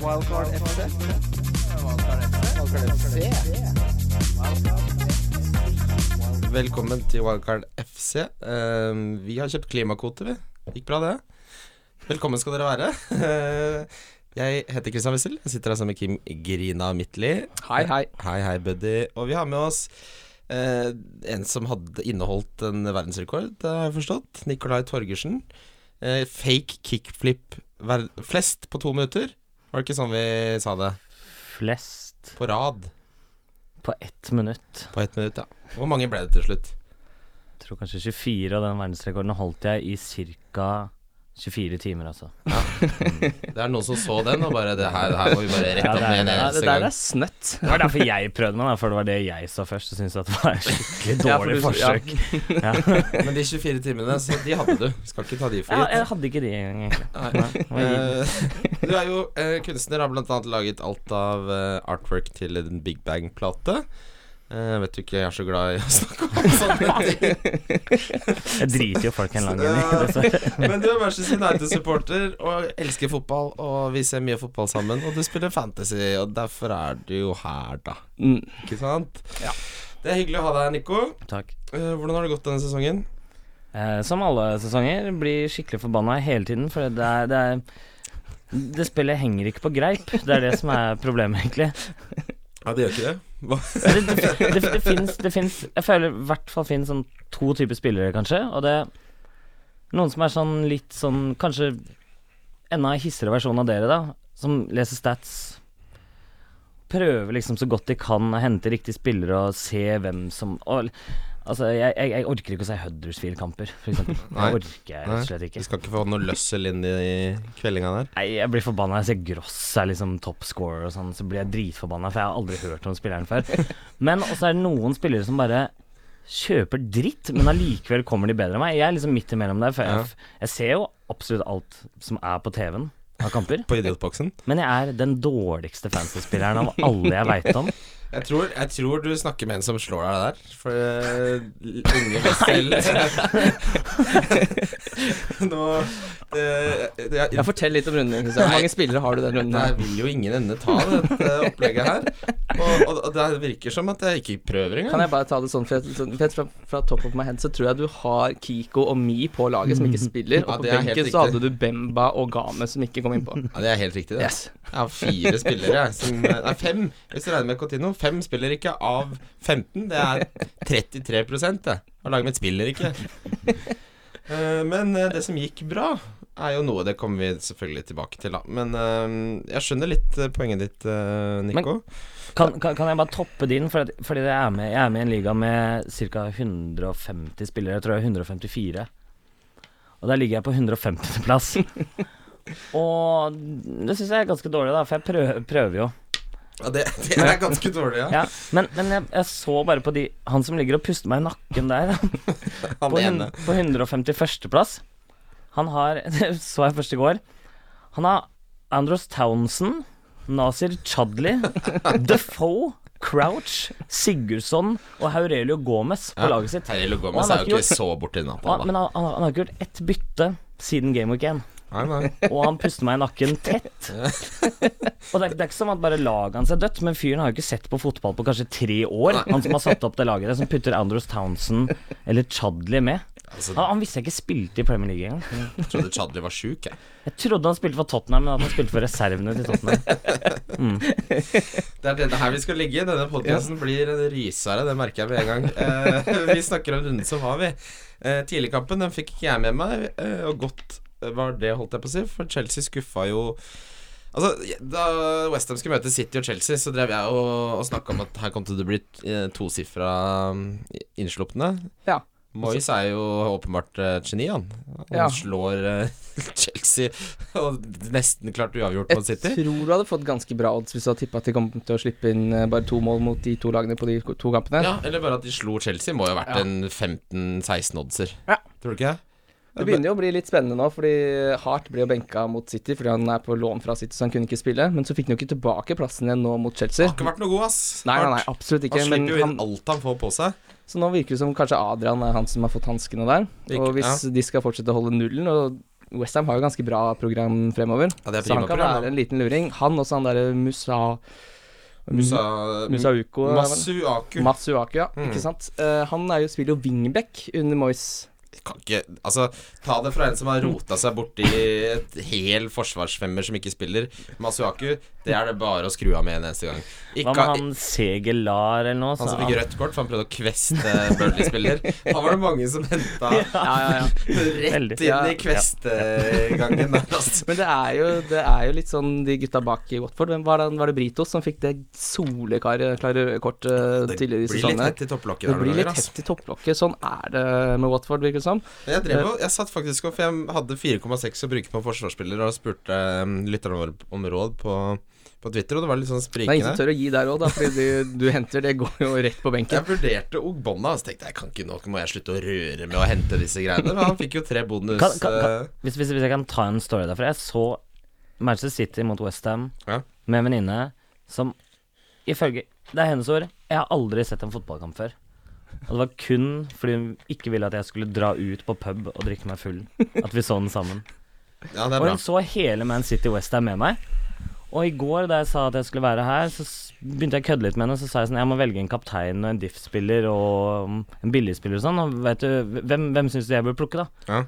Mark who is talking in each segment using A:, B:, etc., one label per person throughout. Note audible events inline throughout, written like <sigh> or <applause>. A: Wildcard FC.
B: Velkommen til Wildcard FC. Um, vi har kjøpt klimakvote, vi. Gikk bra, det. Velkommen skal dere være. <laughs> jeg heter Kristian Wessel. Jeg sitter her sammen med Kim Grina Midtly.
C: Hei, hei.
B: Hei, hei, buddy. Og vi har med oss eh, en som hadde inneholdt en verdensrekord, det har jeg forstått. Nicolai Torgersen. Eh, fake kickflip ver flest på to minutter. Var det ikke sånn vi sa det?
D: Flest
B: På rad.
D: på ett minutt.
B: På ett minutt, ja. Hvor mange ble det til slutt?
D: Jeg tror kanskje 24 av den verdensrekorden holdt jeg i ca. 24 timer, altså.
B: Det er noen som så den og bare Det her, det her må vi bare rette
D: Ja,
B: opp
D: det
B: med
D: er-
B: en
C: Ja, det
B: eneste
C: der er
B: gang.
C: snøtt.
D: Det var derfor jeg prøvde meg, da, for det var det jeg sa først. Og syntes at det var et skikkelig
C: Ja, for
D: dårlig
C: du- ja.
D: forsøk. Ja.
B: Men de 24 timene, så de hadde du. Skal ikke ta de for
D: Ja,
B: gitt.
D: jeg hadde ikke det engang, egentlig.
B: Nei.
D: Nei,
B: Eh, du er jo eh, kunstner, har blant annet laget alt av eh, artwork til en Big Bang-plate. Eh, vet du ikke, jeg er så glad i å snakke
D: <laughs>
B: om sånne ting.
D: Jeg driter jo folk en lang
B: Så-
D: gang i, dessverre.
B: Men du er Manchester United-supporter og elsker fotball, og vi ser mye fotball sammen. Og du spiller fantasy, og derfor er du jo her, da.
C: Mm.
B: Ikke sant? Det er hyggelig å ha deg her, Nico.
D: Takk.
B: Eh, hvordan har det gått denne sesongen?
D: Eh, som alle sesonger, blir skikkelig forbanna hele tiden, for det er, det er Det spillet henger ikke på greip. Det er det som er problemet, egentlig.
B: Ja, det gjør ikke det.
D: Det, det, <laughs> det, det, finnes, det finnes Jeg føler i hvert fall finnes sånn to typer spillere, kanskje. Og det Noen som er sånn litt sånn Kanskje enda hissigere versjon av dere, da. Som leser stats. Prøver liksom så godt de kan å hente riktige spillere og se hvem som og, Altså, jeg, jeg, jeg orker ikke å se Huddersfield-kamper, for eksempel. Det
B: Nei.
D: orker jeg rett og slett
B: Du
D: ikke.
B: skal ikke få noe løssel inn i kveldinga der.
D: Nei, jeg blir forbanna. Jeg ser Gross er liksom top scorer og sånn, så blir jeg dritforbanna, for jeg har aldri hørt om spilleren før. Men også er det noen spillere som bare kjøper dritt, men allikevel kommer de bedre enn meg. Jeg er liksom midt imellom der, for
B: Ja.
D: jeg, jeg ser jo absolutt alt som er på TV-en av kamper,
B: På idiotboksen.
D: men jeg er den dårligste fantasy-spilleren av alle jeg veit om.
B: Jeg tror, jeg tror du snakker med en som slår deg der, for eh, <laughs> unge Wessel Nå eh, jeg,
C: Ja, fortell litt om runden din. Kristian. Hvor mange spillere har du den runden
B: Der
C: her?
B: vil jo ingen ende ta dette opplegget her. Og, og, og det virker som at jeg ikke prøver
C: Kan
B: engang.
C: jeg bare ta det sånn, for jeg, for jeg, fra, fra top of my head så tror jeg du har Kiko og Mi på laget som ikke spiller,
B: Ja,
C: og på
B: det er helt
C: benken så
B: riktig.
C: hadde du Bemba og Game som ikke kom innpå.
B: Ja, det er helt riktig, det.
C: Yes.
B: Jeg har fire spillere, jeg. Som, eh, nei, fem, hvis du regner med Cotino. Fem spiller ikke av 15. Det er 33 det. Og laget mitt spiller ikke. Eh, Men eh, det som gikk bra, er jo noe Det kommer vi selvfølgelig tilbake til, da. Men eh, jeg skjønner litt eh, poenget ditt, eh, Nico.
D: Kan, kan, kan jeg bare toppe din? For at, fordi jeg er, med, jeg er med i en liga med ca. 150 spillere. Jeg tror jeg er 154. Og der ligger jeg på 150. plass. Og det syns jeg er ganske dårlig, da, for jeg prøver, prøver jo.
B: Ja, det, det er ganske dårlig, ja.
D: Ja, men men jeg, jeg så bare på de Han som ligger og puster meg i nakken der,
B: Han
D: på, hun,
B: ene.
D: på 151. plass. Han har <laughs> Det så jeg først i går. Han har Andros Townsend, Nasir Chadli,
B: <laughs>
D: Defoe, Crouch, Sigurdsson og Haurelio Gomez på
B: Ja.
D: laget sitt.
B: Terje
D: Og
B: Lugomez
D: han har
B: er jo
D: ikke
B: ikke så borti natta,
D: Og,
B: da.
D: men han, han, han har ikke gjort ett bytte siden Game Week 1,
B: Nei, nei.
D: og han puster meg i nakken tett.
B: <laughs>
D: Og det er, det er ikke som at bare laget hans er dødt, men fyren har jo ikke sett på fotball på kanskje tre år. Han som har satt opp det laget der, som putter Andros Townsend eller Chadli med.
B: Altså,
D: Han, han visste jeg ikke spilte i Premier League engang.
B: jeg trodde Chadli var sjuk, jeg.
D: Jeg trodde han spilte for Tottenham, men at han spilte for reservene til
B: <laughs>
D: Tottenham.
B: Det er denne her vi skal ligge. Denne podkasten blir en rysere, det merker jeg med en gang. Eh, vi snakker om runden som var, vi. Eh, Tidligkampen den fikk ikke jeg med meg, eh, og godt var det, holdt jeg på å si, for Chelsea skuffa jo Altså, Da Westham skulle møte City og Chelsea, så drev jeg og, og snakka om at her kom til å bli eh, tosifra mm, innslupne.
C: Ja.
B: Moyes er jo åpenbart eh, et geni, han. Han
C: Ja.
B: slår eh, <laughs> Chelsea og nesten klart uavgjort mot
C: Jeg
B: City.
C: tror du hadde fått ganske bra odds hvis du hadde tippa at de kom til å slippe inn eh, bare to mål mot de to lagene på de to kampene.
B: Ja, eller bare at de slo Chelsea må jo ha vært
C: Ja.
B: en 15-16 oddser.
C: Ja.
B: Tror du ikke?
C: Det begynner jo å bli litt spennende nå, fordi Hart ble jo benka mot City fordi han er på lån fra City, så han kunne ikke spille. Men så fikk han jo ikke tilbake plassen igjen nå mot Chelsea.
B: Han har ikke vært noe god, ass.
C: Nei, nei, nei,
B: Hart.
C: absolutt ikke.
B: han
C: Men
B: slipper jo inn
C: han,
B: alt han får på seg.
C: så nå virker det som kanskje Adrian er han som har fått hanskene der.
B: Ikke-
C: Og hvis de skal fortsette å holde nullen, og Westham har jo ganske bra program fremover.
B: Ja, det er
C: Så han
B: prima
C: kan
B: program.
C: være
B: da.
C: en liten luring. Han også han derre Musa...
B: Musa,
C: Musauko er det vel?
B: Masuaku.
C: Matsuaku, ja.
B: Mm.
C: Ikke sant. Eh, han er jo, spiller jo wingback under Moyes.
B: kan ikke Altså, ta det fra en som har rota seg borti et hel forsvarsfemmer som ikke spiller. Masuaku, det er det bare å skru av med en eneste gang.
D: Hva
B: Ikke,
D: med han Segelar eller noe?
B: han
D: så-
B: som fikk rødt kort for han prøvde å
C: <laughs>
B: kveste Burnley-spiller. Han var det mange som henta
C: Ja, ja, ja.
B: rett
D: Veldig.
B: inn i kvestegangen der, altså.
C: Men det er, jo, det er jo litt sånn de gutta bak i Watford. Hvem var det, var det Britos som fikk det soleklare klare røde kortet
B: Det
C: tidligere i
B: blir litt
C: sesongen? her?
B: hett i topplokket
C: Det
B: der
C: blir
B: noen
C: litt
B: ganger, altså.
C: hett i topplokket. Sånn er det med Watford, virker det som.
B: Men Jeg, drev, og- jeg satt faktisk opp, for jeg hadde 4,6 å bruke på forsvarsspiller, og spurte um, lytterne våre om råd på, på Twitter, og det var litt sånn
C: Det er ingen
B: sprikende.
C: som tør å gi der òg, da, fordi du, du henter det går jo rett på benken.
B: Jeg vurderte Ogbonna, og så tenkte jeg kan ikke nok, må jeg slutte å røre med å hente disse greiene. Men han fikk jo tre bonus.
D: Kan- kan- kan-
B: eh,
D: Hvis, hvis, hvis jeg kan ta en story derfra Jeg så Manchester City mot Westham
B: Ja.
D: med en venninne som ifølge Det er hennes ord. Jeg har aldri sett en fotballkamp før. Og det var kun fordi hun ikke ville at jeg skulle dra ut på pub og drikke meg full, at vi så den sammen.
B: ja, det er
D: Og
B: bra.
D: hun så hele Man City Westham med meg. Og i går da jeg sa at jeg skulle være her, så s- begynte jeg å kødde litt med henne. Så sa jeg sånn Jeg må velge en kaptein og en diff-spiller og mm, en billigspiller og sånn. Og vet du, hvem, hvem syns du jeg bør plukke, da?
B: Ja.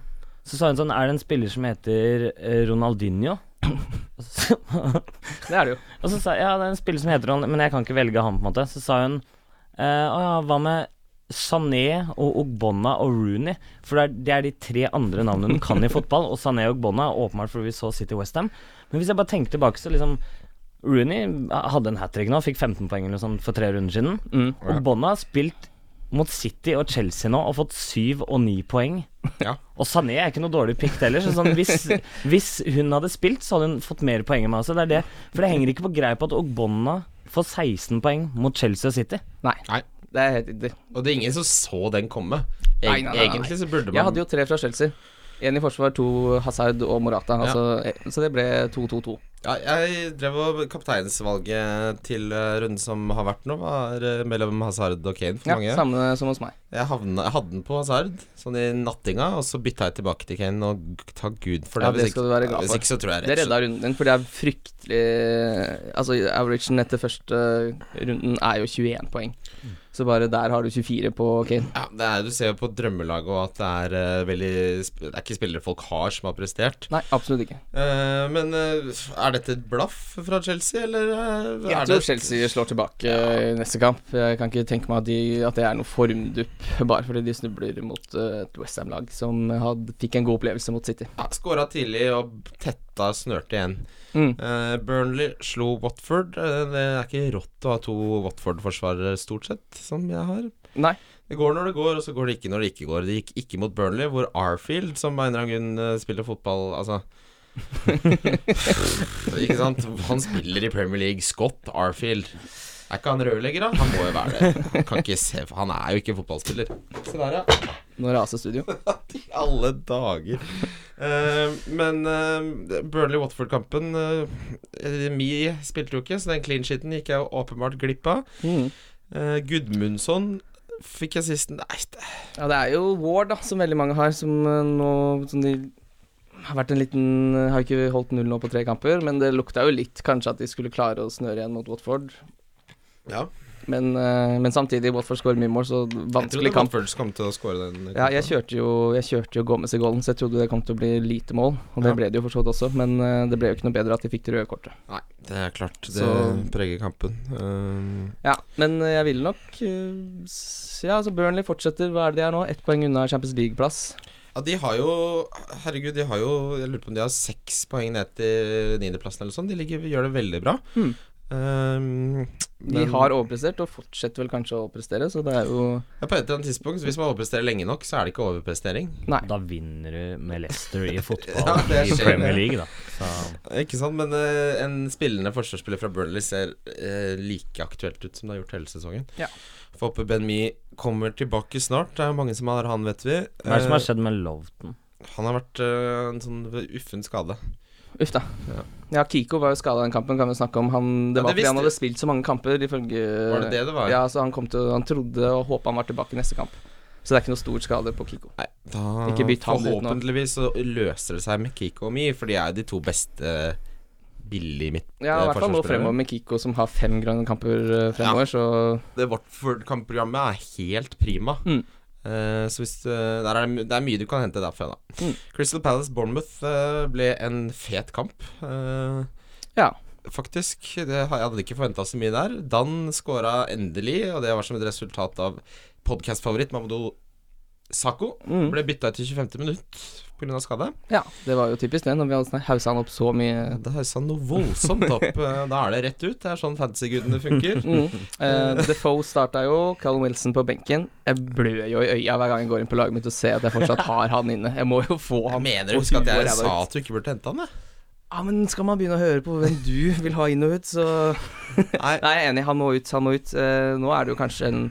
D: Så sa hun sånn Er det en spiller som heter eh, Ronaldinho? <clears throat> og, så,
C: Det er det jo.
D: og så sa jeg ja, det er en spiller som heter Ronaldinho, men jeg kan ikke velge han, på en måte. Så sa hun eh, Å ja, hva med Sané og Ogbonna og Rooney? For det er, det er de tre andre navnene hun kan i fotball, og Sané og Ogbonna er åpenbart fordi vi så City Westham. Men hvis jeg bare tenker tilbake, så liksom Rooney hadde en hat trick nå, fikk 15 poeng eller noe sånt for tre runder siden.
C: Mm.
B: Ja.
D: Og Bonna har spilt mot City og Chelsea nå og fått syv og ni poeng.
B: Ja.
D: Og Sané er ikke noe dårlig pikt heller, så sånn, hvis, hvis hun hadde spilt, så hadde hun fått mer poeng enn meg også. Det er det. For det henger ikke på greip at Ogbonna får 16 poeng mot Chelsea og City.
C: Nei.
B: Nei.
C: Det er helt riktig.
B: Og det er ingen som så den komme.
C: Nei,
B: Eg-
C: nei, nei, nei.
B: Egentlig så burde
C: Jeg
B: man
C: hadde jo tre fra Chelsea. Én i forsvar, to Hazard og Morata. Altså, så det ble 2-2-2.
B: ja, Jeg drev og Kapteinsvalget til eh, runden som har vært nå, var eh, mellom Hazard og Kane for
C: Ja,
B: mange.
C: samme som hos meg.
B: Jeg, havna, jeg hadde den på Hazard sånn i nattinga, og så bytta jeg tilbake til Kane, og g- takk Gud for det.
C: Ja, det
B: Hvis
C: skal
B: ikke-
C: du være glad
B: Hvis
C: for.
B: ikke så tror jeg
C: Det
B: rett og slett
C: redda runden din, for det er fryktelig Altså, averagen etter første runden er jo 21 poeng.
B: Mm.
C: Så bare der har du 24 på Kane.
B: ja, det er, Du ser jo på drømmelaget og at det er eh, veldig sp- Det er ikke spillere folk har som har prestert.
C: Nei, absolutt ikke.
B: Eh, men eh, er dette et blaff fra Chelsea, eller eh, er
C: Jeg
B: det
C: tror Chelsea slår tilbake i neste kamp. Jeg kan ikke tenke meg at, de, at det er noe formdupp, <laughs> bare fordi de snubler mot eh, et Westham-lag som hadde, fikk en god opplevelse mot City.
B: ja, Skåra tidlig og tetta snørte igjen.
C: Mm.
B: Eh, Burnley slo Watford. Eh, det er ikke rått å ha to Watford-forsvarere, stort sett, som jeg har.
C: Nei.
B: Det går når det går, og så går det ikke når det ikke går. Det gikk ikke mot Burnley, hvor Arfield, som av en eller annen grunn eh, spiller fotball Altså Ikke sant? Han spiller i Premier League. Scott Arfield. Er ikke han rørlegger, da? Han må jo være det. Han, kan ikke se, for han er jo ikke fotballspiller. Se der, ja.
C: Nå raser
B: <laughs>
C: studio.
B: I alle dager. Eh, men eh, Burnley-Watford-kampen uh, Mi spilte jo ikke, så den clean sheeten gikk jeg jo åpenbart glipp av.
C: Mm.
B: Eh, Gudmundsson fikk assisten Nei, det-
C: Ja, det er jo Ward, da, som veldig mange har, som eh, nå som de har vært en liten eh, Har ikke holdt null nå på tre kamper, men det lukta jo litt kanskje at de skulle klare å snøre igjen mot Watford.
B: ja.
C: Men, eh, men samtidig, Watford skårer mye mål, så
B: Jeg trodde
C: vanskelig kamp.
B: Watford kom til å score den.
C: Ja, jeg kjørte jo, jeg kjørte jo Gomez i goalen, så jeg trodde det kom til å bli lite mål. Og det
B: Ja.
C: ble det jo for så vidt også, men eh, det ble jo ikke noe bedre at de fikk det røde kortet.
B: Nei, det er klart. Det
C: Så-
B: preger kampen. Eh,
C: Ja, men eh, jeg ville nok eh, s- Ja, altså Burnley fortsetter, hva er det de er nå? Ett poeng unna Champions League-plass.
B: ja, de har jo Herregud, de har jo Jeg lurer på om de har seks poeng ned til niendeplassen eller sånn. De ligger, gjør det veldig bra.
C: Mm.
B: Eh,
C: De
B: men-
C: har overprestert, og fortsetter vel kanskje å overprestere, så det er jo
B: Ja, på et eller annet tidspunkt, så hvis man overpresterer lenge nok, så er det ikke overprestering.
C: Nei.
D: Da vinner du med Leicester i
B: <laughs>
D: fotball
B: Ja, det
D: i
B: skjer,
D: Premier
B: det.
D: League, da. Så
B: Ikke sant, men eh, en spillende forsvarsspiller fra Burnley ser eh, like aktuelt ut som det har gjort hele sesongen.
C: Ja.
B: Får håpe Ben Me kommer tilbake snart. Det er jo mange som har han, vet vi.
D: hva er det som har
B: Eh,
D: skjedd med Loveton?
B: han har vært eh, en sånn uffen skade.
C: Uff da.
B: Ja.
C: Ja, Kiko var jo skada den kampen, kan vi snakke om. Han, det
B: Ja, det
C: var fordi
B: visste-
C: han hadde spilt så mange kamper, ifølge
B: Var det det det var?
C: Ja, så han kom til Han trodde og håpa han var tilbake i neste kamp. Så det er ikke noe stor skade på Kiko.
B: Nei, da
C: Ikke bytt han ut nå.
B: Forhåpentligvis så løser det seg med Kiko og Mi, for de er jo de to beste eh, billig midt
C: Ja, i hvert fall nå fremover med Kiko, som har fem grønne kamper eh, fremover, så
B: det Watford-kampprogrammet er helt prima.
C: Mm.
B: Eh, så hvis du, der er det, my- det er mye du kan hente derfra, da.
C: Mm.
B: Crystal Palace Bournemouth eh, ble en fet kamp, eh,
C: ja.
B: faktisk. Det, har- jeg hadde ikke forventa så mye der. Dan skåra endelig, og det var som et resultat av podkastfavoritt Mamadou Sako.
C: Mm.
B: Ble bytta ut i 25. minutt pga. skade.
C: ja. Det var jo typisk det, når vi hadde hausa han opp så mye.
B: Da haussa han noe <laughs> voldsomt opp. eh, da er det rett ut. Det er sånn fantasy-gudene funker. <laughs>
C: Mm. Eh, Defoe starta jo, Callum Wilson på benken. Jeg blør jo i øya hver gang jeg går inn på laget mitt og ser at jeg fortsatt har han inne. Jeg må jo få
B: Jeg
C: han.
B: mener husk at
C: Og
B: jeg
C: huet ræva
B: sa
C: ut.
B: at du ikke burde hente han, jeg. <laughs>
C: Ja, men skal man begynne å høre på hvem du vil ha inn og ut, så
B: Nei,
C: Nei, jeg er enig. Han må ut, han må ut. Eh, nå er det jo kanskje en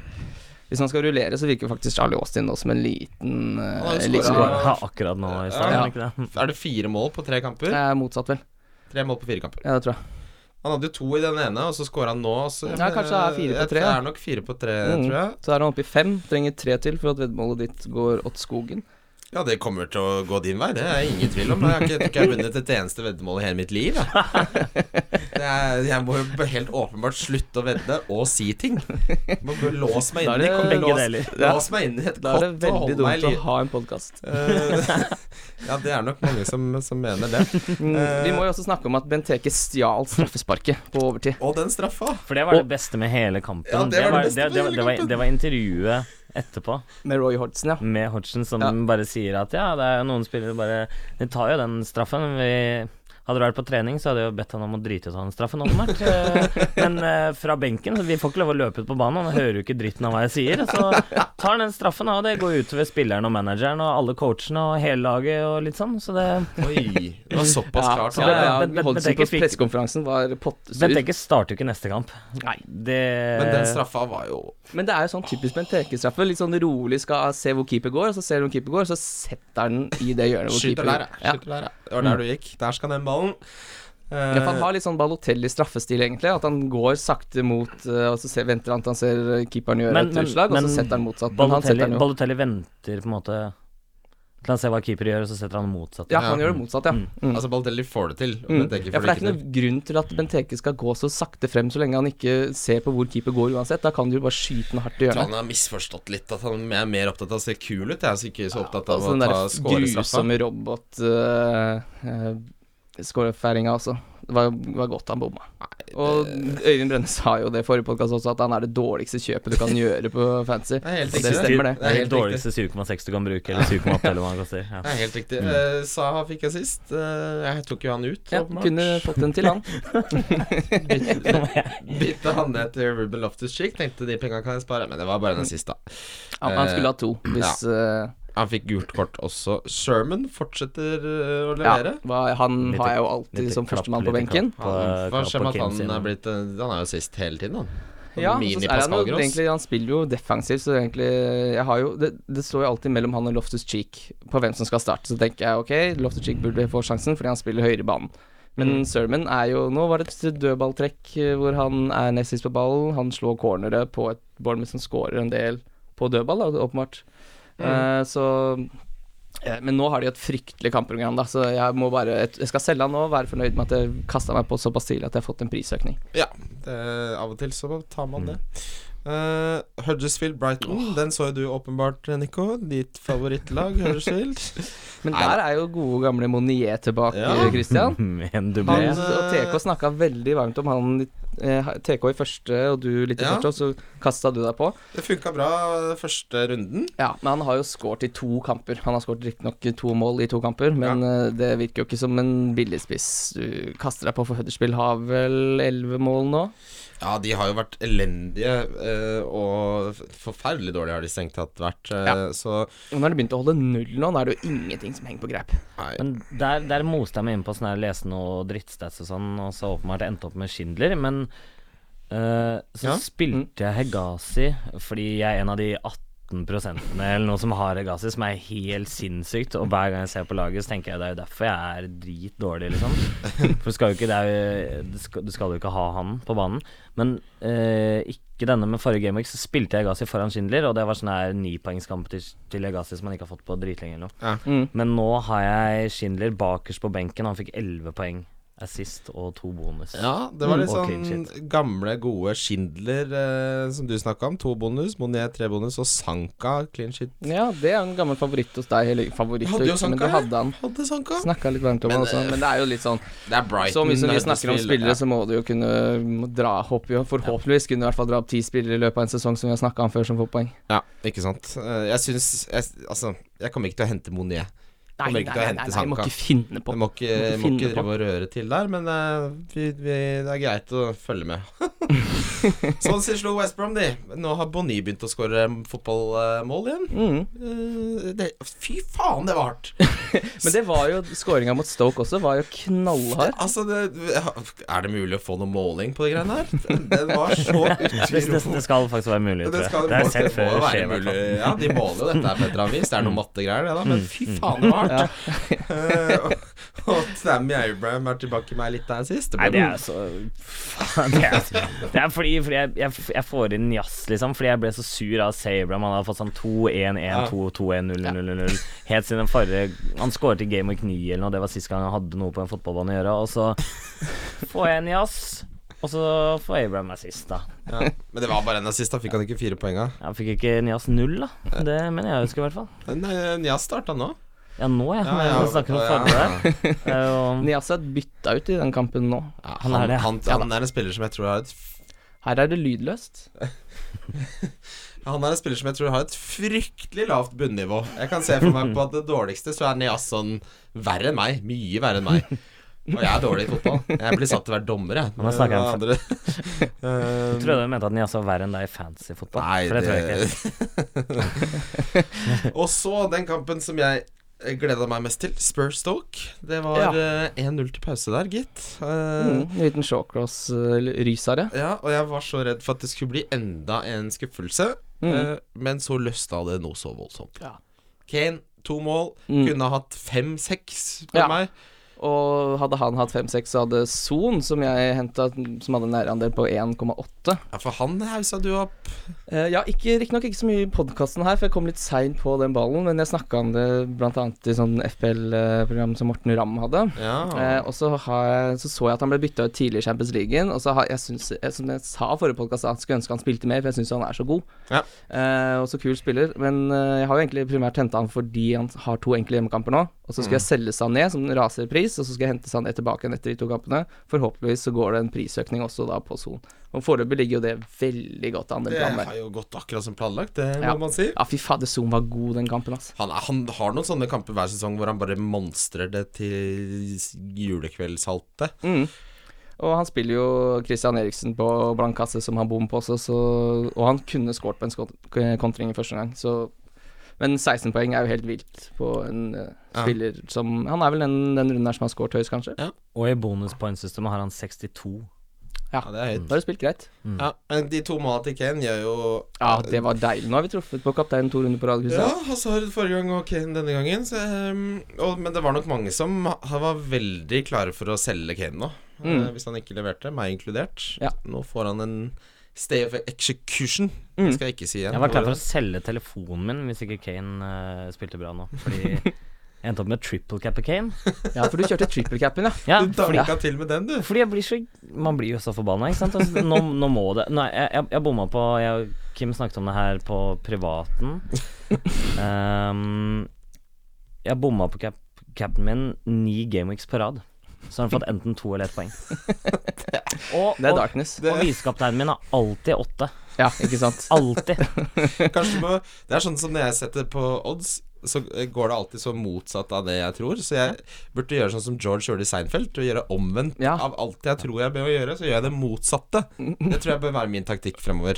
C: Hvis man skal rullere, så virker faktisk Charlie Austin nå som en liten eh,
B: Han har jo
C: liten-
D: Så
B: Ja.
D: <laughs> bare ha akkurat nå i stad,
B: Ja.
D: er det ikke det?
B: Er det fire mål på tre kamper?
C: Det er motsatt, vel.
B: Tre mål på fire kamper.
C: Ja, det tror jeg.
B: Han hadde jo to i den ene, og så skåra han nå. Så
C: Ja, kanskje det er fire på tre,
B: Det
C: da.
B: er nok fire på tre,
C: Mm.
B: tror jeg.
C: Så er han oppe i fem. Trenger tre til for at veddemålet ditt går åt skogen.
B: Ja, det kommer til å gå din vei, det er jeg ingen tvil om. Jeg har ikke, jeg tror ikke jeg har vunnet et eneste veddemål i hele mitt liv. Jeg,
C: <laughs>
B: det er, jeg må jo bare helt åpenbart slutte å vedde og si ting. Må bare Lås meg
C: Da er
B: inn i
C: det
B: kom-
D: Begge
B: lås,
D: deler.
B: lås meg inn i et
C: Da
B: kott
C: er det
B: og
C: veldig
B: hold meg
C: dumt å
B: liv.
C: ha en podkast.
B: ja, det er nok mange som, som mener det.
C: Mm, vi må jo også snakke om at Benteke stjal straffesparket på overtid.
B: Og den straffa.
D: For det var det beste med hele kampen.
B: Ja, det var det beste
D: det,
B: med
D: det,
B: hele
D: det, var,
B: kampen.
D: det var intervjuet etterpå
C: Med Roy Hodgson, ja.
D: med Hodgson som
C: Ja.
D: bare sier at ja, det er jo noen spillere bare De tar jo den straffen. Vi hadde det vært på trening, så hadde jeg jo bedt han om å drite ut han straffen, åpenbart. Eh, Men eh, fra benken så Vi får ikke lov å løpe ut på banen, han hører jo ikke dritten av hva jeg sier. Så tar han den straffen, da, og det går utover spilleren og manageren og alle coachene og hele laget og litt sånn, så det
B: Oi, det var såpass
C: Ja,
B: klart.
C: så
D: ja,
C: det,
B: Ja,
D: ja.
C: ja,
D: Ben- Ben-
C: Hodgson på
D: Benteke fikk-
C: pressekonferansen var pottesur.
D: Benteke starter jo ikke neste kamp.
C: Nei.
D: Det
B: Men den straffa var jo
C: Men det er jo sånn typisk Benteke-straffe. Litt sånn rolig skal se hvor keeper går, og så ser du hvor keeper går, og så setter han den i det hjørnet hvor
B: Skyter
C: keeper
B: der, ja.
C: ja.
B: Skyter der, ja. Det var der du gikk. Der skal den ballen. Eh,
C: Ja, for han har litt sånn Balotelli-straffestil, egentlig. At han går sakte mot, eh, og så ser, venter han til han ser eh, keeperen gjøre
D: Men-
C: et
D: men-
C: utslag, og
D: men
C: så setter han motsatt. Men han
D: Balotelli,
C: setter den jo.
D: Balotelli venter på en måte til han ser hva keeper gjør, og så setter han motsatt.
C: Ja,
B: Ja.
C: han gjør det motsatt, ja.
D: Mm.
C: Mm.
B: Altså, Baldelli får det til. og
C: Mm.
B: Bent Egge
C: Ja, for det
B: får
C: er ikke noen grunn til at Benteke skal gå så sakte frem så lenge han ikke ser på hvor keeper går uansett. Da kan du jo bare skyte den hardt i
B: Jeg tror
C: hjørnet.
B: han har misforstått litt at han er mer opptatt av å se kul ut. Jeg er altså ikke så opptatt av
C: Altså den
B: å ta
C: der
B: skårestraffa.
C: grusomme robot-skårefeiringa også. Det var, var godt han bomma. Og Øyvind Brenne sa jo det i forrige podkast også, at han er det dårligste kjøpet du kan gjøre på fancy.
B: Det er
C: Og
B: helt riktig.
C: det stemmer, det.
D: Det er helt
B: helt riktig.
D: dårligste 7,6 du kan bruke, eller 7,8 eller hva det koster. Ja.
B: Det er helt riktig. Eh, Saha fikk jeg sist. Eh, jeg tok jo han ut,
C: Mm. Ja,
B: åpenbart.
C: kunne fått en til, han.
B: Bytte han ned til Ruben Loftus-Cheek. Tenkte de penga kan jeg spare, men det var bare den siste. da.
C: Ja, men han skulle ha to, hvis eh,
B: Han fikk gult kort også. Sherman fortsetter eh, å
C: Ja,
B: levere.
C: hva- han
D: Litt-
C: har jeg jo alltid
D: Litt
C: som
D: klapp,
C: førstemann på
D: litt
C: benken.
D: klapp på-
B: Han, hva
D: klapp
B: skjer med
D: på
B: at han
D: Kim sin-
B: er blitt eh, Han er jo sist hele tiden, han.
C: Ja,
B: Mini
C: så er han,
B: Pascal
C: jo,
B: Gross.
C: egentlig, han spiller jo defensivt, så egentlig jeg har jo, det, det står jo alltid mellom han og Loftus Cheek på hvem som skal starte. Så tenker jeg ok, Loftus Cheek burde få sjansen fordi han spiller høyere i banen. Men Sermon er jo Nå var det et dødballtrekk eh, hvor han er nest sist på ballen. Han slår cornere på et Bournemouth som scorer en del på dødball, da, åpenbart. Eh, så eh, men nå har de et fryktelig kampprogram, da, så jeg, må bare, jeg skal selge han nå. Være fornøyd med at jeg kasta meg på såpass tidlig at jeg har fått en prisøkning.
B: Ja, det, Eh, av og til så tar man det. Eh, Huddersfield Brighton, den så jo du åpenbart, Nico. Ditt favorittlag, Huddersfield. <laughs>
C: Men
B: Nei,
C: der er jo gode gamle Monier tilbake,
B: Ja. <laughs>
C: Christian.
D: <laughs> Med en dublé.
C: Han
B: Men,
C: og TK snakka veldig varmt om han eh, TK i første og du litt i
B: Ja.
C: første, og så kasta du deg på.
B: Det funka bra første runden.
C: Ja, Men han har jo skåret i to kamper. Han har skåret riktignok to mål i to kamper, men eh, det virker jo ikke som en billigspiss. Du kaster deg på for Huddersfield, har vel elleve mål nå?
B: Ja, de har jo vært elendige, eh, og forferdelig dårlige har de strengt tatt vært. eh,
C: Ja.
B: Så
C: Og Nå har de begynt å holde null nå, nå er det jo ingenting som henger på greip.
B: nei.
D: Men der, der moste jeg meg inn på sånn her lese noe drittstats og sånn, og så åpenbart endte opp med Schindler, men eh, så
B: Ja.
D: spilte jeg Hegazi fordi jeg er en av de 18 17 eller noe som har Regasi, som er helt sinnssykt. Og hver gang jeg ser på laget, så tenker jeg det er jo derfor jeg er dritdårlig, liksom. <laughs> For du skal jo ikke, det er jo, du skal, du skal jo ikke ha han på banen. Men eh, ikke denne, men forrige gameweek så spilte jeg Regasi foran Schindler, og det var sånn her nipoengskamp til, til Regasi som han ikke har fått på dritlenge eller noe.
B: Ja.
C: Mm.
D: Men nå har jeg Schindler bakerst på benken, han fikk 11 poeng. Assist og to bonus.
B: Ja, det var
D: Mm.
B: litt
D: Og clean
B: sånn gamle, gode Schindler eh, som du snakka om. To bonus, Monier tre bonus og Sanka clean shit.
C: Ja, det er en gammel favoritt hos deg. Eller favoritt,
B: Jeg hadde jo
C: og
B: eh,
C: ikke, men
B: Sanka,
C: du
B: jeg.
C: hadde han.
B: Hadde Sanka.
C: Snakka litt varmt om han også, men det er jo litt sånn
B: Det er Brighton.
C: Så mye som
B: det
C: vi
B: er
C: snakker om
B: spill,
C: spillere,
B: ja.
C: så må du jo kunne må dra håper jo, Forhåpentligvis kunne du i hvert fall dra opp ti spillere i løpet av en sesong som vi har snakka om før, som får poeng.
B: Ja, ikke sant. Eh, Jeg syns jeg, Altså, jeg kommer ikke til å hente Monier. Kommer ikke til å hente
C: jeg må
B: Sanka.
C: ikke finne på
B: Jeg må ikke,
C: Må ikke
B: må ikke
C: finne
B: drive og røre til der, men eh, vi, vi, det er greit å følge med. <laughs> Swansea slo West Brom, de. Nå har Bonny begynt å skåre fotballmål igjen.
C: Mm.
B: Eh, det, fy faen, det var hardt!
C: Men det var jo skåringa mot Stoke også, var jo knallhard.
B: Altså, det, er det mulig å få noe måling på de greiene her? Den var
C: <laughs>
B: så
D: Det, det,
B: utrolig
D: det skal faktisk være mulig, tror
B: Det,
D: jeg.
B: skal,
D: Det har jeg
B: det
D: sett
B: må
D: før
B: jo
D: det
B: være
D: skjer, i hvert
B: mulig.
D: fall. Mm.
B: Ja, de måler jo dette her på et eller annet vis. Det er noen mattegreier, det, da. Men fy faen, det var hardt! Eh, og- og Sammy Abraham er tilbake med ei lita assist.
D: Nei, det er altså- så Faen, det er, altså- det er fordi, fordi jeg, jeg, jeg får inn jazz, liksom. Fordi jeg ble så sur av Sabram. Han hadde fått sånn 2-1-1-2-2-1-0-0-0. Helt siden den forrige Han skåret i Game of 9 eller noe, det var sist gang han hadde noe på en fotballbane å gjøre. Og så får jeg en jazz, og så får Abraham meg sist, da.
B: Ja. Men det var bare en assist, da fikk han ikke fire poenga.
D: Jeg fikk ikke en jazz null, da. Det mener jeg å huske, i hvert fall.
B: Nei, Njas starta eh, nå.
D: Ja, nå, ja.
B: Ja,
D: ja,
B: ja,
D: snakker om
B: ja,
D: forrige
B: <laughs> ja.
D: der. Det er jo-
C: Niasa er bytta ut i den kampen nå.
B: Ja, han,
D: Han er
B: han,
D: det.
B: han,
C: Ja,
B: er en spiller som jeg tror har et f-
C: Her er det lydløst.
B: Han er en spiller som jeg tror har et fryktelig lavt bunnivå. Jeg kan se for meg på at det dårligste så er Nias sånn verre enn meg. Mye verre enn meg. Og jeg er dårlig i fotball. Jeg blir satt til å være dommer, jeg.
D: Men da snakker <laughs> jeg om
B: Andre- Eh,
D: Jeg trodde du mente at Nias var verre enn deg i fancy fotball.
B: Nei,
D: for det tror jeg ikke.
B: <laughs> Og så den kampen som jeg gleda meg mest til, Spurs-Stoke. Det var
C: Ja.
B: eh, 1-0 til pause der, gitt. Eh,
C: Mm, en liten eh, shawcross-rysare.
B: Ja, og jeg var så redd for at det skulle bli enda en skuffelse. eh, men så løsna det noe så voldsomt.
C: Mm. Ja.
B: Kane, to mål.
C: Mm.
B: Kunne hatt fem-seks for
C: Ja.
B: meg.
C: Og hadde han hatt 5-6, så hadde Son, som jeg henta, som hadde en nærandel på 1,8
B: Ja, for han haussa du opp.
C: Eh, Ja, ikke- riktignok ikke så mye i podkasten her, for jeg kom litt seint på den ballen, men jeg snakka om det bl.a. i sånn FPL-program som Morten Ramm hadde.
B: Ja.
C: Eh, og så, har jeg, så så jeg at han ble bytta ut tidlig i Champions League. Og så har, jeg synes, jeg, som jeg sa i forrige podkast, at jeg skulle ønske han spilte mer, for jeg syns han er så god.
B: Ja.
C: Eh, og så kul spiller. Men eh, jeg har jo egentlig primært henta han fordi han har to enkle hjemmekamper nå. Og så skal jeg selge han ned som en raserpris, og så skal jeg hente han ned tilbake igjen etter de to kampene. Forhåpentligvis så går det en prisøkning også da på Son. Og foreløpig ligger jo det veldig godt an, den
B: Det
C: planen
B: har
C: der.
B: jo gått akkurat som planlagt, det må
C: Ja.
B: man si.
C: Ja, fy fader, Son var god den kampen, altså.
B: Han, er, han har noen sånne kamper hver sesong hvor han bare monstrer det til julekveldshaltet.
C: Mm. Og han spiller jo Christian Eriksen på blank kasse, som han bom på også, så Og han kunne skåret på en skot- kontring i første gang, så Men 16 poeng er jo helt vilt på en eh,
B: Ja.
C: spiller som Han er vel den, den runden her som har skåret høyest, kanskje?
D: Og i bonuspointsystemet har han 62.
C: Ja.
B: Ja, det er høyt.
C: Da har du spilt greit.
D: Mm.
B: Ja, men de to måla til Kane gjør jo
C: Ja, det var deilig. Nå har vi truffet på kapteinen to runder på rad.
B: Ja,
C: Christian.
B: Hazard forrige gang og Kane denne gangen. Så, ehm, og, men det var nok mange som ha- var veldig klare for å selge Kane nå. eh,
C: Mm.
B: hvis han ikke leverte, meg inkludert.
C: Ja.
B: Nå får han en stay of execution,
C: Mm.
B: skal jeg ikke si igjen.
D: Jeg var klar for å selge telefonen min hvis ikke Kane eh, spilte bra nå.
C: <laughs>
D: Fordi jeg endte opp med triple cap av Kane.
C: Ja, for du kjørte triple capen, ja.
D: Ja,
B: Du
D: fordi,
B: danka til med den, du.
D: fordi jeg blir så Man blir jo så forbanna, ikke sant. Altså, nå, nå må det Nei, jeg, jeg, jeg bomma på jeg, og Kim snakket om det her på privaten. Ehm, jeg bomma på cap, capen min ni gameweeks på rad. Så har han fått enten to eller ett poeng. Og,
C: <laughs> Det er
D: og,
C: darkness.
D: og visekapteinen min har alltid åtte.
C: Ja, ikke sant.
D: Alltid.
B: Kanskje du må Det er sånn som når jeg setter på odds så eh, går det alltid så motsatt av det jeg tror. Så jeg burde gjøre sånn som George gjorde i Seinfeld. Og gjøre omvendt
C: Ja.
B: av alt jeg tror jeg bør gjøre. Så gjør jeg det motsatte. Det tror jeg bør være min taktikk fremover.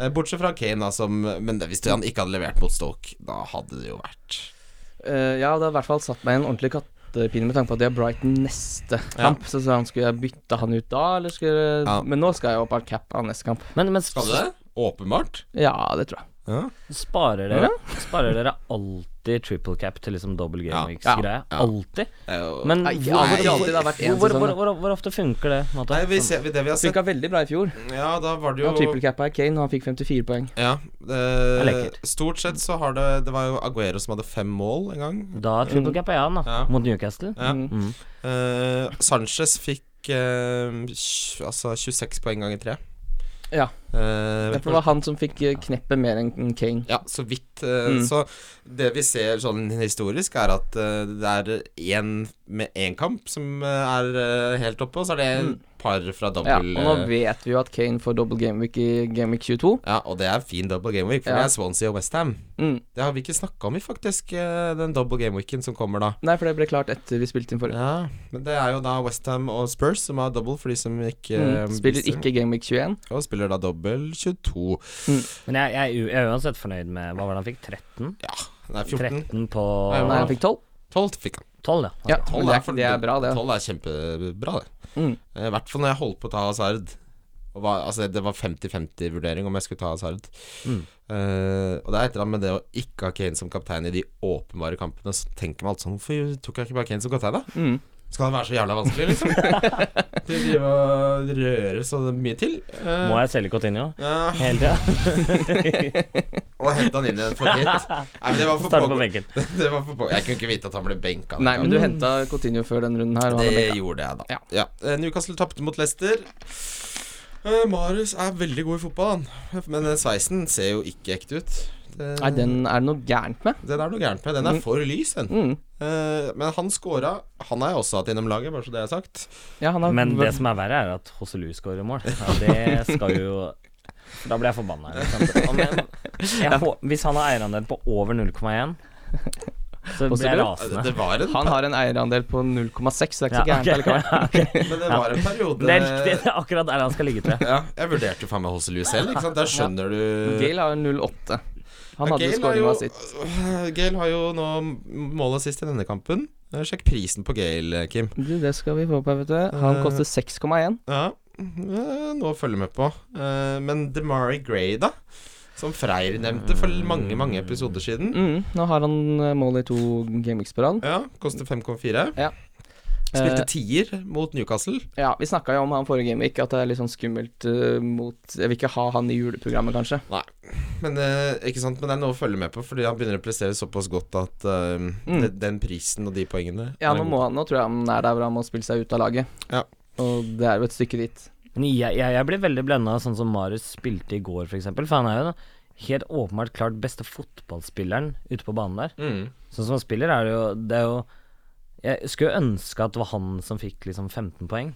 B: Eh, Bortsett fra Kane, da, som Men det- hvis han ikke hadde levert mot Stoke, da hadde det jo vært
C: Eh, ja, det har i hvert fall satt meg i en ordentlig kattepine med tanke på at de har Brighton neste kamp. Så, så han skulle jeg bytte han ut da, eller skulle
B: Ja.
C: Men nå skal jeg opp av cap av neste kamp.
D: Men, men
B: Skal du det? Åpenbart.
C: Ja, det tror jeg.
B: Ja.
D: Sparer dere Sparer dere alltid triple cap til liksom double game
B: Ja.
D: weeks-greie?
B: Ja.
D: Alltid?
B: Det er jo-
D: Men
C: Nei, ikke
D: hvor-
C: alltid,
D: hvor-
C: alltid, det har vært en
D: hvor,
C: sesong,
D: hvor,
C: da.
D: hvor, hvor ofte funker det? Matte?
B: Nei, vi ser, det vi har sett
C: Funka veldig bra i fjor.
B: Ja, da var det
C: Han
B: jo
C: trippelcappa Kane, og han fikk 54 poeng.
B: Ja,
D: er
B: det,
D: lekkert.
B: stort sett så har det Det var jo Aguero som hadde fem mål en gang.
D: Sånn, da er triple cap er han, da.
B: Ja.
D: Mot Newcastle.
B: Ja.
C: Mm.
D: Mm.
B: Eh, Sanchez fikk eh, tj- altså 26 poeng ganger tre.
C: Ja.
B: Eh,
C: Det var han som fikk eh, kneppet mer enn Kane.
B: ja, så vidt. eh,
C: Mm.
B: Så det vi ser sånn historisk, er at eh, det er én med én kamp som eh, er eh, helt oppe, og så er det et par fra dobbel
C: Mm. Ja, og nå
B: eh,
C: vet vi jo at Kane får double gameweek i gameweek 22.
B: ja, og det er fin double game week, for
C: Ja.
B: det er Swansea og Westham.
C: Mm.
B: Det har vi ikke snakka om, i faktisk, eh, den double game weeken som kommer da.
C: Nei, for det ble klart etter vi spilte inn forrige.
B: Ja, men det er jo da Westham og Spurs som har double, for de som ikke eh,
C: Mm. Spiller
B: visste.
C: ikke gameweek 21.
B: Og spiller da dobbel 22.
D: Men jeg, jeg, er u- jeg er uansett fornøyd med Hva var det han fikk? 13?
B: Nei, 14.
D: 13 på
B: Nei,
C: Nei, han fikk 12.
B: 12 fikk han.
D: 12, ja.
C: Ja,
B: Tolv
C: men det,
B: er
C: er,
B: for-
C: det er bra, det.
B: 12 er kjempebra, det.
C: Mm.
B: Eh, I hvert fall når jeg holdt på å ta Hazard. Og var, altså, det var 50-50 vurdering om jeg skulle ta Hazard.
D: Mm.
B: Eh, og det er et eller annet med det å ikke ha Kane som kaptein i de åpenbare kampene. Så tenker man alt sånn Hvorfor tok jeg ikke bare Kane som kaptein, da?
C: Mm.
B: Skal han være så jævla vanskelig, liksom?
C: <laughs>
B: De driver og rører så mye til. Eh,
D: Må jeg selge Cotinio?
B: ja,
D: Hele tida?
B: og hente han inn igjen for hit. Nei, men det var for
D: Starte på
B: pågå-
D: benken.
B: <laughs> det var for pågå- Jeg kunne ikke vite at han ble benka. den
C: Nei, men du
D: Mm.
C: henta Coutinho før den runden her. Og han er
B: Det
C: benka.
B: gjorde jeg, da.
C: Ja.
B: Ja. Eh, Newcastle tapte mot Leicester. Eh, Marius er veldig god i fotball, han. Men den sveisen ser jo ikke ekte ut. Det-
C: Nei, den er det noe gærent med.
B: den er noe gærent med. Den er
C: Mm.
B: for lys, den.
C: Mm.
B: Eh, men han scora. Han har jeg også hatt innom laget, bare så det er sagt.
C: Ja, han har
D: Men det som er verre, er at Hosselu skårer mål. Ja, det skal jo Da blir jeg forbanna. Liksom. Og
B: eh,
C: <laughs>
D: men- Jeg, hå- hvis han har eierandel på over 0,1, så blir
C: Hosselu?
D: jeg
B: Eh,
D: rasende.
B: Det var en,
C: Han har en eierandel på 0,6, så det er ikke så
D: Ja,
C: gærent allikevel.
B: men det var en periode
D: Det er riktig, det er akkurat der han skal ligge, tror jeg.
B: Ja, jeg vurderte jo faen meg Hosselu selv, ikke sant. Der skjønner du
C: Gale har 0,8. Han
B: Ja,
C: hadde
B: Gale
C: skåringa
B: har jo-
C: sitt.
B: <sighs> Øh, Gale har jo nå målet sist i denne kampen. Eh, Sjekk prisen på Gale, Kim.
C: Du, det skal vi få på, vet du. Han
B: Eh.
C: koster 6,1.
B: Ja, eh, nå følger vi med på. Eh, Men Demari Gray, da? Som Freyr nevnte for mange, mange episoder siden.
C: Mm, nå har han eh, mål i to gameweeks på rad.
B: Ja, koster 5,4.
C: Ja. Eh.
B: Spilte tier mot Newcastle.
C: Ja, vi snakka jo om han forrige gameweek, at det er litt sånn skummelt eh, mot Jeg vil ikke ha han i juleprogrammet, kanskje.
B: Men, eh, ikke sant? Men det er noe å følge med på, fordi han begynner å prestere såpass godt at eh,
C: Mm.
B: de- den prisen og de poengene
C: Ja,
B: er
C: nå,
B: god.
C: må han, nå tror jeg han er der hvor han må spille seg ut av laget.
B: Ja.
C: Og det er jo et stykke dit.
D: <laughs> Men jeg, jeg, jeg blir veldig blenda, sånn som Marius spilte i går, f.eks. For han er jo den helt åpenbart klart beste fotballspilleren ute på banen der.
B: mm.
D: Sånn som han spiller, er det jo Det er jo Jeg skulle ønske at det var han som fikk liksom 15 poeng.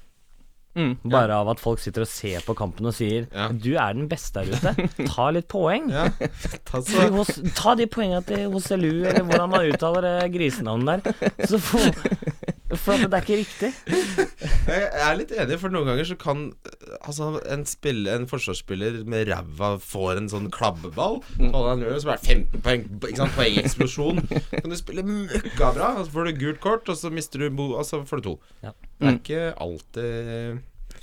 C: Mm,
D: Bare av at folk sitter og ser på kampen og sier
B: Ja.
D: 'Du er den beste der <laughs> ute. Ta litt poeng'.
C: <laughs>
B: Ja, ta
D: Fordi
B: så
D: Hos, ta de poengene til Hoselu, eller hvordan man uttaler det grisenavnet der. Så for, <laughs> for at det er ikke riktig.
B: Jeg jeg er litt enig, for noen ganger så kan eh, Altså, en, spill, en forsvarsspiller med ræva får en sånn klabbeball, så holder han gjør, så er det 15 poeng, ikke sant, poengeksplosjon. Kan du spille møkkabra, og så får du gult kort, og så mister du bo, og så får du to.
D: Ja.
B: Det er ikke eh, alltid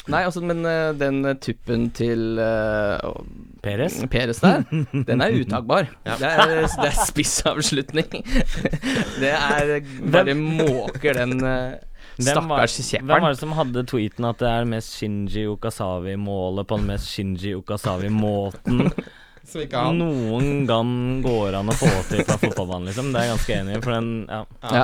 C: Nei, altså, men eh, den eh, tuppen til uh,
D: Peres.
C: Peres der, den er utagbar.
B: Ja.
C: Det, er, det er spissavslutning. det er bare måker den eh,
D: Hvem var-
C: stakkars
D: Hvem var
C: <laughs> kjepperen.
D: det som hadde tweeten at det er det mest Shinji Okasawi-målet på den mest Shinji Okasawi-måten
B: Som ikke er han.
D: noen gang går an å få til fra fotballbanen, liksom? Det er jeg ganske enig i, for den Ja.
C: Ja.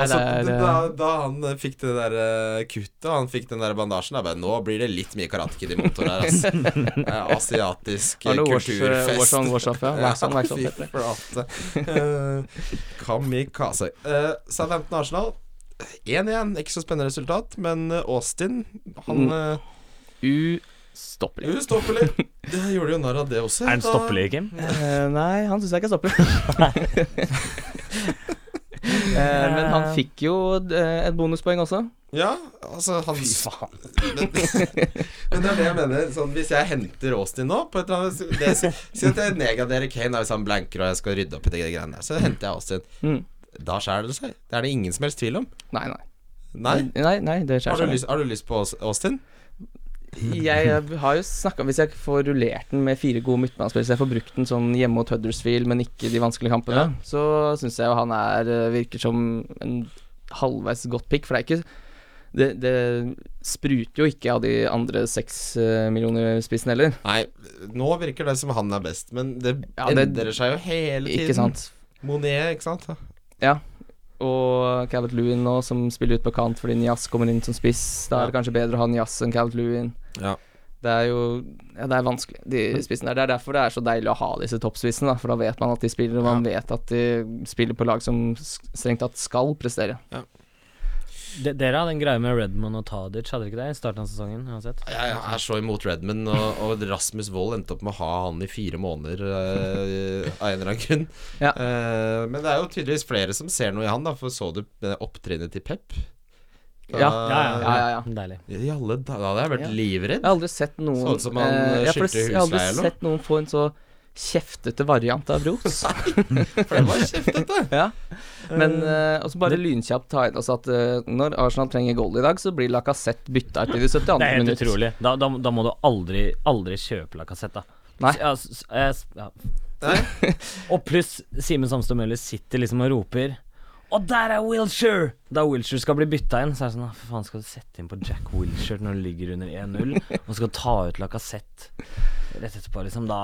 B: Altså,
C: Nei, det er,
B: da, da han eh, fikk det der eh, kuttet, og han fikk den der bandasjen, da bare Nå blir det litt mye Karate Kid i motor her,
C: <laughs>
B: altså. Eh, Asiatisk eh,
C: Arne
B: kulturfest.
C: Warson, Warson, ja. Warson, Warson,
B: fy
C: heter det.
B: flate. Eh, Kamikaze. Uh, Southampton Arsenal 1-1. Ikke så spennende resultat, men eh, Austin Han
C: Mm.
B: eh,
C: Ustoppelig.
B: Ustoppelig. Det gjorde jo narr av det også.
D: Er den
B: da.
D: stoppelig, Kim?
C: Eh, nei, han syns jeg ikke stopper. <laughs> Eh, men han fikk jo eh, et bonuspoeng også.
B: Ja, altså han <laughs> Men, men det er det jeg mener. Sånn, hvis jeg henter Austin nå på et eller annet det, Si si at jeg nedgraderer Kane da, hvis han blanker og jeg skal rydde opp i de greiene der. Så henter jeg Austin.
C: Mm.
B: Da skjærer det seg. Det er det ingen som helst tvil om.
C: Nei, nei.
B: Nei?
C: Nei, nei det sånn.
B: Har
C: skjer
B: du
C: seg.
B: lyst, har du lyst på Aus- Austin?
C: Jeg eh, har jo snakka Hvis jeg får rullert den med fire gode midtbanespillere, så jeg får brukt den sånn hjemme mot Huddersfield, men ikke de vanskelige kampene,
B: Ja.
C: så syns jeg jo han er eh, virker som en halvveis godt pick, for det er ikke det, det spruter jo ikke av de andre seks eh, millioner spissen heller,
B: Nei, nå virker det som han er best, men det
C: Ja, det-
B: endrer seg jo hele tiden.
C: ikke sant?
B: Monet, ikke sant?
C: Og Calvert Lewin nå, som spiller ut på kant fordi Nias kommer inn som spiss. Da er det kanskje bedre å ha Nias enn Calvert Lewin.
B: Ja.
C: Det er jo ja, det er vanskelig, de spissene der. Det er derfor det er så deilig å ha disse toppspissene, da, for da vet man at de spiller, og man vet at de spiller på lag som s- strengt tatt skal prestere.
D: De, dere hadde en greie med Redmond og Tadic, hadde dere ikke det? I starten av sesongen, uansett.
B: Jeg er så imot Redman, og, og Rasmus Wold endte opp med å ha han i fire måneder eh, av en eller annen grunn.
C: Ja.
B: Eh, men det er jo tydeligvis flere som ser noe i han, da, for så du eh, opptrinnet til Pep? Da-
C: Ja. Ja, ja, ja.
D: Deilig.
B: I alle da, da hadde jeg vært
C: Ja.
B: livredd.
C: Jeg har aldri sett noen
B: Sånn som han,
C: eh, ja, for
B: skyldte
C: Jeg har aldri
B: husleie eller noe?
C: sett noen få en så kjeftete variant av
D: <laughs>
C: ros.
B: For det var kjeftete.
C: Ja. Men eh, også bare lynkjapt ta inn også at eh, når Arsenal trenger goal i dag, så blir Lacassette bytta ut i det 72.
D: Det er helt
C: minutt.
D: utrolig. Da, da, da må du aldri, aldri kjøpe La Cassette, da.
C: Nei.
D: Ja, s- s- eh, s- ja. <laughs> og pluss Simen Samstad Møller sitter liksom og roper Og der er Wilshere! Da Wilshere skal bli bytta inn, så er det sånn «Ah, For faen, skal du sette inn på Jack Wilshere når du ligger under 1-0, og skal ta ut La Cassette rett etterpå, liksom? Da,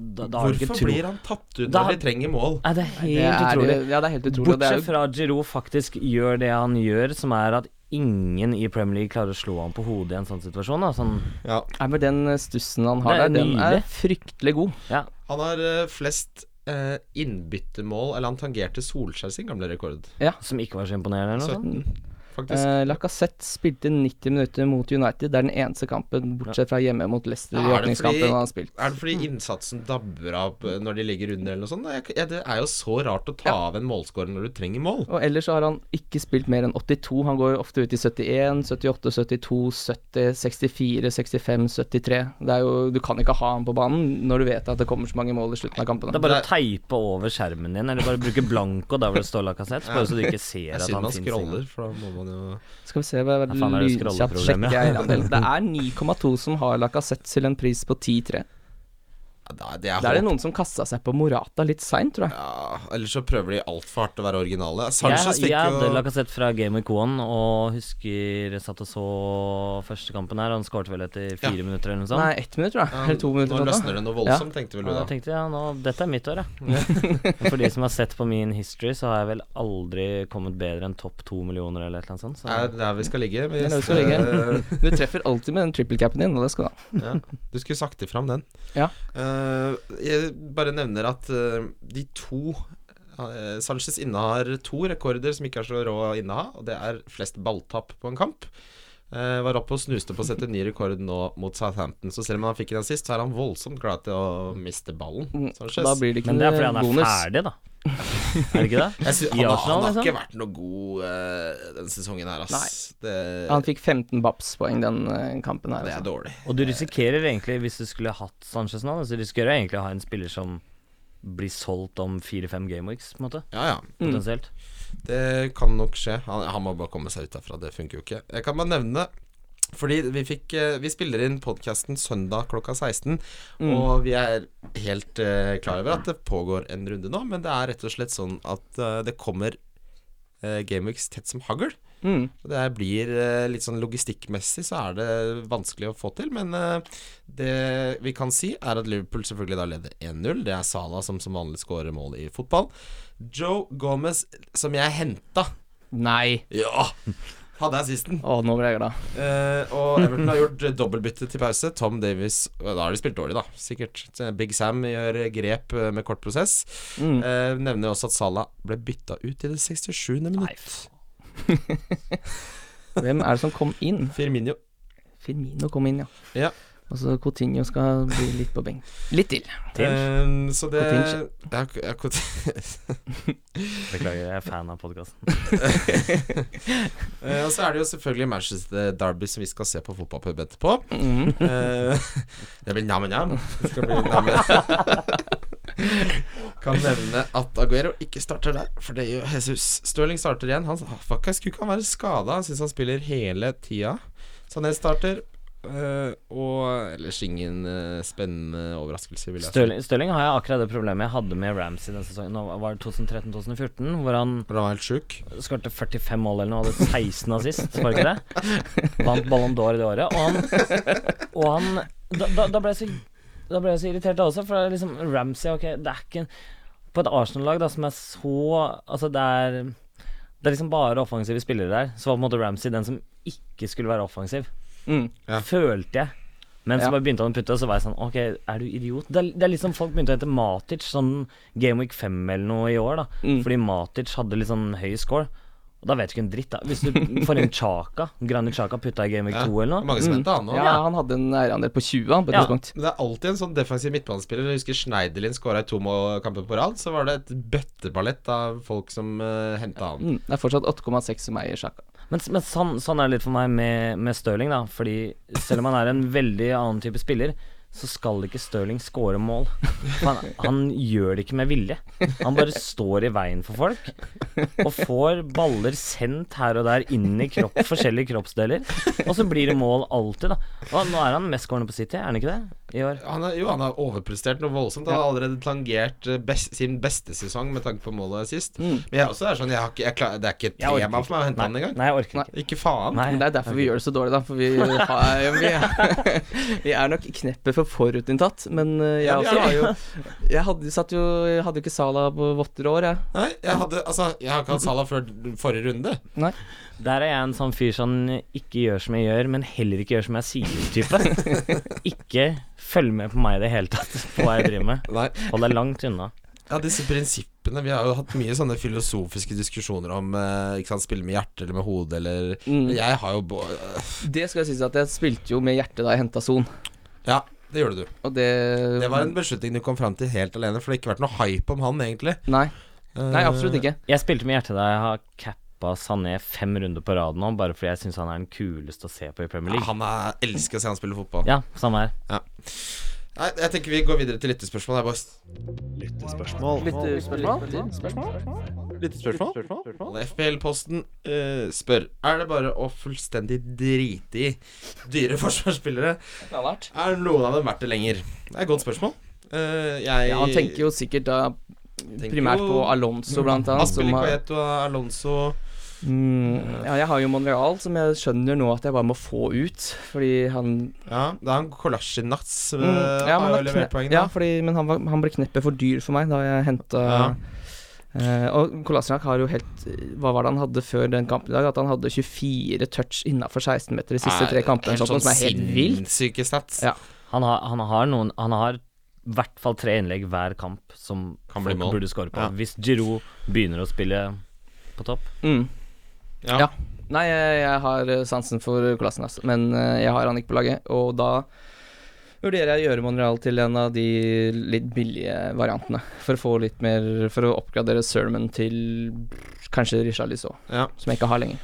D: da, da har du ikke
B: Hvorfor
D: tro.
B: blir han tatt ut
D: Da-
B: når de trenger mål?
D: Nei, det er helt
C: Det er,
D: utrolig.
C: ja, det er helt utrolig. og Det er
D: Bortsett
C: jo,
D: fra at Giroud faktisk gjør det han gjør, som er at ingen i Premier League klarer å slå ham på hodet i en sånn situasjon. Da. Sånn,
B: Ja.
C: Nei, men den eh, stussen han
D: Det
C: har
D: er
C: der, den er
D: nydelig.
C: fryktelig god.
B: Han har eh, flest eh, innbyttemål Eller han tangerte Solskjær sin gamle rekord.
D: som ikke var så imponerende. Eller noe sånt.
B: 17, faktisk.
C: sånn. Eh, Lacassette spilte 90 minutter mot United. Det er den eneste kampen, bortsett fra hjemme mot Leicester i
B: Ja, er det
C: åpningskampen,
B: fordi-
C: han har spilt. Mm.
B: Er det fordi innsatsen dabber av eh, når de ligger under eller noe sånt? Jeg, jeg, det er jo så rart å ta av en målscorer når du trenger mål.
C: Og ellers så har han ikke spilt mer enn 82. Han går ofte ut i 71, 78, 72, 70, 64, 65, 73. Det er jo, du kan ikke ha han på banen når du vet at det kommer så mange mål i slutten av
D: Det
C: kampene.
D: er bare å
B: Det
D: teipe over skjermen din, eller bare bruke blanko der hvor det står La Cassette, bare så du ikke ser
B: Jeg
D: at
B: syns
D: han
B: man
D: finnes engang.
B: scroller, for da må man jo
C: Skal vi se hva
D: Ja, faen, er det
C: lynkjapt
D: scrolleproblem,
C: sjekker
D: ja.
C: jeg
D: <laughs>
C: eierandelen. Det er 9,2 som har Lacassette til en pris på 10-3.
B: ja, da- Det er
C: Da er det
B: håp.
C: noen som kasta seg på Morata litt seint, tror jeg.
B: Ja, Eller så prøver de altfor hardt å være originale. Sanchez
D: Jeg,
B: fikk
D: jeg hadde La
B: jo
D: Cassette fra Game Week 1 og husker jeg satt og så første kampen her. og Han skårte vel etter fire minutter eller noe sånt.
C: Nei, ett minutt, tror jeg. Eller <laughs> to minutter.
B: Nå
C: sånn da.
B: løsner det noe voldsomt, tenkte vel
D: Og
B: du
D: da
B: da.
D: tenkte jeg ja, nå, dette er mitt år, ja. For de som har sett på min history, så har jeg vel aldri kommet bedre enn topp to millioner eller et eller annet sånt. Så.
B: Det er der vi skal ligge.
C: Det er der vi skal
B: <laughs>
C: ligge. Du treffer alltid med den trippel-capen din, og det skal du ha.
B: Ja, du skulle sagt ifram den.
C: Ja.
B: Eh, jeg bare nevner at eh, de to eh, Sanchez innehar to rekorder som ikke er så rå å inneha, og det er flest balltapp på en kamp. Eh, var oppe og snuste på å sette ny rekord nå mot Southampton. Så selv om han fikk den sist, så er han voldsomt glad til å miste ballen. Mm, Sanchez.
C: Mm, Da blir det ikke
D: Men det er fordi
C: noe
D: han er
C: bonus.
D: ferdig, da. Er det ikke det?
B: Jeg sy- han,
D: i
B: har-
D: Arsenal,
B: han har
D: liksom?
B: ikke vært noe god eh, den sesongen her, ass. Det,
C: Han fikk 15 Babs-poeng den eh, kampen her.
B: det er
C: Altså.
B: dårlig.
D: Og du risikerer egentlig, hvis du skulle hatt Sanchez nå, så risikerer du egentlig å ha en spiller som blir solgt om fire-fem gameweeks, på en måte.
B: Ja, ja.
D: Potensielt.
B: Det kan nok skje. Han, han må bare komme seg ut derfra. Det funker jo ikke. Jeg kan bare nevne fordi vi, fikk, eh, vi spiller inn podkasten søndag klokka 16, og vi er helt eh, klar over at det pågår en runde nå, men det er rett og slett sånn at eh, det kommer uh, Gameweeks tett som hagl.
C: Mm.
B: Og Det her blir eh, litt sånn logistikkmessig så er det vanskelig å få til, men eh, det vi kan si er at Liverpool selvfølgelig da leder 1-0. Det er Salah som som vanlig skårer mål i fotball. Joe Gomez, som jeg henta
C: Nei.
B: Ja! Hadde assisten.
C: Å, nå ble jeg glad.
B: Eh, og Everton har gjort eh, dobbeltbytte til pause. Tom Davies eh, Da har de spilt dårlig, da. Sikkert. Big Sam gjør eh, grep eh, med kort prosess.
C: Mm.
B: Eh, nevner også at Salah ble bytta ut i det 67. minutt.
C: <laughs> Hvem er det som kom inn?
B: Firmino
C: Firmino kom inn, ja.
B: Ja.
C: Og så Coutinho skal bli litt på benk. Litt til.
B: Eh, så det
C: Coutinho.
B: ja, k- ja, Coutinho. <laughs>
D: Beklager, jeg er fan av podkasten.
B: Eh, Og så er det jo selvfølgelig Manchester Derby som vi skal se på fotballpub etterpå.
C: Mm.
B: Eh, <laughs> det blir nam-nam. Det skal bli nam-nam.
D: <laughs>
B: Kan nevne at Aguero ikke starter der, for det gjør Jesus. Stirling starter igjen. Han fuck, jeg skulle ikke han være skada. Han syns han spiller hele tida. Sané starter. eh, og ellers ingen eh, spennende overraskelse, vil jeg si.
D: Stirling, Stirling har jeg akkurat det problemet jeg hadde med Ramsey den sesongen. Nå var det 2013-2014, hvor han
B: Han var helt sjuk.
D: skårte 45 mål eller noe, hadde 16 assist, var det ikke det? Vant Ballon d'Or det året. Og han, og han da, da, da ble jeg så Da ble jeg så irritert da også, for det er liksom Ramsey Ok, det er ikke en På et Arsenal-lag da som er så Altså, det er det er liksom bare offensive spillere der. Så var på en måte Ramsey den som ikke skulle være offensiv,
C: Mm.
B: Ja.
D: følte jeg. Men så
C: Ja.
D: bare begynte han å putte, og så var jeg sånn Ok, er du idiot? Det er, det er liksom folk begynte å hete Matic sånn Game Week 5 eller noe i år, da.
C: Mm.
D: Fordi Matic hadde litt sånn høy score. Og da vet du ikke en dritt, da. Hvis du får en Chaka, Granit Chaka putta i Game Week
B: Ja.
D: 2 eller noe. Mm.
B: Mange som henta han òg.
C: Ja, han hadde en eierandel på 20 han, på et
D: Ja.
C: tidspunkt.
B: Men Det er alltid en sånn defensiv midtbanespiller. Jeg husker Schneiderlin skåra i to mål- kamper på rad. Så var det et bøtteballett av folk som uh, henta han.
C: Mm. Det er fortsatt 8,6 som eier Sjaka.
D: Men, men sånn, sånn er det litt for meg med, med Stirling, da. Fordi selv om han er en veldig annen type spiller, så skal ikke Stirling score mål. Han, han gjør det ikke med vilje. Han bare står i veien for folk. Og får baller sendt her og der inn i kropp, forskjellige kroppsdeler. Og så blir det mål alltid, da. Og nå er han mestskårende på City, er han ikke det? I år.
B: Han er, jo, han har overprestert noe voldsomt. Han har allerede tangert eh, best, sin beste sesong med tanke på målet sist. Men jeg også er sånn jeg har ikke, jeg klar, Det er ikke et
D: Mm. Jeg orker
B: tema for meg å hente han engang.
D: Nei, jeg orker ikke.
B: Ikke faen.
D: Nei.
C: Men det er derfor vi gjør det så dårlig, da. For vi, har,
B: <laughs>
C: vi, er, vi er <laughs> nok kneppet for forutinntatt. Men eh, jeg
B: Ja, vi er
C: også. Jeg hadde, satt jo, jeg hadde jo ikke Sala på votter år, jeg.
B: Nei, jeg hadde Altså, jeg har ikke hatt Salah før forrige runde.
D: Der er jeg en sånn fyr som ikke gjør som jeg gjør, men heller ikke gjør som jeg sier-type.
B: <laughs>
D: ikke følg med på meg i det hele tatt, på hva jeg driver med.
B: Nei.
D: Hold deg langt unna.
B: Ja, disse prinsippene Vi har jo hatt mye sånne filosofiske diskusjoner om eh, Ikke sant, spille med hjertet eller med hodet eller
D: Mm.
B: Jeg har jo bo-
C: Det skal jeg sies at jeg spilte jo med hjertet da jeg henta Son.
B: Ja, det gjorde du.
C: Og det,
B: Det
D: Mm.
B: var en beslutning du kom fram til helt alene, for det har ikke vært noe hype om han, egentlig.
C: Nei,
B: Eh,
C: nei absolutt ikke.
D: Jeg spilte med hjertet da jeg har cappa Sané fem runder på rad nå, bare fordi jeg syns han er den kuleste å se på i Premier
B: Ja,
D: League.
B: han er, elsker å se han spille fotball.
D: Ja, samme her.
B: Nei, jeg tenker vi går videre til lyttespørsmål her, boys.
A: Lyttespørsmål.
C: eh,
B: Og FPL-posten eh, spør Er det bare å fullstendig drite i dyre <laughs> forsvarsspillere. Er noen av dem verdt det lenger? Det er et godt spørsmål. Eh, jeg
C: Ja, han tenker jo sikkert da
B: tenker
C: primært
B: jo-
C: på Alonso, blant annet.
B: Aspelid,
C: Som har,
B: Coyet og Alonso
C: mm, ja, jeg har jo Monreal, som jeg skjønner nå at jeg bare må få ut. Fordi han
B: Ja, det er han Kolasjinats mm,
C: mm, ja,
B: har
C: men,
B: jo
C: han
B: levert poeng,
C: kne-
B: da.
C: ja, fordi, men han, var, han ble kneppet for dyr for meg da jeg henta
B: Ja.
C: og Kolasjnak har jo helt Hva var det han hadde før den kampen i dag? At han hadde 24 touch innafor 16-meter de siste
B: Nei,
C: tre kampene.
B: helt
C: Sånn, som er helt vilt.
B: Sinnssyke stats.
C: Ja.
D: Han har, han har noen Han har i hvert fall tre innlegg hver kamp som
B: Kan bli
D: folk
B: mål.
D: burde score på.
B: Ja.
D: Hvis Giroud begynner å spille på topp.
C: Mm.
B: Ja.
C: Ja. Nei, jeg, jeg har eh, sansen for klassen, altså. men eh, jeg har han ikke på laget. Og da vurderer jeg å gjøre Monreal til en av de litt billige variantene. For å få litt mer For å oppgradere Sermon til kanskje Richard Lissaa,
B: Ja.
C: som jeg ikke har lenger.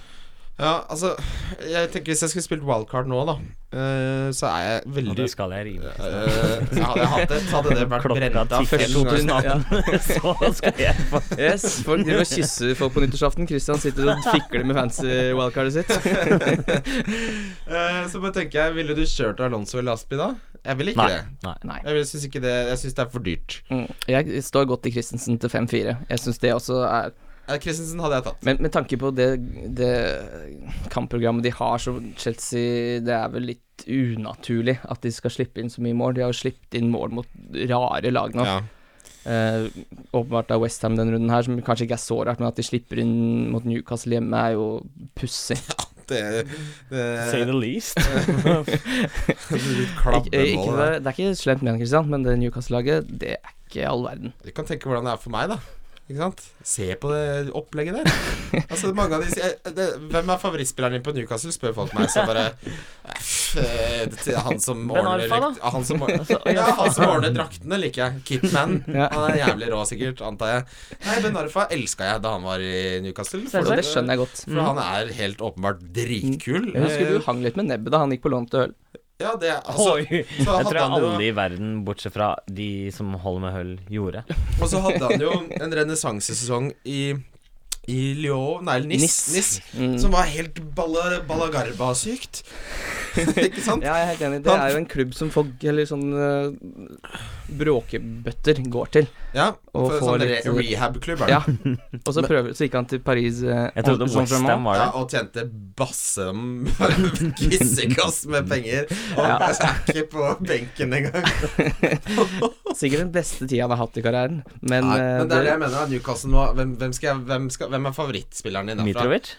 B: ja, altså Jeg tenker Hvis jeg skulle spilt wildcard nå, da, eh, så er jeg
D: Og
B: veldig
D: det skal jeg rime.
B: <laughs> Eh, ja, hadde jeg hatt det, så hadde det vært
D: Klokka
B: brent av
D: tikker
B: fem ganger.
D: 2018, <laughs> så skal jeg få
C: Yes, folk driver og kysser folk på nyttårsaften. Christian sitter og fikler med fancy wildcardet sitt.
B: Eh, Så bare tenker jeg, ville du kjørt Alonso eller Aspi da? Jeg ville ikke
D: Nei.
B: det.
D: Nei.
C: Nei.
B: Jeg vil- syns ikke det Jeg syns det er for dyrt.
C: Mm. Jeg står godt i Christensen til 5-4. Jeg syns det også er
B: Eh, Christensen hadde jeg tatt.
C: Men med tanke på det, det kampprogrammet de har, så Chelsea Det er vel litt unaturlig at de skal slippe inn så mye mål. De har jo sluppet inn mål mot rare lag nå.
B: Ja.
C: Eh, åpenbart er Westham denne runden her, som kanskje ikke er så rart, men at de slipper inn mot Newcastle hjemme, er jo pussig.
B: Det,
D: Say the
B: det,
D: least.
B: litt
C: Ik- eh, ikke
B: klabbemål.
C: det, det er ikke slemt ment, Christian, men det Newcastle-laget, det er ikke all verden.
B: Du kan tenke hvordan det er for meg, da. Ikke sant? Se på det opplegget
C: <laughs>
B: der. Altså, mange av de sier det, Hvem er favorittspilleren din på Newcastle, spør folk meg. Så bare eh, det til Han som
D: Ben
B: ordner
D: Arfa, da?
B: ja, han som,
D: <laughs>
B: ordner- ja, han som ordner draktene, liker jeg. Kitman.
C: <laughs> Ja.
B: Han er jævlig rå, sikkert, antar jeg. Nei, Ben Arfa elska jeg da han var i Newcastle.
C: Og
B: fordi-
C: det skjønner jeg godt.
B: For han er helt åpenbart dritkul.
C: Jeg husker du hang litt med nebbet da han gikk på lån til øl.
B: Ja, det altså,
D: Oi. Jeg
B: så hadde
D: tror
B: han jo-
D: alle i verden, bortsett fra de som holder med høll, gjorde.
B: Og så hadde han jo en renessansesesong i i Lyon, nei, Nis,
C: Nice.
B: Nice,
C: Mm. <laughs>
B: som var helt balla, ballagarba-sykt. ikke sant?
C: Ja, jeg er helt enig. Det
B: Han-
C: er jo en klubb som folk, eller sånn eh, bråkebøtter, går til.
B: Ja,
C: Og
B: for
C: få
B: sånn
C: litt-
B: re rehab-klubb <laughs> er det.
C: Ja. Og så prøver, så gikk han til Paris eh,
D: Jeg trodde
C: Saint-Germain.
D: Westham var
B: Ja,
D: det.
B: og tjente <laughs> bassem kissekass med penger. Og
C: Ja.
B: er ikke på benken engang.
C: Sikkert den beste tida han har hatt i karrieren. <laughs> Men,
B: Nei,
C: eh,
B: Men det er det jeg mener. da, Newcastle nå Hvem, hvem, skal jeg, hvem, skal, hvem er favorittspilleren din derfra?
D: Mitrovic?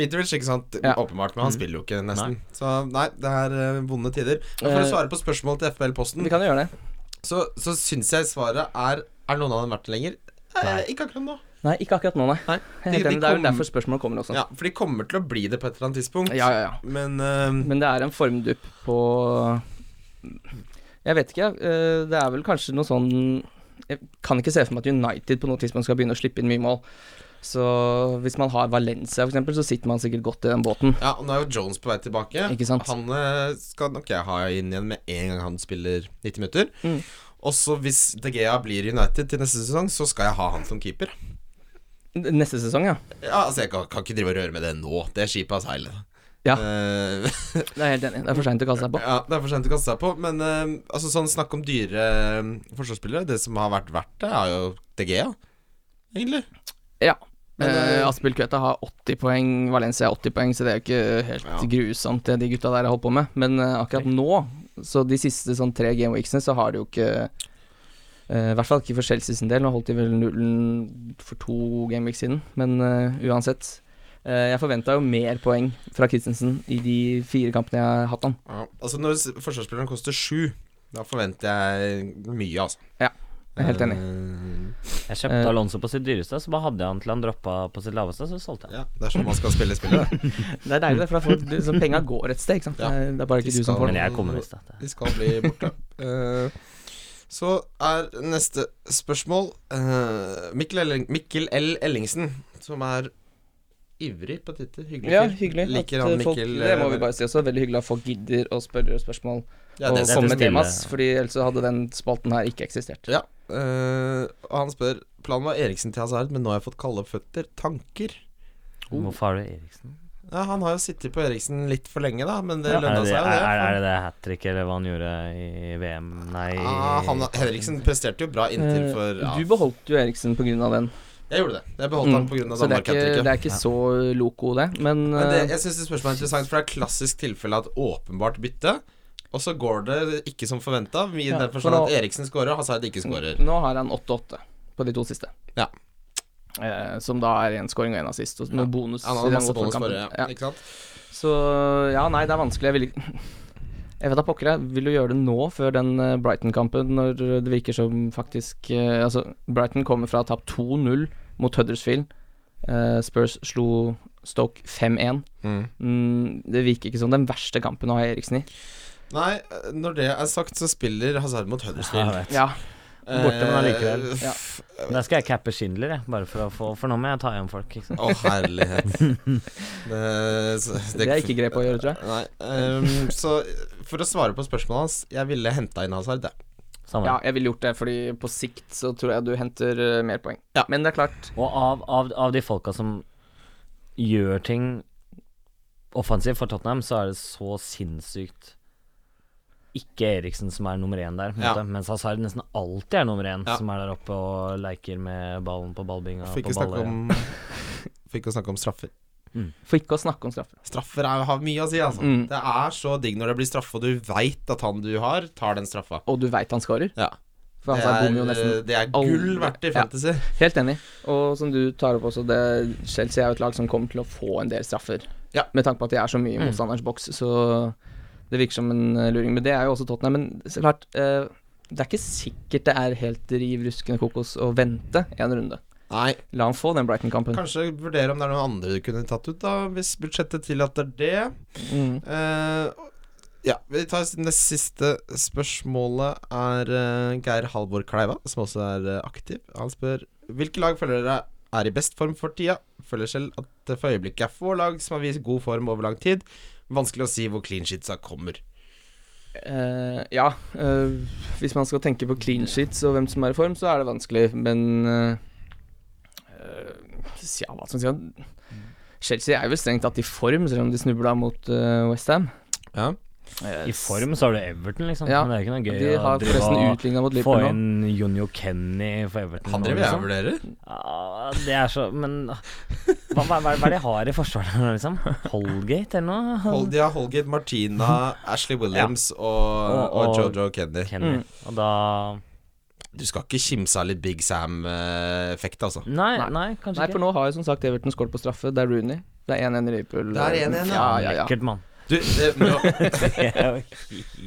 B: Mitrovic, ikke sant?
C: Ja. Mm.
B: Åpenbart, men han spiller jo ikke, nesten. Så nei, det er eh, vonde tider. Men for
C: Eh,
B: å svare på spørsmålet til FBL-posten,
C: vi kan jo gjøre det.
B: så, så syns jeg svaret er Er noen av dem verdt det lenger? Eh,
D: Nei.
B: Ikke akkurat nå.
C: Nei, ikke akkurat nå, nei.
B: Nei,
C: Jeg er
B: de-
C: helt
B: de
C: enig. Det er jo
B: kom-
C: derfor spørsmålet kommer også.
B: Ja, for de kommer til å bli det på et eller annet tidspunkt.
C: ja, ja. ja.
B: Men eh,
C: Men det er en formdupp på Jeg vet ikke, eh, det er vel kanskje noe sånn Jeg kan ikke se for meg at United på noe tidspunkt skal begynne å slippe inn mye mål. Så hvis man har Valencia f.eks., så sitter man sikkert godt i den båten.
B: ja, og nå er jo Jones på vei tilbake.
C: Ikke sant?
B: Han eh, skal nok jeg ha inn igjen med en gang han spiller 90 minutter.
C: Mm.
B: Og så hvis De Gea blir United til neste sesong, så skal jeg ha han som keeper.
C: Neste sesong, ja.
B: Ja, altså Jeg kan, kan ikke drive og røre med det nå. Det er skipet av seilet.
C: Ja.
B: Eh, <laughs>
C: Det er jeg helt enig. i. Det er for seint å kaste seg på.
B: ja, det er for sent å kaste seg på. Men eh, altså sånn snakk om dyre eh, forsvarsspillere. Det som har vært verdt det, er jo De Gea, egentlig.
C: Ja.
B: Men,
C: Eh,
B: eh,
C: Aspil Kveta har 80 poeng, Valencia har 80 poeng, så det er jo ikke helt
B: Ja.
C: grusomt det de gutta der har holdt på med. Men eh, akkurat nå, så de siste sånn tre gameweeksene, så har de jo ikke eh, I hvert fall ikke for Chelsea sin del. Nå holdt de vel nullen for to gameweeks siden, men eh, uansett. Eh, jeg forventa jo mer poeng fra Christensen i de fire kampene jeg har hatt han.
B: Ja. Altså Når s- forsvarsspilleren koster sju, da forventer jeg mye, altså.
C: Ja, jeg er helt enig.
B: Eh,
D: Jeg
C: Eh.
D: kjøpte Alonso på sitt dyreste, så bare hadde jeg han til han droppa på sitt laveste, så solgte jeg han.
B: ja, det er sånn man skal spille spillet.
C: Det er deilig, for da får du så penga går et sted, ikke sant.
B: Ja.
C: Det er- Det er bare ikke
B: De
C: du som
B: skal-
C: får
D: Men
C: den.
D: jeg er kommunist, da. Det-
B: De skal bli borte. Eh, så er neste spørsmål eh, Mikkel, Elling, Mikkel L. Ellingsen, som er ivrig på Twitter. Hyggelig
C: Ja,
B: fyr.
C: hyggelig.
B: Liker
C: at
B: han
C: eh, folk,
B: Mikkel,
C: det må
B: eh,
C: vi bare si også. Veldig hyggelig at folk gidder å spørre spørsmål.
B: Ja,
C: og
B: det,
D: det-
C: komme
D: det
C: med
D: stille-
C: temas, fordi ellers så hadde den spalten her ikke eksistert.
B: ja. Eh, og han spør Planen var Eriksen til Hazard, men nå har jeg fått kalde føtter. Tanker? Oh.
D: Hvorfor har du Eriksen?
B: Ja, han har jo sittet på Eriksen litt for lenge, da, men det
D: Er
B: lønna
D: det
B: seg
D: det,
B: jo, det.
D: er, er, er det det hat trick, eller hva han gjorde i VM? Nei
B: Ah, han, Henriksen presterte jo bra inntil
C: Eh,
B: for ja.
C: Du beholdt jo Eriksen pga. den.
B: Jeg gjorde det. Jeg beholdt
C: Mm.
B: han på grunn av
C: Så det er ikke, det
B: Danmark-hattricket.
C: er ikke så loco, det. Men,
B: Men det,
C: eh,
B: jeg syns det spørsmålet er interessant, for det er et klassisk tilfelle at åpenbart bytte, og så går det ikke som forventa. I
C: Ja,
B: den
C: for Mm.
B: forstand
C: nå-
B: at Eriksen scorer, og Hazard ikke scorer.
C: nå har han 8-8 på de to siste.
B: Ja.
C: Eh, som da er én scoring og én assist, og med bonus.
B: Han
C: i
B: har
C: den
B: masse bonus
C: Watford-kampen.
B: bare, ja. Ikke sant?
C: Ja. Så ja, nei, det er vanskelig. Jeg vil ikke <laughs> Jeg vet da pokker, jeg vil jo gjøre det nå, før den eh, Brighton-kampen, når det virker som faktisk eh, Altså, Brighton kommer fra å ha tapt 2-0 mot Huddersfield. Eh, Spurs slo Stoke 5-1. Mm, det virker ikke som den verste kampen å ha Eriksen i.
B: Nei, når det er sagt, så spiller Hazard mot Huddersfield.
D: Ja, jeg vet.
C: Ja,
B: Eh,
D: borte, men allikevel.
B: f-
C: Ja.
D: Der skal jeg cappe Schindler, jeg. Bare for å få For nå må jeg ta igjen folk, ikke
B: <laughs>
D: sant.
B: Å, herlighet.
C: <laughs>
B: Det, så-
C: Det er ikke grep å gjøre, tror jeg.
B: Nei. ehm, så for å svare på spørsmålet hans, jeg ville henta inn Hazard, jeg.
D: Samme.
C: Ja, jeg ville gjort det, fordi på sikt så tror jeg du henter eh, mer poeng.
B: Ja.
C: Men det er klart.
D: Og av, av, av de folka som gjør ting offensivt for Tottenham, så er det så sinnssykt ikke Eriksen som er nummer én der, på en
B: Ja.
D: måte, mens Hazard nesten alltid er nummer én
B: Ja.
D: som er der oppe og leker med ballen på ballbinga.
B: Får ikke
D: på
B: snakke
D: baller.
B: om Får ikke snakke om straffer.
C: For ikke å snakke om straffer.
B: Straffer er, har mye å si, altså.
C: Mm.
B: Det er så digg når det blir straffe, og du veit at han du har, tar den straffa.
C: Og du veit han scorer,
B: Ja.
C: for
B: det,
C: Altså, han
B: er,
C: bommer jo nesten
B: eh, det er
C: aldri-
B: gull verdt i
C: Ja.
B: fantasy.
C: Helt enig. Og som du tar opp også, det Chelsea er jo et lag som kommer til å få en del straffer.
B: Ja.
C: Med tanke på at de er så mye i motstanderens boks, så det virker som en eh, luring. Men det er jo også Tottenham. Men så klart, eh, det er ikke sikkert det er helt riv ruskende kokos å vente en runde.
B: Nei,
C: La han få den Brighton-kampen.
B: kanskje vurdere om det er noen andre du kunne tatt ut, da, hvis budsjettet tillater det.
C: Mm.
B: Eh, ja, vi tar det siste spørsmålet er eh, Geir Halvor Kleiva, som også er eh, aktiv. Han spør hvilke lag føler dere er i best form for tida. Føler selv at det for øyeblikket er få lag som har vist god form over lang tid. Vanskelig å si hvor clean shitsa kommer.
C: Eh, ja, eh, hvis man skal tenke på clean sheets og hvem som er i form, så er det vanskelig, men eh, eh, Ja, hva skal eh, man si Chelsea er vel strengt tatt i form, selv om de snubla mot Westham.
B: Ja.
D: I form så har du Everton, liksom.
C: Ja,
D: Men det er ikke noe gøy
C: De har
D: drive
C: forresten
D: og
C: utligna mot
D: få
C: Liverpool nå.
D: inn Jonjo Kenny for Everton.
B: Han
D: nå,
B: driver jeg og
D: liksom.
B: vurderer.
D: Ja, det er så Men hva, hva, hva er det de har i forsvaret nå, liksom? Holgate eller noe?
B: Hold- Ja, Holgate Martina, Ashley Williams og,
D: Og-
B: og
D: og-
B: Jojo Kenny.
D: Kenny.
C: Mm.
D: Og da
B: Du skal ikke kimse av litt Big Sam-effekt, altså.
D: Nei,
C: Nei.
D: nei, kanskje
C: Nei, for
D: ikke.
C: nå har jo som sagt Everton skåret på straffe. Det er Rooney. Det er 1-1 i Liverpool.
B: Det er 1-1,
C: ja. Ja, ja,
D: Lekkert, <laughs> mann.
B: Du, det, nå,
D: Det er jo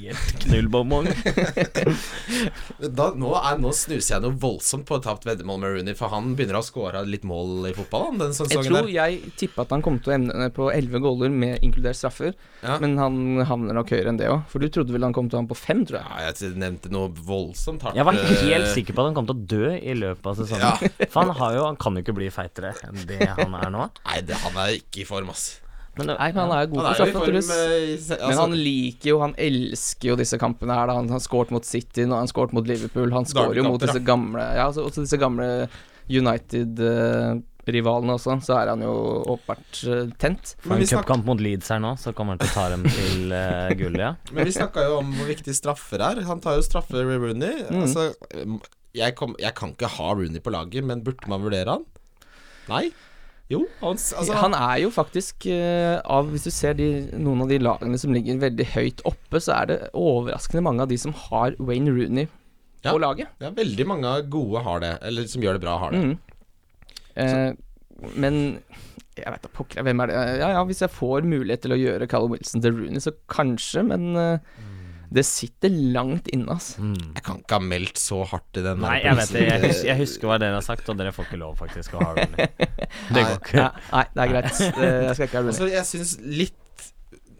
D: helt knullbomong.
B: da, nå, er, nå snuser jeg noe voldsomt på et tapt veddemål med Rooney, for han begynner å score litt mål i fotball han, den
C: Jeg
B: sesongen
C: tror
B: der.
C: jeg tippa at han kom til å ende på 11 goaler, med inkludert straffer.
B: Ja.
C: Men han havner nok høyere enn det òg. For du trodde vel han kom til å ha på fem, tror jeg.
B: Ja, jeg nevnte noe voldsomt hardt.
D: Jeg var helt
B: eh,
D: sikker på at han kom til å dø i løpet av sesongen.
B: Ja.
D: <laughs> For han, har jo, han kan jo ikke bli feitere enn det han er nå.
B: Nei, det, han er ikke i form, ass.
D: Men det,
C: Nei, men han er jo god
B: Han
C: på
B: er jo i
C: straffe,
B: form
C: naturligvis.
B: eh, i se-
C: Men
B: altså,
C: han liker jo, han elsker jo disse kampene her. Da. Han har skåret mot City, nå har han skåret mot Liverpool. Han skårer jo mot
B: Dagkamper,
C: disse gamle Ja, altså, også disse gamle United-rivalene også. Så er han jo åpenbart eh, tent.
D: Får
B: Men vi
D: en cupkamp mot Leeds her nå, så kommer han til å ta dem til uh, gullet, ja.
B: Men vi snakka jo om hvor viktig straffer er. Han tar jo straffer ved Rooney.
D: Mm.
B: Altså, jeg, kom, jeg kan ikke ha Rooney på laget, men burde man vurdere han? Nei. Jo, han, s- altså,
C: han er jo faktisk eh, av Hvis du ser de, noen av de lagene som ligger veldig høyt oppe, så er det overraskende mange av de som har Wayne Rooney
B: Ja.
C: på laget.
B: ja, veldig mange gode har det, eller som gjør det bra, har det.
C: Mm. Eh, men jeg veit da pokker jeg, hvem er det Ja ja, hvis jeg får mulighet til å gjøre Callum Wilson til Rooney, så kanskje, men eh,
B: Mm.
C: det sitter langt inne, ass.
D: Mm.
B: Jeg kan ikke ha meldt så hardt i den
D: Nei, jeg vet det. Jeg, hus jeg husker hva dere har sagt, og dere får ikke lov faktisk å ha <laughs> Rooney. Det går ikke.
C: Nei, nei, det er
B: <laughs>
C: greit. Eh, Jeg skal ikke ha Rooney.
B: Altså, jeg syns litt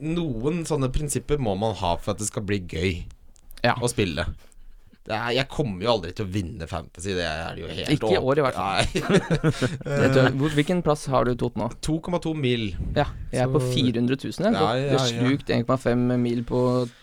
B: Noen sånne prinsipper må man ha for at det skal bli gøy
C: Ja.
B: å spille. Det er, jeg kommer jo aldri til å vinne Fantasy, det er det jo helt
C: Ikke i år, i hvert
B: <laughs> fall.
C: Det
B: eh,
C: tør- hvor- Hvilken plass har du Toten nå?
B: 2,2 mil.
C: Ja, jeg er på
B: Så-
C: 400 000. Jeg.
B: Ja, ja,
C: Det er slukt 1,5 mil på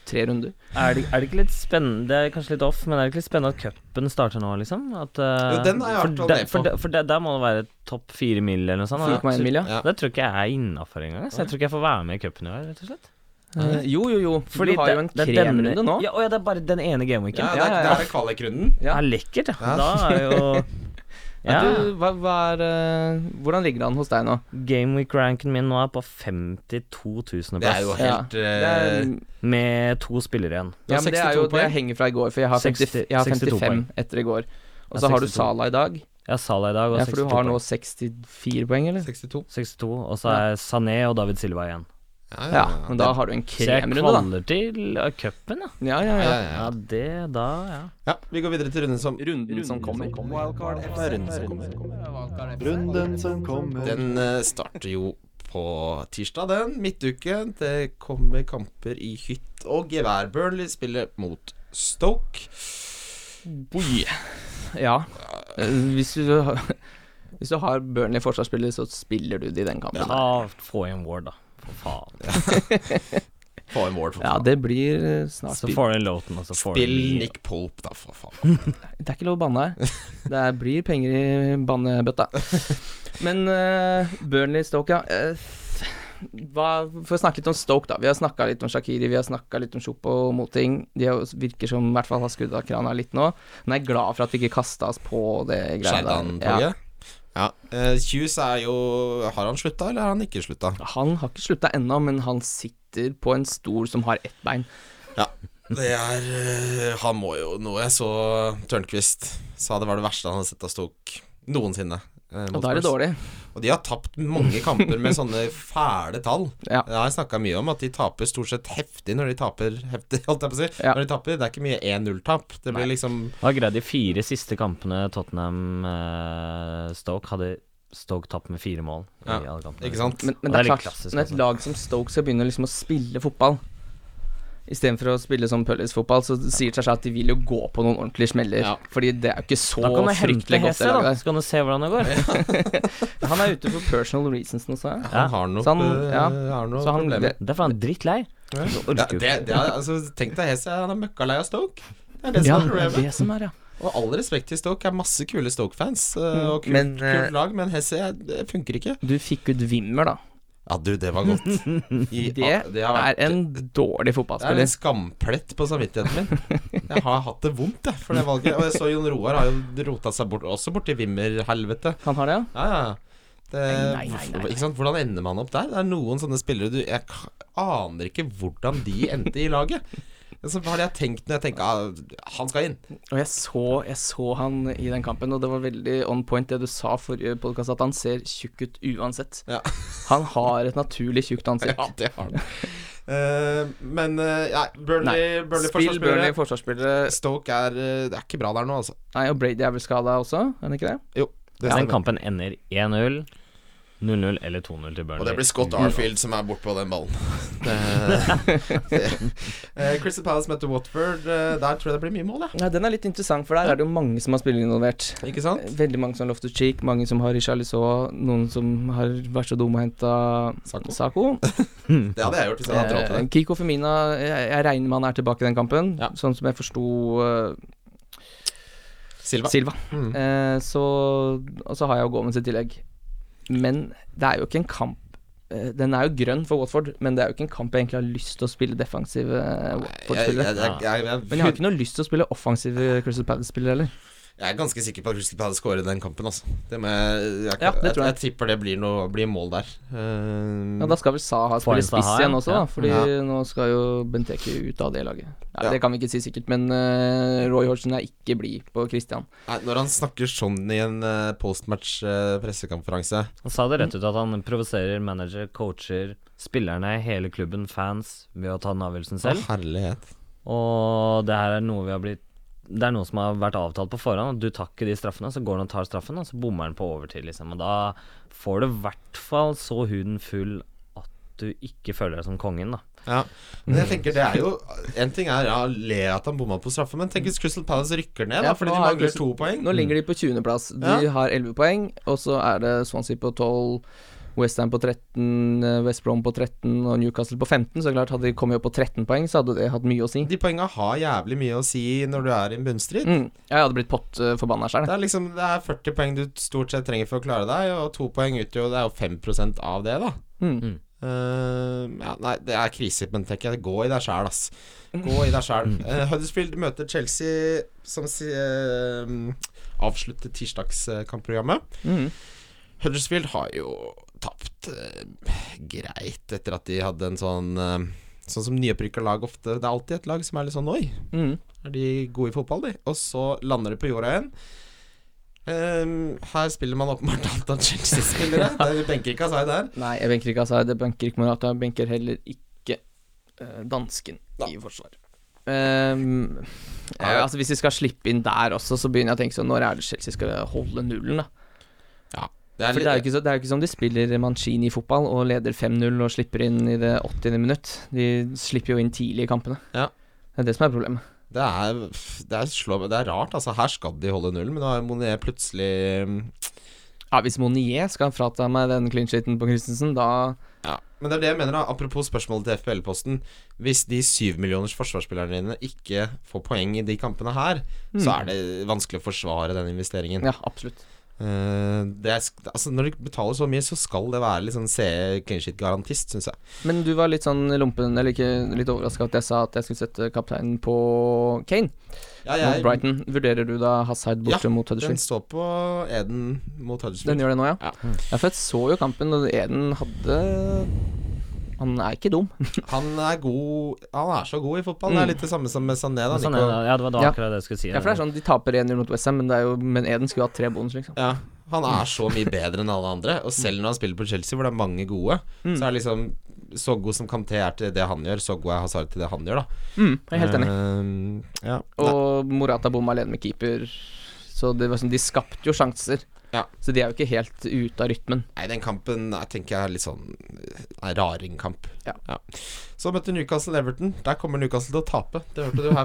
C: tre runder.
D: Er det, er det ikke litt spennende Det er kanskje litt off, men er det ikke litt spennende at cupen starter nå, liksom? At, eh,
B: Jo, den har jeg vært
D: for
B: og
D: der-
B: med på.
D: For, der- for der- der må det være topp fire mil eller noe sånt. da.
C: 4,1 mil, ja.
B: Ja.
D: Det tror ikke jeg er innafor engang. Så jeg tror ikke jeg får være med i cupen i år, rett og slett. Mm.
C: Eh, Jo, jo, jo. du har jo en
D: det- det er denne-
C: kremrunde nå.
D: Ja, å ja, det er bare den ene gameweeken.
B: Ja,
D: Ja,
B: det er,
C: ja, ja.
B: det er kvalikrunden.
C: Ja.
D: er lekkert, ja.
B: Ja.
D: Da er
C: <laughs>
D: jo
C: Ja,
D: Ja.
C: du, hva, hva er, eh, hvordan ligger det an hos deg nå?
D: Gameweek-ranken min nå er på 52 000
B: Det er jo
D: plass.
B: helt
C: Det
B: eh,
C: er,
D: Med to spillere igjen.
B: Du
C: Ja,
B: har
C: men det er
B: 62
C: jo det
B: poeng.
C: jeg henger fra i går, for jeg har,
D: 60
C: 50, jeg har 55
D: 62 poeng.
C: etter i går. Og
D: Ja,
C: så har du
D: 62.
C: Sala i dag.
D: Jeg har Salah i dag, og
C: Ja, for du
D: 62
C: har nå
D: poeng.
C: 64 poeng, eller?
B: 62.
D: 62, og så er Sané og David Silva igjen.
B: Ja,
C: Ja, men da har du en
D: Så jeg
C: kremrunde, da.
D: kvaller til uh, cupen, ja.
C: Ja, ja,
B: ja,
C: ja.
B: ja, ja.
D: Ja, det da, ja.
B: ja, vi går videre til runden som
C: Runden som kommer.
B: Runden som kommer.
A: Runden som kommer.
B: Den eh, starter jo på tirsdag, den. Midtuke. Det kommer kamper i hytt og gevær. Burnley spiller mot Stoke.
C: Oi. Ja. Eh, Hvis du, hvis du har Burnley forsvarsspiller, så spiller du det i den kampen.
D: Da få inn Ward, da. For faen.
B: Få en Ward, for
C: Ja,
B: faen.
C: det blir eh, snart
D: Så
C: spill.
D: får du inn Loughton, og så får du
B: Spill
D: inn Lee.
B: Nick Polp, da, for faen.
C: Det er ikke lov å banne her. Det er- blir penger i bannebøtta. Men eh, Burnley-Stoke, ja. eh, hva, for å snakke litt om Stoke, da. Vi har snakka litt om Shakiri, vi har snakka litt om Chopo og Moting. De har- virker som i hvert fall har skrudd av krana litt nå. Men jeg er glad for at vi ikke kasta oss på det greiene der. Ja.
B: Skeidan-toget. Ja. Eh, Hughes er jo Har han slutta, eller har han ikke slutta?
C: Han har ikke slutta ennå, men han sitter på en stol som har ett bein.
B: Det er eh, Han må jo Noe jeg så Tørnquist sa det var det verste han hadde sett av Stoke noensinne. eh, mot
C: Og da er det
B: Spurs.
C: dårlig.
B: Og de har tapt mange kamper med sånne fæle tall.
C: <laughs> Ja.
B: Jeg har snakka mye om at de taper stort sett heftig når de taper heftig, <laughs> holdt jeg på å si.
C: Ja.
B: Når de taper, Det er ikke mye 1-0-tap. Det blir liksom
D: Det var greit de fire siste kampene Tottenham-Stoke hadde Stoke tapt med fire mål. i
B: Ja,
D: alle kampene.
B: Ikke sant?
C: Men, men
D: Og
C: det
D: det
C: er
D: er litt
C: klart,
D: klassisk
C: når et
D: også.
C: lag som Stoke skal begynne liksom å spille fotball Istedenfor å spille som Pullis-fotball, så sier det seg selv at de vil jo gå på noen ordentlige smeller.
B: Ja.
C: Fordi det er jo ikke så
D: Da kan du hente
C: fryktelig godt,
D: Hesse,
C: det
D: da,
C: laget
D: så kan du se hvordan det
B: <laughs>
D: går.
C: der. Han er ute for personal reasons nå, sa jeg.
B: Han har nok,
C: Så han-
B: eh,
C: ja.
B: har nok
C: Så han
B: problemer.
C: det,
D: Derfor er han drittlei.
B: Ja.
D: Så
B: Ja,
D: orker jo
B: det,
D: ikke.
B: det er, altså, tenk deg Hesse, han er møkkalei av Stoke. Det er det som
C: Ja,
B: er
C: det er
B: problemet.
C: det som er, ja.
B: Og all respekt til Stoke, er masse kule Stoke-fans eh, og kult,
C: Men, eh,
B: kult lag, men Hesse det funker ikke.
C: Du fikk ut Wimmer, da.
B: Ja, du, det
C: <laughs>
B: var godt. I-
C: Det
B: ja, har vært-
C: er en dårlig
B: Det er en
C: fotballspiller.
B: skamplett på samvittigheten min. Jeg har hatt det vondt, jeg, for det valget. Og jeg så Jon Roar har jo rota seg bort, også borti Wimmer-helvete.
C: Han har det, ja?
B: Ja, ja. Det,
C: Nei, nei, nei, nei.
B: Ikke sant? Hvordan ender man opp der? Det er noen sånne spillere du Jeg k- aner ikke hvordan de endte i laget. Så hva har jeg tenkt når jeg tenker ah, han skal inn?
C: Og jeg så, jeg så han i den kampen, og det var veldig on point det du sa forrige podkast, at han ser tjukk ut uansett.
B: Ja.
C: Han har et naturlig tjukt ansikt.
B: Ja, det har han. Eh, men eh, nei, Burnley, Burnley
C: Spill Burnley
B: forsvarsspillere.
C: forsvarsspillere.
B: Stoke er eh, Det er ikke bra der nå, altså.
C: Nei, og Brady er vel skada også, er han ikke det?
B: Det
D: Den
B: stemmer.
D: kampen ender 1-0, 0-0 eller 2-0 til Burnley.
B: Og det blir Scott
C: Mm.
B: Arfield som er bortpå den
C: <laughs>
B: ballen. Det- det- Eh, Crystal Palace møtte Watford. Eh, Der tror jeg det blir mye mål, ja.
C: Nei, den er litt interessant, for der er det jo mange som har spillere involvert.
B: Ikke sant?
C: Veldig mange som har Loftus Cheek, mange som har Richarlison, noen som har vært så dumme og henta
B: Sako.
C: <laughs> Sako. Mm.
B: Det hadde jeg gjort hvis jeg hadde hatt råd til
C: Eh,
B: det.
C: Kiko Femina, jeg, jeg regner med han er tilbake i den kampen,
B: Ja.
C: sånn som jeg forsto eh,
B: Silva.
C: Silva.
B: Mm.
C: Eh, så, og så har jeg jo Gomez i tillegg. Men det er jo ikke en kamp eh, Den er jo grønn for Watford, men det er jo ikke en kamp jeg egentlig har lyst til å spille defensive eh,
B: Jeg, jeg,
C: Watford-spillere.
B: jeg, jeg, jeg,
C: Men jeg har ikke noe lyst til å spille offensive Crystal Palace-spillere heller.
B: jeg er ganske sikker på at Crystal Palace skårer den kampen, altså. Det må jeg, jeg,
C: Ja, det tror jeg.
B: jeg tipper det blir, noe, blir mål der. Eh,
C: Ja, da skal vel Saha spille
D: en
C: spiss
D: Saha, ja.
C: igjen også, da.
D: Ja.
C: Fordi
B: Ja.
C: nå skal jo Benteke ut av det laget. Ja,
B: Ja.
C: Det kan vi ikke si sikkert, men eh, Roy Hodgson er ikke blid på Christian.
B: Eh, nei, når han snakker sånn i en eh, postmatch eh, pressekonferanse
D: Han sa det rett ut at han provoserer manager, coacher, spillerne, hele klubben, fans, ved å ta den avgjørelsen selv.
B: Herlighet.
D: Og det her er noe vi har blitt Det er noe som har vært avtalt på forhånd. at Du tar ikke de straffene, så går han og tar straffen, og så bommer han på overtid, liksom. Og da får du i hvert fall så huden full at du ikke føler deg som kongen, da.
B: Ja, men jeg tenker det er jo En ting er ja, le at han bomma på straffe, men tenk hvis Crystal Palace rykker ned,
C: Ja,
B: da,
C: for
B: fordi
C: nå
B: de
C: har
B: mangler
C: Crystal-
B: to poeng.
C: Nå ligger de på 20.-plass. De
B: Ja.
C: har 11 poeng, og så er det Swansea på 12, Westham på 13, eh, West Brom på 13 og Newcastle på 15. Så klart, hadde de kommet opp på 13 poeng, så hadde det hatt mye å si.
B: Mm. De poenga har jævlig mye å si når du er i en bunnstrid.
C: Mm. Jeg hadde blitt eh, pottforbanna sjøl.
B: Det er liksom Det er 40 poeng du stort sett trenger for å klare deg, og to poeng utgjør jo Det er jo 5 av det, da.
C: Mm.
B: Eh, ja, nei, det er krise, men tenker jeg. Gå i deg sjæl, ass. Gå i deg sjæl. Eh, Huddersfield møter Chelsea, som si, eh, avslutter tirsdagskampprogrammet.
C: Mm.
B: Huddersfield har jo tapt eh, greit etter at de hadde en sånn eh, Sånn som nyopprykka lag ofte Det er alltid et lag som er litt sånn Oi,
C: Mm.
B: er de gode i fotball, de? Og så lander de på jorda igjen. Ehm, her spiller man åpenbart <laughs> alt av Chelsea-spillere. Det er- Vi benker ikke Asai der.
C: Nei, jeg benker ikke Azar, det benker ikke Morata. Jeg benker heller ikke eh, dansken i forsvar. Ehm, ja, altså Hvis vi skal slippe inn der også, så begynner jeg å tenke sånn Når er det Chelsea skal holde nullen, da?
B: Det er
C: For det er jo
B: litt,
C: ikke, så, det er jo ikke som de spiller Mancini-fotball og leder 5-0 og slipper inn i det 80. minutt. De slipper jo inn tidlig i kampene.
B: Ja.
C: Det er det som er problemet.
B: det, er, det, er slå, det er rart, altså. Her skal de holde nullen, men nå har Monet plutselig mm,
C: Ja, Hvis Monier skal frata meg den clinchiten på Christensen, da
B: ja. Men det er det jeg mener, da. Apropos spørsmålet til FPL-posten. Hvis de syvmillioners forsvarsspillerne dine ikke får poeng i de kampene her, så er det vanskelig å forsvare den investeringen.
C: Ja, absolutt.
B: Eh, det er, sk- altså, når du betaler så mye, så skal det være litt sånn CE clean shit-garantist, syns jeg.
C: Men du var litt sånn lompen, eller ikke litt overraska at jeg sa at jeg skulle sette kapteinen på Kane
B: Ja,
C: mot Brighton. Vurderer du da Hazard borte mot
B: Den
C: Huddersfield?
B: står på Eden mot
C: Den,
B: Huddersfield.
C: gjør det nå, ja?
B: Ja.
C: ja. For jeg så jo kampen, og Eden hadde Han er ikke dum.
B: Han er god Han er så god i fotball. Det er litt det samme som med Sané. Da,
D: Men Sånn er,
B: Nico.
D: det. ja, det var da
C: Ja.
D: akkurat det jeg skulle si.
C: Ja, for det er sånn, De taper 1-0 mot Westham, men, det er jo- men Eden skulle hatt tre bonus, liksom.
B: Ja, han er så mye bedre enn alle andre. Og selv når han spiller på Chelsea, hvor det er mange gode,
C: Mm.
B: så er det liksom så god som Kanté er til det han gjør, så god er Hazard til det han gjør, da.
C: Mm, jeg er helt enig.
B: Eh, ja.
C: Og Morata bomma alene med keeper. Så det var sånn, de skapte jo sjanser.
B: Ja.
C: Så de er jo ikke helt ute av rytmen.
B: Nei, den kampen jeg tenker jeg er litt sånn eh, raringkamp.
C: Ja.
B: Så møtte Newcastle Everton. Der kommer Newcastle til å tape. Det hørte du her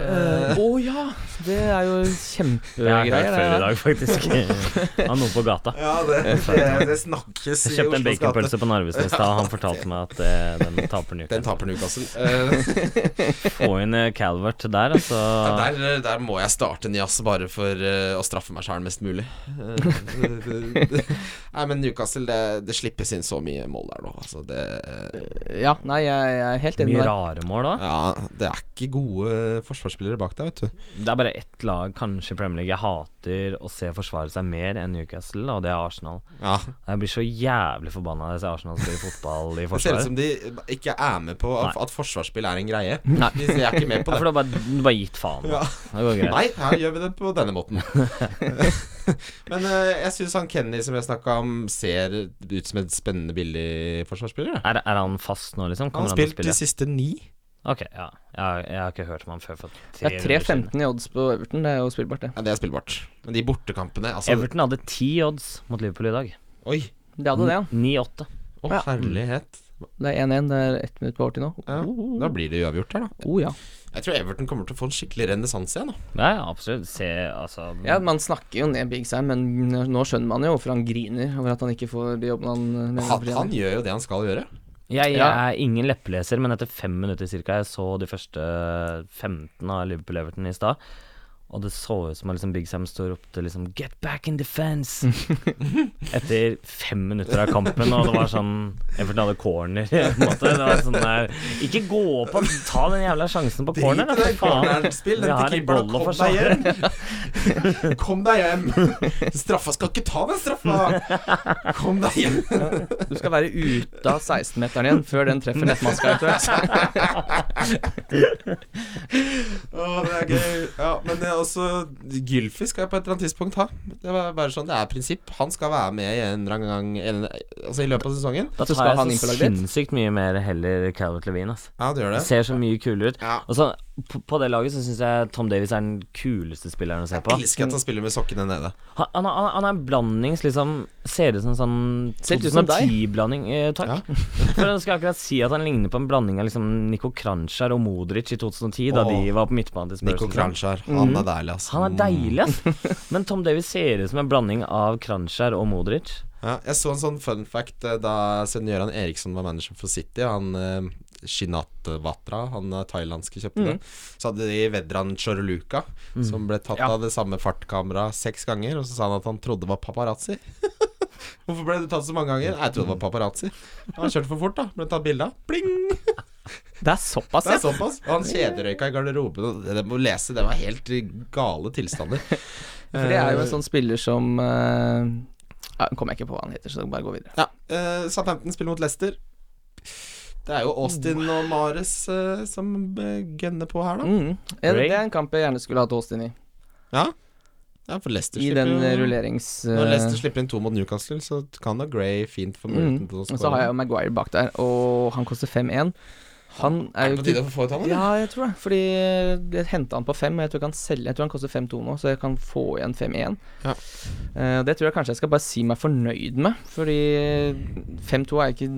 C: <laughs>
B: Eh,
C: Å ja! Det er jo
D: Det har jeg
C: kjempegreier.
D: hørt før i
C: det.
D: dag, faktisk. Av noen på gata.
B: Ja, det, det, det snakkes
D: Jeg
B: i
D: kjøpte en
B: Oslos gater.
D: baconpølse på Narvesen i stad, og han fortalte meg at eh, den taper
B: Den
D: Newcastle.
B: taper Newcastle. Eh,
D: Få inn eh, Calvert der, altså.
B: der, der må jeg starte en jazz bare for eh, <laughs> å straffe meg sjæl mest mulig. Eh, det- det- det- Nei, men Newcastle, det, det slippes inn så mye mål der nå. Altså, det
C: Ja, nei, jeg, jeg er helt enig
D: Mye
C: med deg.
D: rare mål òg.
B: Ja, det er ikke gode eh, forsvarsspillere bak der, vet du.
D: Det er bare ett lag, kanskje i Premier League, jeg hater å se forsvare seg mer enn Newcastle, og det er Arsenal.
B: Ja,
D: Jeg blir så jævlig forbanna når jeg ser Arsenal spille fotball
B: <laughs>
D: i
B: Det ser ut
D: forsvaret.
B: som de ikke er med på at,
D: Nei.
B: at forsvarsspill er en greie.
C: Nei.
B: De er ikke med
D: <laughs> Ja,
B: på det.
D: for da bare, du bare gitt faen. da.
B: Ja.
D: Det går greit.
B: Nei, her gjør vi det på denne måten.
D: <laughs>
B: Men eh, jeg syns han Kenny som jeg snakka om, ser ut som en spennende, billig forsvarsspiller. ja.
D: Er, er han fast nå, liksom?
B: Han
D: Kommer
B: har
D: han til å
B: spilt de
D: spille?
B: siste ni.
D: Ok, ja. Jeg, jeg har ikke hørt om han før. For
C: Det er
D: 300 siden.
C: 3.15 i odds på Everton, det er jo spillbart, det.
B: Ja, det er spillbart. Men de bortekampene altså,
D: Everton hadde ti odds mot Liverpool i dag.
B: Oi,
C: Det hadde det, ja.
D: 9-8.
B: å
C: Ja.
B: herlighet.
C: Det er 1-1, det er ett minutt på overtid nå.
B: Ja, da blir det uavgjort her, da.
C: Oh, ja.
B: Jeg tror Everton kommer til å få en skikkelig renessanse igjen. da.
D: Ja, ja, absolutt. Se, altså
C: ja, man snakker jo ned Big Sam, men nå skjønner man jo hvorfor han griner over at han ikke får de jobbene han eh, mener
B: Han,
C: fortjener.
B: han gjør jo det han skal gjøre.
D: Jeg, jeg
C: Ja.
D: er ingen leppeleser, men etter fem minutter cirka, jeg så de første 15 av Liverpool-Everton i stad, og det så ut som at liksom Big Sam står opp til liksom 'Get back
C: <laughs>
D: in defense!' etter fem minutter av kampen, og det var sånn Everton hadde corner, <laughs> på en måte. Det var sånn der Ikke gå opp og ta den jævla sjansen på
B: Drit i
D: corner, da, for
B: det
D: faen.
B: cornerspill,
D: Vi
B: den
D: har
B: til
D: en
B: keeperen.
D: boll å
B: Kom deg
D: forsvare.
B: hjem! Kom deg hjem! <laughs> Straffa skal ikke ta den straffa! Kom deg hjem!
C: Du skal være ute av 16-meteren igjen før den treffer nettmaska.
B: <laughs>
C: eventuelt.
B: Å, det er gøy. Ja, men det er også Gylfi skal jeg på et eller annet tidspunkt ha. Det er bare sånn, det er prinsipp. Han skal være med i en eller annen gang en, Altså i løpet av sesongen.
D: Da
C: Så
D: tar
C: skal han
D: jeg
C: inn på
D: så
C: laget ditt?
D: sinnssykt mye mer heller Calvert Levine, ass.
B: Ja, det gjør
D: Det ser så mye kulere ut.
B: Ja.
D: Og så, på, på det laget så syns jeg Tom Davies er den kuleste spilleren å se på.
B: Jeg elsker at han spiller med sokkene nede.
D: Han, han, han han er en blandings, liksom Ser ut som en sånn
C: Ser ut som deg.
D: 2010-blanding. Eh, takk. <laughs> For jeg skal akkurat si at han ligner på en blanding av liksom Niko Kranjčar og Modric i 2010, da
B: Åh.
D: de var på midtbanen til Spurs.
B: Nico
D: liksom.
B: Kranjčar. Han er deilig, ass.
D: Han er deilig,
C: Mm. <laughs>
D: ass. Men Tom Davies ser ut som en blanding av Kranjčar og Modric.
B: Ja, jeg så en sånn fun fact eh, da Sven-Göran Eriksson var manager for City. Han eh, Shinat Watra, han eh, thailandske,
D: Mhm.
B: kjøpte det. Så hadde de Vedran Chorluka, som ble tatt
C: Ja.
B: av det samme fartkameraet seks ganger. Og så sa han at han trodde det var paparazzi. <laughs> Hvorfor ble du tatt så mange ganger? Nei, jeg trodde det var paparazzi. Han kjørte for fort, da. Ble tatt bilde av. Pling!
C: Det er såpass, ja.
B: Det er såpass. Og han kjederøyka i garderoben. og Det det må lese, det var helt gale tilstander.
C: For det er jo en sånn spiller som eh, ja, Kommer jeg ikke på hva han heter, så bare gå videre.
B: Ja, uh, Southampton spiller mot Leicester. Det er jo Austin og Mares eh, som eh, gønner på her, da.
C: Uh. Mm. Ja, det
D: Ray?
C: er en kamp jeg gjerne skulle hatt Austin i.
B: Ja, for Leicester
C: I
B: slipper
C: den eh,
B: jo-
C: rullerings...
B: Når
C: eh,
B: Leicester slipper inn to mot Newcastle, så kan da Gray fint få muligheten
C: Mm.
B: til å
C: Og så har jeg
B: skåre.
C: jo Maguire bak der, og han koster 5-1. Han er jo
B: Er det på
C: ikke
B: tide å få ut ham, eller?
C: Ja, jeg tror det. Fordi eh, jeg henta han på 5, og jeg tror, ikke han selger, jeg tror han koster 5-2 nå, så jeg kan få igjen 5-1.
B: Ja.
C: Eh, det tror jeg kanskje jeg skal bare si meg fornøyd med, fordi 5-2 er ikke,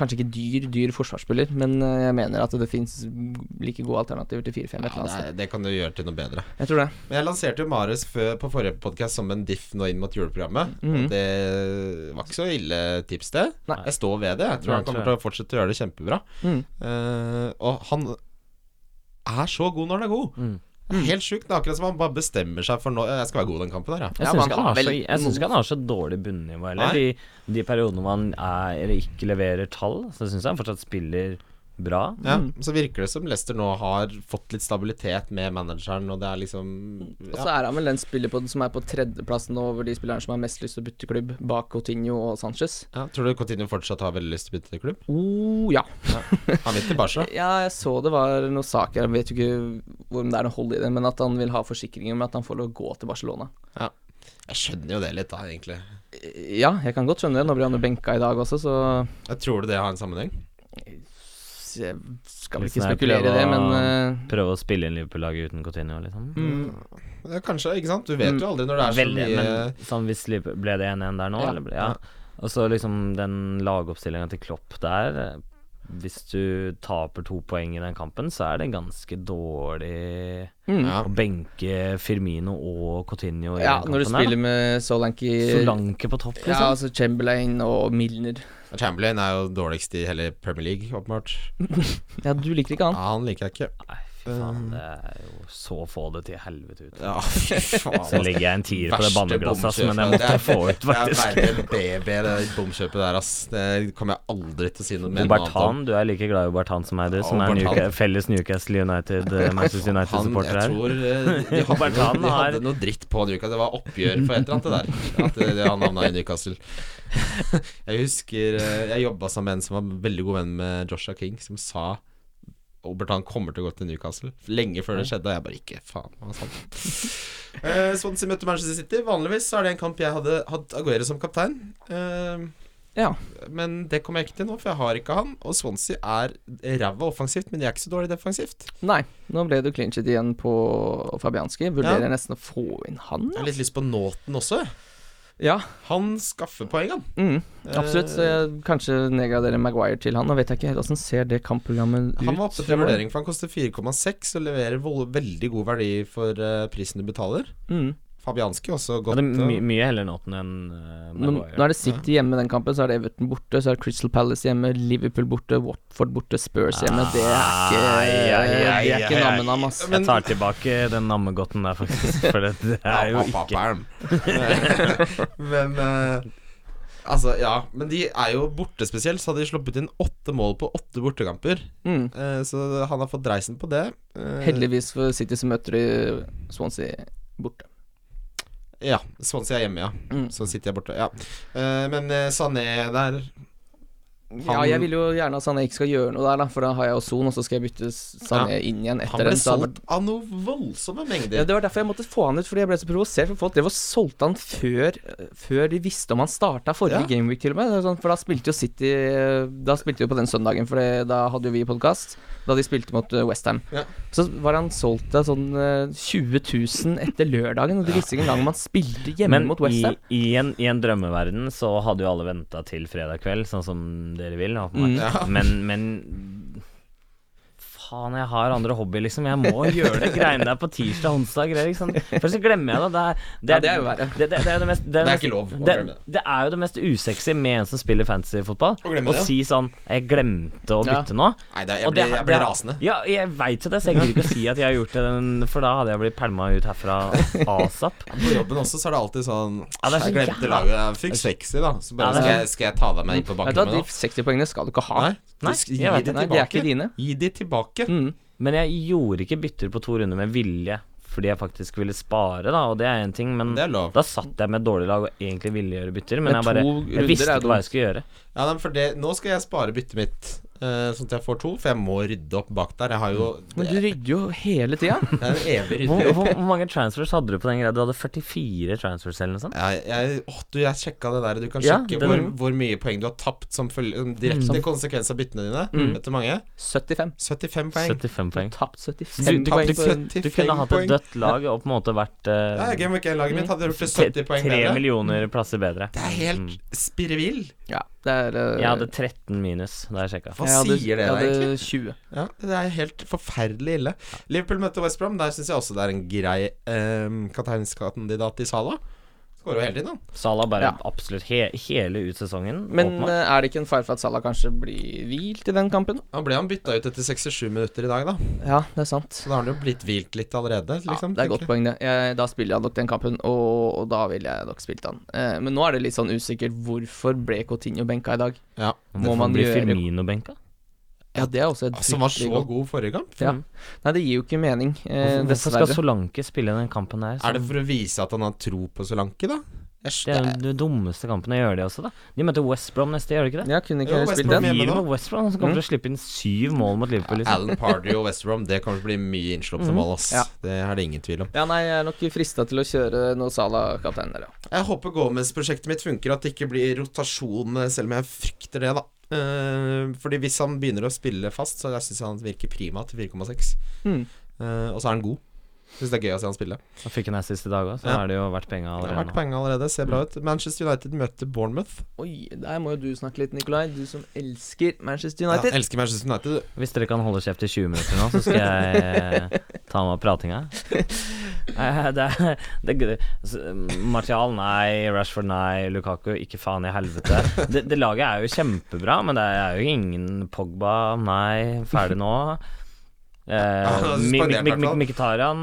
C: kanskje ikke dyr, dyr forsvarsspiller, men eh, jeg mener at det fins like gode alternativer til 4-5 et eller
B: Ja,
C: annet
B: det,
C: sted.
B: er, det kan du gjøre til noe bedre.
C: Jeg tror det.
B: Men jeg lanserte jo Mares før, på forrige podkast som en diff nå inn mot juleprogrammet.
C: Mhm.
B: Og det var ikke så ille tips, det.
C: Nei.
B: Jeg står ved det. Jeg tror
D: Nei,
B: han kommer
D: tror
B: til å fortsette å gjøre det kjempebra.
C: Mm.
B: Eh, og han er så god når han er god.
D: Mm.
B: Det er Helt sjukt. Det er akkurat som han bare bestemmer seg for nå eh, Jeg skal være god i den kampen her, ja.
D: Jeg
C: Ja,
D: syns
C: men
D: ikke
C: han
D: han, har
C: har
D: så-
C: vel-
D: jeg syns ikke han har så dårlig bunnivå heller.
B: Nei.
D: De, de periodene hvor han er, eller ikke leverer tall, så syns jeg han fortsatt spiller bra.
B: ja. Så virker det som Leicester nå har fått litt stabilitet med manageren, og det er liksom
C: Og
B: ja.
C: så er han vel den spiller på, som er på tredjeplassen over de spillerne som har mest lyst til å bytte klubb, bak Coutinho og Sanchez.
B: ja, Tror du Coutinho fortsatt har veldig lyst til å bytte klubb?
C: Oh, ja.
B: Han vil
C: <laughs>
B: til Barca.
C: Ja, jeg så det var noen saker, jeg vet jo ikke hvor det er noe hold i det, men at han vil ha forsikringer om at han får lov å gå til Barcelona.
B: Jeg skjønner jo det litt, da, egentlig.
C: Eh, Ja, jeg kan godt skjønne det. Nå blir han jo benka i dag også, så
B: Jeg tror du det har en sammenheng?
C: jeg skal vel
D: Litt
C: ikke
D: sånn her
C: spekulere i det, men
D: prøve
C: eh,
D: Prøve å spille inn Liverpool-laget uten Coutinho, liksom.
B: Ja, kanskje, ikke sant? Du vet jo aldri når det er så
D: Veldig,
B: mye
D: men sånn hvis Liverpool Ble det 1-1 der nå,
C: Ja.
D: eller ble, ja. Og så liksom den lagoppstillinga til Klopp der eh, Hvis du taper to poeng i den kampen, så er det ganske dårlig
B: ja.
D: å benke Firmino og Coutinho i
C: eh, Ja,
D: den
C: når du
D: kampen her.
C: spiller med Solanke
D: da. Solanke på topp,
C: Ja,
D: liksom.
C: altså Chamberlain og Milner.
B: Chamberlain er jo dårligst i hele Premier League, åpenbart.
D: Mm.
C: Ja, du liker ikke
B: Ja,
C: han.
B: han liker jeg ikke.
D: Nei, fy
C: Um,
D: faen, det er jo så få det til helvete ut.
B: <laughs> Ja, fy faen. altså.
D: Så legger jeg en tier på det
B: Verste
D: banneglasset, ass, men jeg
B: bomkjøpet. Det
D: måtte
B: er- <laughs>
D: få ut,
B: Det er
D: faktisk.
B: verre enn BB, det der bomkjøpet der, ass. Det kommer jeg aldri til å si noe mer noe annet om.
D: Obertan, du er like glad i Obertan som meg, du, som er
B: Obertan.
D: Newca felles Newcastle United,
C: <laughs>
D: eh, Manchester
B: Han, jeg
D: United-supporter her.
B: tror eh,
D: <laughs>
B: de hadde, noe,
D: Obertan
B: de
D: har-
B: hadde noe dritt på Newcastle. Det var oppgjør for et eller annet, det der. At eh, det, han havna i Newcastle. <laughs> Jeg husker eh, Jeg jobba sammen med en som var veldig god venn med Joshua King, som sa Obertan kommer til å gå til Newcastle. Lenge før det skjedde, og jeg bare ikke Faen, hva sa han?
D: <laughs>
B: Eh, Swansea møtte Manchester City. Vanligvis så er det en kamp jeg hadde hatt Aguero som kaptein. Eh,
C: Ja.
B: Men det kommer jeg ikke til nå, for jeg har ikke han. Og Swansea er ræva offensivt, men de er ikke så dårlig defensivt.
C: Nei, nå ble det jo clean shit igjen på Fabianski. Vurderer
B: Ja.
C: nesten å få inn han.
B: Jeg har litt lyst på Nåten også.
C: Ja,
B: Han skaffer poeng, han.
C: mm, absolutt. Så jeg kanskje nedgraderer Maguire til han. Nå vet jeg ikke helt åssen ser det kampprogrammet Mm. ut.
B: Han var oppe til
C: fremover.
B: vurdering, for han koster 4,6 og leverer vo- veldig god verdi for eh, prisen du betaler.
C: Mm.
B: Fabianski også
D: Ja,
B: godt.
D: det er my
B: eh,
D: mye heller Nåten enn eh,
C: Nå, nå
D: Maguire.
C: er det City hjemme den kampen, så er det Everton borte, så er det Crystal Palace hjemme, Liverpool borte, Watford borte, Spurs hjemme. Det er ikke Det er ikke nammenam, ass.
D: Jeg tar tilbake den nammegodten der, faktisk, for det, det er jo ikke
B: ikke <laughs> Men eh, Altså, ja. Men de er jo borte spesielt, så hadde de sluppet inn åtte mål på åtte bortekamper.
C: Mm.
B: Eh, så han har fått dreisen på det. Eh,
C: Heldigvis for City så møter de Swansea borte.
B: Ja, Swansea er hjemme, ja.
C: Mm.
B: Så sitter jeg borte. Ja. Eh, men eh, Sané der
C: Ja, jeg vil jo gjerne at Sané ikke skal gjøre noe der, da, for da har jeg Ozon, og så skal jeg bytte Sané inn igjen
B: Han
C: etter
B: ble
C: den. så hadde-
B: solgt av noe voldsomme mengder.
C: Ja, det var derfor jeg måtte få han ut, fordi jeg ble så provosert. For folk drev og solgte han før, før de visste om han starta forrige
B: Ja.
C: gameweek, til og med. Det er sånn, For da spilte jo City Da spilte de på den søndagen, for det- da hadde jo vi podkast. Da de spilte mot Westham.
B: Ja.
C: Så var han solgt til sånn eh, 20 000 etter lørdagen, og de visste ikke engang om han spilte hjemme
D: Men
C: mot
D: i,
C: Westham.
D: i, en, i en drømmeverden så hadde jo alle venta til fredag kveld, sånn som dere vil.
B: Mm.
D: åpenbart.
B: Ja.
D: Men, men Faen, jeg har andre hobbyer, liksom. Jeg må gjøre det greiene der på tirsdag, onsdag. Greier, liksom. For så glemmer jeg det.
C: Ja,
D: Det er,
C: det er jo verre.
D: Det, det, det er jo det mest
B: Det er
D: mest-
B: ikke lov å
D: Det,
B: glemme det.
D: det er jo det mest usexy med en som spiller fantasyfotball.
B: Å glemme
D: Å
B: det, ja.
D: si sånn 'Jeg glemte å
C: Ja.
D: bytte nå'.
B: Nei, det, jeg
D: Og det
B: blir,
D: er-
B: jeg blir
D: det er-
B: rasende.
D: Ja, jeg veit jo det, så jeg gidder ikke å si at jeg har gjort det, den- for da hadde jeg blitt pælma ut herfra asap.
B: På jobben også så er det alltid sånn
D: Ja, det er
B: Jeg
D: så
B: glemte
D: jævla-
B: laget. Jeg fikk 60, da. Så bare
D: Ja, det er sånn-
B: skal, jeg, skal jeg ta deg med inn på
C: Vet du hva,
B: banken
C: de
B: min nå?
C: 60 poengene skal du ikke ha.
B: Nei,
D: Nei,
B: du sk-
D: jeg
B: gi
D: vet
B: de
C: Nei, de er ikke
B: tilbake.
C: dine.
B: Gi de tilbake.
C: Mm.
D: Men jeg gjorde ikke bytter på to runder med vilje, fordi jeg faktisk ville spare, da, og det er én ting, men
B: Det er lov.
D: da satt jeg med et dårlig lag og egentlig ville gjøre bytter, men,
C: Men
D: jeg bare
C: to runder
D: jeg visste
C: er
D: ikke hva jeg
B: <laughs>
D: skulle gjøre.
B: Ja, nei, for det, nå skal jeg spare byttet mitt, eh, sånn at jeg får to. For jeg må rydde opp bak der. Jeg har jo
D: Mm.
C: Men du
B: Det
C: rydder jo hele tida.
B: <laughs> er en evig
D: Hvor,
B: rydding.
D: hvor, hvor mange transfers hadde du på den greia? Du hadde 44 transfers eller noe sånt?
B: Jeg, jeg, åh, du, jeg sjekka det der. Du kan
D: Ja,
B: sjekke
D: det-
B: hvor,
D: Mm.
B: hvor mye poeng du har tapt som, følge, som direkte konsekvens av byttene dine. Vet du hvor mange?
C: 75.
B: 75 poeng.
D: 75 poeng.
C: Tapt
D: Du
C: 75
B: tapte
C: poeng. på en-
B: 75
D: Du kunne hatt
B: poeng.
D: et dødt lag og på en måte vært eh,
B: Ja, Game Week 1-laget mitt hadde gjort det
D: tre
B: 70 poeng
D: tre
B: bedre.
D: millioner Mm. plasser bedre.
B: Det er helt spirrevill.
C: Ja, det er eh,
D: Jeg hadde 13 minus da jeg sjekka.
B: Hva
C: jeg hadde- jeg
B: sier det deg,
C: hadde
B: egentlig?
C: 20.
B: Ja, det er helt forferdelig ille. Liverpool møtte West Brom. Der syns jeg også det er en grei eh, kapteinskandidat i Sala. Skårer jo hele tiden, han.
D: Salah bare
C: Ja.
D: absolutt he hele ut sesongen.
C: Men
D: åpenbart.
C: eh, er det ikke en fare for at Salah kanskje blir hvilt i den kampen?
B: Han ble han bytta ut etter 67 minutter i dag, da.
C: Ja, det er sant.
B: Så da har han jo blitt hvilt litt allerede,
C: ja,
B: liksom.
C: det er et godt
B: tenker jeg.
C: poeng, det. Jeg, da spiller jeg nok den kampen, og, og da ville jeg nok spilt han. Eh, men nå er det litt sånn usikkert. Hvorfor ble Coutinho benka i dag?
B: Ja.
C: Må
D: Hvorfor
C: man
D: blir
C: gjøre-
D: Firmino benka?
C: Ja, det er også et
B: Ah, Som var
C: fryktelig
B: altså, så god forrige kamp.
C: Ja. Nei, det gir jo ikke mening, eh,
D: Mm. Hvorfor hvorfor skal
C: dessverre.
D: Solanke spille den kampen her?
B: Er det for å vise at han har tro på Solanke, da? Jeg
D: Det
B: skj-
D: er jo den dummeste kampen jeg gjør det også, da. De møter West Brom neste, gjør de ikke det?
C: Ja, kunne
B: Jo,
C: ikke jeg
B: West
C: spilt
B: Brom
C: den?
B: hjemme
D: Gir
B: da.
D: på West Brom, som kommer til å
C: Mm.
D: slippe inn syv mål mot Liverpool. Liksom.
B: Alan Pardew og West Brom, det kommer til å bli mye innslupne mål,
C: Mhm.
B: ass.
C: Ja.
B: Det er det ingen tvil om.
C: Ja, nei, jeg er nok frista til å kjøre noe Salah kaptein der, ja.
B: Jeg håper Gomez-prosjektet mitt funker, at det ikke blir rotasjon, eh, selv om jeg frykter det, da. Eh, fordi hvis han begynner å spille fast, så jeg syns han virker prima til 4,6.
C: Mm.
B: Eh, og så er han god. Syns det er gøy å se han spille.
D: Han fikk en assist i dag òg, så
B: Ja.
D: er det jo verdt penga
B: Det har vært
D: allerede. nå.
B: poeng allerede, ser bra ut. Manchester United møter Bournemouth.
C: Oi, der må jo du snakke litt, Nikolai. Du som elsker Manchester
B: Ja,
C: United.
B: elsker Manchester United.
D: Hvis dere kan holde kjeft i 20 minutter nå, så skal jeg ta meg av pratinga. Eh, Det er, det er gøy. Så, Martial, nei. Rashford, nei. Lukaku, ikke faen i helvete. Det, det laget er jo kjempebra, men det er jo ingen Pogba, nei. Ferdig nå.
B: han
D: Eh,
B: er
D: Mi- Mi-
B: suspendert,
D: Mi-
B: i hvert fall.
D: Mi- Mkhitaryan,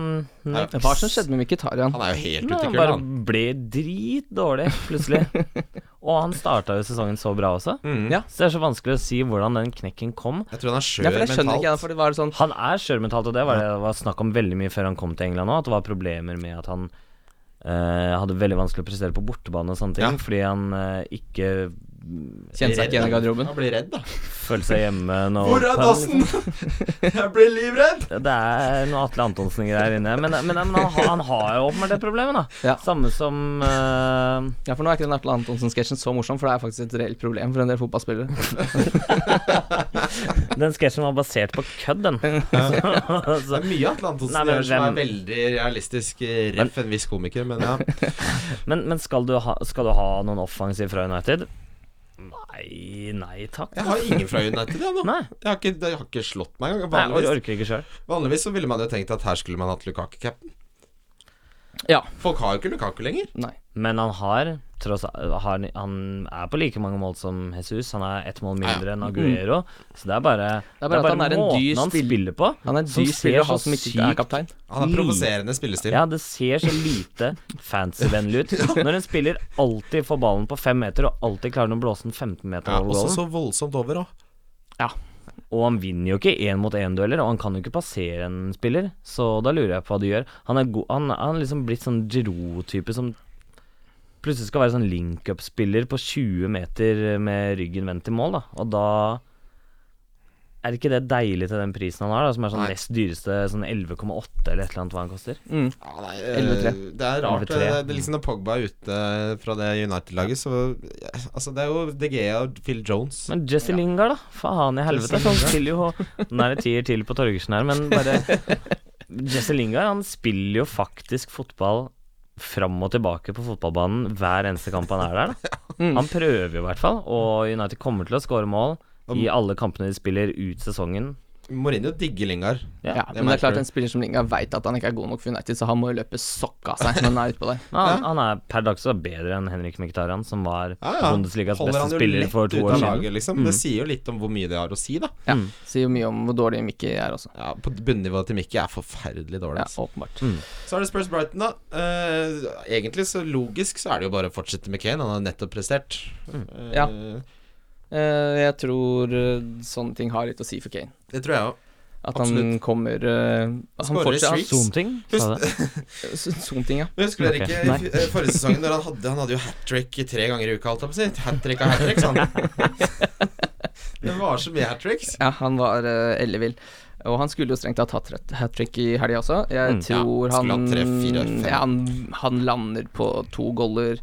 B: Nei,
D: nei,
C: Hva er det som skjedde med Mkhitaryan?
B: Han er jo helt ute i
D: Han
B: kulda,
D: bare
B: han.
D: ble dritdårlig plutselig. Og han starta jo sesongen så bra også.
B: Mm.
C: Ja.
D: Så det er så vanskelig å si hvordan den knekken kom.
B: Jeg tror han er skjør
C: Ja, for jeg skjønner
B: mentalt.
C: ikke, for det var sånn
D: Han er skjørmentalt, og det var det det var snakk om veldig mye før han kom til England òg, at det var problemer med at han eh, hadde veldig vanskelig å prestere på bortebane og sånne ting,
B: Ja.
D: fordi han eh, ikke
C: Kjente seg ikke igjen i garderoben.
B: Han blir redd, da.
D: følte seg hjemme nå.
B: <laughs> Hvor er dassen? Jeg blir livredd!
D: <laughs> Det er noe Atle Antonsen-greier inni her, men, men, men han, har- han har jo åpenbart det problemet, da.
C: Ja.
D: Samme som eh,
C: Ja, for nå er ikke den Atle Antonsen-sketsjen så morsom, for det er faktisk et reelt problem for en del fotballspillere.
D: Den sketsjen var basert på
B: <laughs>
D: kødd, den.
B: Det
D: <laughs>
B: er
D: Så-
B: mye Atle Antonsen
D: Nei, men
B: gjør som er
D: hvem-
B: veldig realistisk eh, ref en viss komiker, men ja.
D: men men skal, du ha, skal du ha noen offensiv fra United? Nei, nei takk.
B: Jeg har ingen fra United, jeg nå.
D: Nei,
B: Jeg har ikke, jeg har ikke slått meg engang.
D: nei jeg
B: Vanligvis,
D: orker ikke sjøl.
B: vanligvis så ville man jo tenkt at her skulle man hatt Lukaku-capen.
C: Ja.
B: Folk har jo ikke Lukaku lenger.
C: Nei.
D: Men han har tross har, Han er på like mange mål som Jesus. Han er ett mål mindre enn Aguero. Så det er bare,
C: Mm. Det er bare at han er en
D: måten
C: dyr
D: han
C: spill-
D: spiller på.
C: Han er en
D: som
C: dyr
D: ser
C: spiller å ha
D: så
C: som ikke er
D: sykt-
C: kaptein.
B: Han har provoserende spillestil.
D: Mm. Ja, det ser så lite
C: <laughs>
D: fancy-vennlig ut. Når en spiller alltid får ballen på fem meter, og alltid klarer den å blåse den 15 meter
B: Ja,
D: over
B: også
D: gålen.
B: så voldsomt over òg.
D: Og han vinner jo ikke én mot én-dueller, og han kan jo ikke passere en spiller, så da lurer jeg på hva de gjør. Han er, go han, han er liksom blitt sånn Giroud-type som plutselig skal være sånn link-up-spiller på 20 meter med ryggen vendt til mål, da. Og da er ikke det deilig til den prisen han har, da, som er sånn
B: Nei.
D: nest dyreste, sånn 11,8 eller et eller annet hva han koster.
C: Mm.
B: Ja, nei,
C: 11-3.
B: eh, det er rart.
D: 11-3.
B: Det, det er liksom Når Pogba er ute fra det United-laget, så ja, Altså, det er jo DG og Phil Jones.
D: Men Jesse Lingard, da. Faen i helvete.
B: Jesse
D: Han spiller jo Nå er det tier til på Torgersen her, men bare
B: <laughs>
D: Jesse Lingard, han spiller jo faktisk fotball fram og tilbake på fotballbanen hver eneste kamp han er der, da.
B: Mm.
D: Han prøver jo i hvert fall, og United kommer til å skåre mål i alle kampene de spiller ut sesongen.
B: Mourinho digger Lingard.
D: Ja.
C: Ja, men
B: det
C: det
B: merker
C: er klart
B: du.
C: en spiller som Lingard veit at han ikke er god nok for United, så han må jo løpe sokka av seg når han er utpå der.
D: Men Han, han er per dags dato bedre enn Henrik Mkhitaryan, som var
B: Ja, ja.
D: Bundesligas
B: Holder
D: beste
B: han jo
D: spiller
B: lett
D: for to
B: ut
D: år
B: av
D: siden. Mm.
B: laget, liksom. Det sier jo litt om hvor mye det har å si, da.
C: Ja, Sier jo mye om hvor dårlig Mickey er også.
B: Ja, på Bunnivået til Mickey er forferdelig dårlig.
C: Ja,
B: altså.
C: åpenbart.
B: Så er det Spurs Brighton, da. Eh, egentlig så logisk så er det jo bare å fortsette med Kane. Han har nettopp prestert. Eh,
C: Ja. Eh, jeg tror eh, sånne ting har litt å si for Kane.
B: Det tror jeg òg.
C: At han
B: Absolutt.
C: kommer eh, at Han
B: Skårer
C: <laughs>
B: i
C: fortsetter
B: streaks.
D: Zoom-ting, sa det.
C: Zoom-ting, ja.
B: Men Husker dere
D: Ok,
B: ikke
D: nei.
B: i f- eh, forrige sesongen når han hadde Han hadde jo hat trick tre ganger i uka, holdt jeg på å si. Hat trick av hat trick, sa han. Det var så mye hat tricks.
C: Ja, han var uh, ellevill. Og han skulle jo strengt tatt hat trick i helga også. Jeg
D: Mm.
C: tror
B: Ja, skulle
C: han,
B: hatt tre, fire, fem.
C: ja, han Han lander på to goller,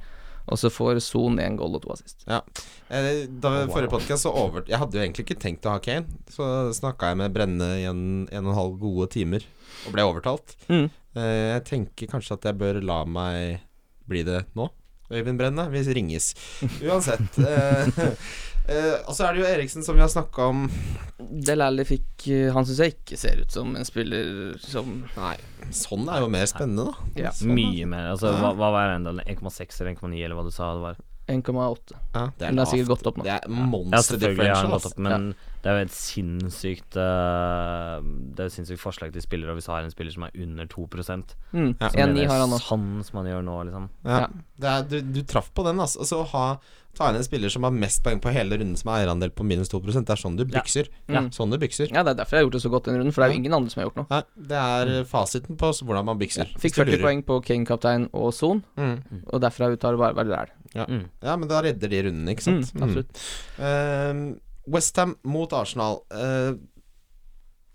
C: og så får Son én goll og to assist.
B: Eh, Da
D: Wow.
B: forrige podcast så over Jeg hadde jo egentlig ikke tenkt å ha Kane. Så snakka jeg med Brenne i en, en og en halv gode timer, og ble overtalt.
C: Mm.
B: Eh, Jeg tenker kanskje at jeg bør la meg bli det nå. Øyvind Brenne, vi ringes. Uansett. eh, <laughs> eh, Og så er det jo Eriksen som vi har snakka om.
C: Del Alli fikk eh, Han syns jeg ikke ser ut som en spiller som
B: Nei, sånn er jo mer spennende, da.
C: Ja,
B: <laughs> Sånn,
D: Mye mer. Altså, hva, hva var eiendommen? 1,6 eller 1,9, eller hva du sa det var?
C: 1,8.
B: Ja, det
C: Men det er sikkert gått opp nå.
B: Det er
D: Ja,
B: monster
D: selvfølgelig har han
B: differential. altså.
D: gått
B: ass.
D: opp, men det er jo et sinnssykt eh, Det er jo et sinnssykt forslag til spillere, og hvis du har en spiller som er under 2 som
C: Mm.
B: Ja.
D: er
C: 1,9 har han nå.
D: sånn som han gjør nå, liksom.
B: Ja.
C: Ja.
B: Det er, du, du traff på den, altså. Og så ha, ta inn en spiller som har mest poeng på hele runden, som har eierandel på minus 2 Det er sånn du bykser.
C: Ja.
B: Sånn du bykser.
C: Ja, det er derfor jeg har gjort det så godt denne runden, for det er jo ingen andre som har gjort noe.
B: Nei, det er fasiten på så hvordan man bykser.
C: Fikk
B: Hvis du
C: 40
B: lurer.
C: poeng på Kane, kaptein og Son,
B: Mm.
C: og derfra ut har det bare vært Læl.
B: Ja, men da redder de runden, ikke
C: Mm,
B: sant. Mm.
C: absolutt.
B: Ehm, West Westham mot Arsenal. Eh,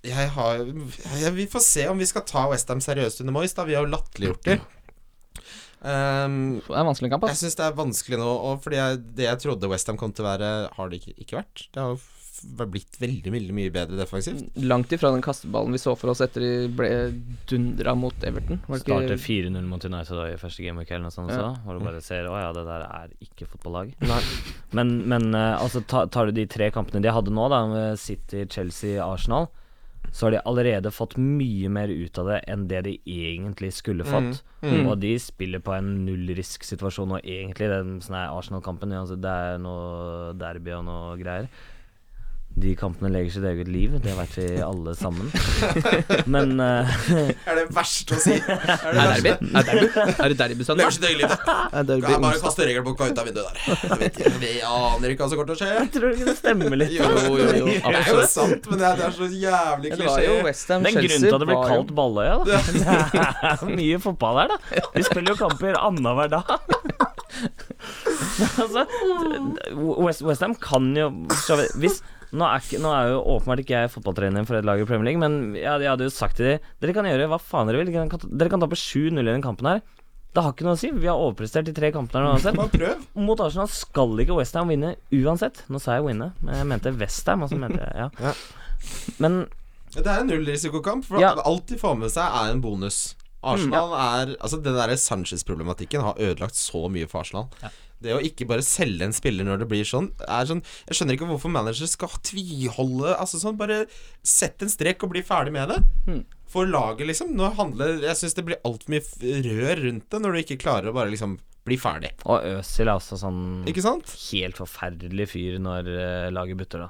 B: jeg har jeg, Vi får se om vi skal ta Westham seriøst under Moyes, da. Vi har jo latterliggjort dem. Um,
C: Det er en vanskelig kamp,
B: Jeg
C: ass.
B: syns det er vanskelig nå, og fordi jeg, det jeg trodde Westham kom til å være, har det ikke, ikke vært. Det har jo f- blitt veldig, veldig mye bedre defensivt.
C: Langt ifra den kasteballen vi så for oss etter de ble dundra mot Everton. Var det
D: Starter
C: ikke
D: 4-0 mot United da, i første gameweek eller noe sånt,
C: Ja.
D: også, hvor du bare ser å ja, det der er ikke fotballag. <laughs> Men, men eh, altså, ta, tar du de tre kampene de hadde nå, da, med City, Chelsea, Arsenal, så har de allerede fått mye mer ut av det enn det de egentlig skulle fått.
C: mm.
D: Og de spiller på en nullrisk-situasjon, og egentlig den sånn her Arsenal-kampen altså, Det er noe derby og noe greier. De kampene leger sitt eget liv, det vet vi alle sammen. Men eh,
B: Er det verst å <laughs> si? Er det
C: Er
B: verst?
C: derby? Er derby? Er det derby, Sandra?
B: Lever sitt eget liv.
C: Er derby
B: Ja, bare
C: onsdag?
B: kaste regelboka ut av vinduet der. Jeg vet ikke, Vi aner ikke hva som kommer til å skje.
D: jeg tror ikke det stemmer litt.
B: Jo,
C: Jo, jo, jo,
B: <laughs> Det er jo
C: absolutt.
B: sant, men det er, det er så jævlig
C: Ja, Det var jo
B: klisjé.
C: Westham
D: Det er en grunn til at det blir
C: var jo-
D: kalt
C: <laughs>
D: Balløya, da. <laughs> Det er mye fotball her, da. De spiller jo kamper annenhver dag. <laughs> altså, Westham kan jo så vi- Hvis nå er, ikke, nå er jo åpenbart ikke jeg fotballtrener for et lag i Premier League, men jeg, hadde- jeg hadde jo sagt til dem Dere kan gjøre hva faen dere vil. Dere kan, dere kan tape 7-0 i den kampen her. Det har ikke noe å si. Vi har overprestert de tre kampene her uansett.
C: <laughs>
B: Bare prøv.
D: Mot Arsenal skal ikke Westham vinne uansett. Nå sa jeg winne, men jeg mente Westham. Altså mente jeg,
B: Ja.
D: ja. Men
B: Det er en nullrisikokamp, for
D: Ja.
B: alt de får med seg, er en bonus. Arsenal er Altså, den derre Sanchez-problematikken har ødelagt så mye for Arsenal. Det å ikke bare selge en spiller når det blir sånn, er sånn Jeg skjønner ikke hvorfor managere skal tviholde Altså sånn, bare sett en strek og bli ferdig med det. For laget, liksom. Nå handler Jeg syns det blir altfor mye f- rør rundt det når du ikke klarer å bare liksom bli ferdig.
D: Og Øsil er også sånn
B: Ikke sant?
D: helt forferdelig fyr når eh, laget butter, da.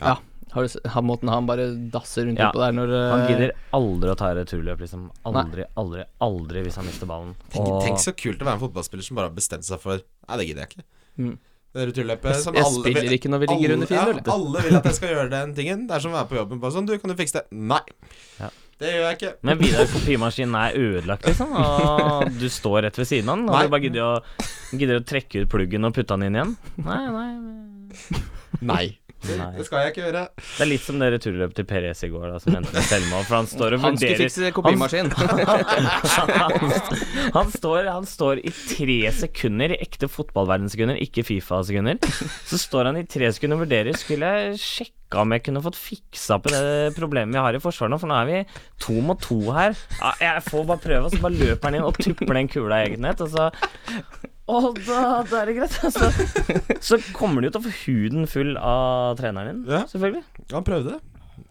C: Ja. Har du, se- han, måten han bare dasser rundt
D: Ja.
C: oppå der når eh,
D: Han gidder aldri å ta returløp, liksom. Aldri, aldri, aldri hvis han mister ballen.
B: Tenk, tenk så kult å være en fotballspiller som bare har bestemt seg for Nei, det gidder jeg ikke.
C: Mm.
B: Det returløpet som
C: Jeg
B: alle vil-
C: spiller ikke når vi ligger under 4-0.
B: Ja, alle vil at jeg skal gjøre den tingen. Det er som å være på jobben. Bare sånn, du, kan du fikse det? Nei.
D: Ja.
B: Det gjør jeg ikke.
D: Men Vidar kopimaskinen er ødelagt, liksom. Og du står rett ved siden av den.
B: Nei.
D: Og du bare gidder å, gidder å trekke ut pluggen og putte den inn igjen. Nei, nei.
B: Nei.
D: Nei.
B: Det skal jeg ikke gjøre.
D: Det er litt som det returløpet til Perez i går, da, som endte med selvmål. For han står og
C: Han skulle
D: vurderer
C: fikse kopimaskin.
D: han, han, står, han står i tre sekunder, i ekte fotballverdenssekunder, ikke Fifa-sekunder. Så står han i tre sekunder og vurderer Skulle jeg sjekka om jeg kunne fått fiksa på det problemet vi har i forsvaret nå, for nå er vi to mot to her. Ja, Jeg får bare prøve, og så bare løper han inn og tupper den kula i eget nett, og så og da, da er det greit. altså. Så, så kommer du jo til å få huden full av treneren din,
B: Ja.
D: selvfølgelig.
B: Han prøvde.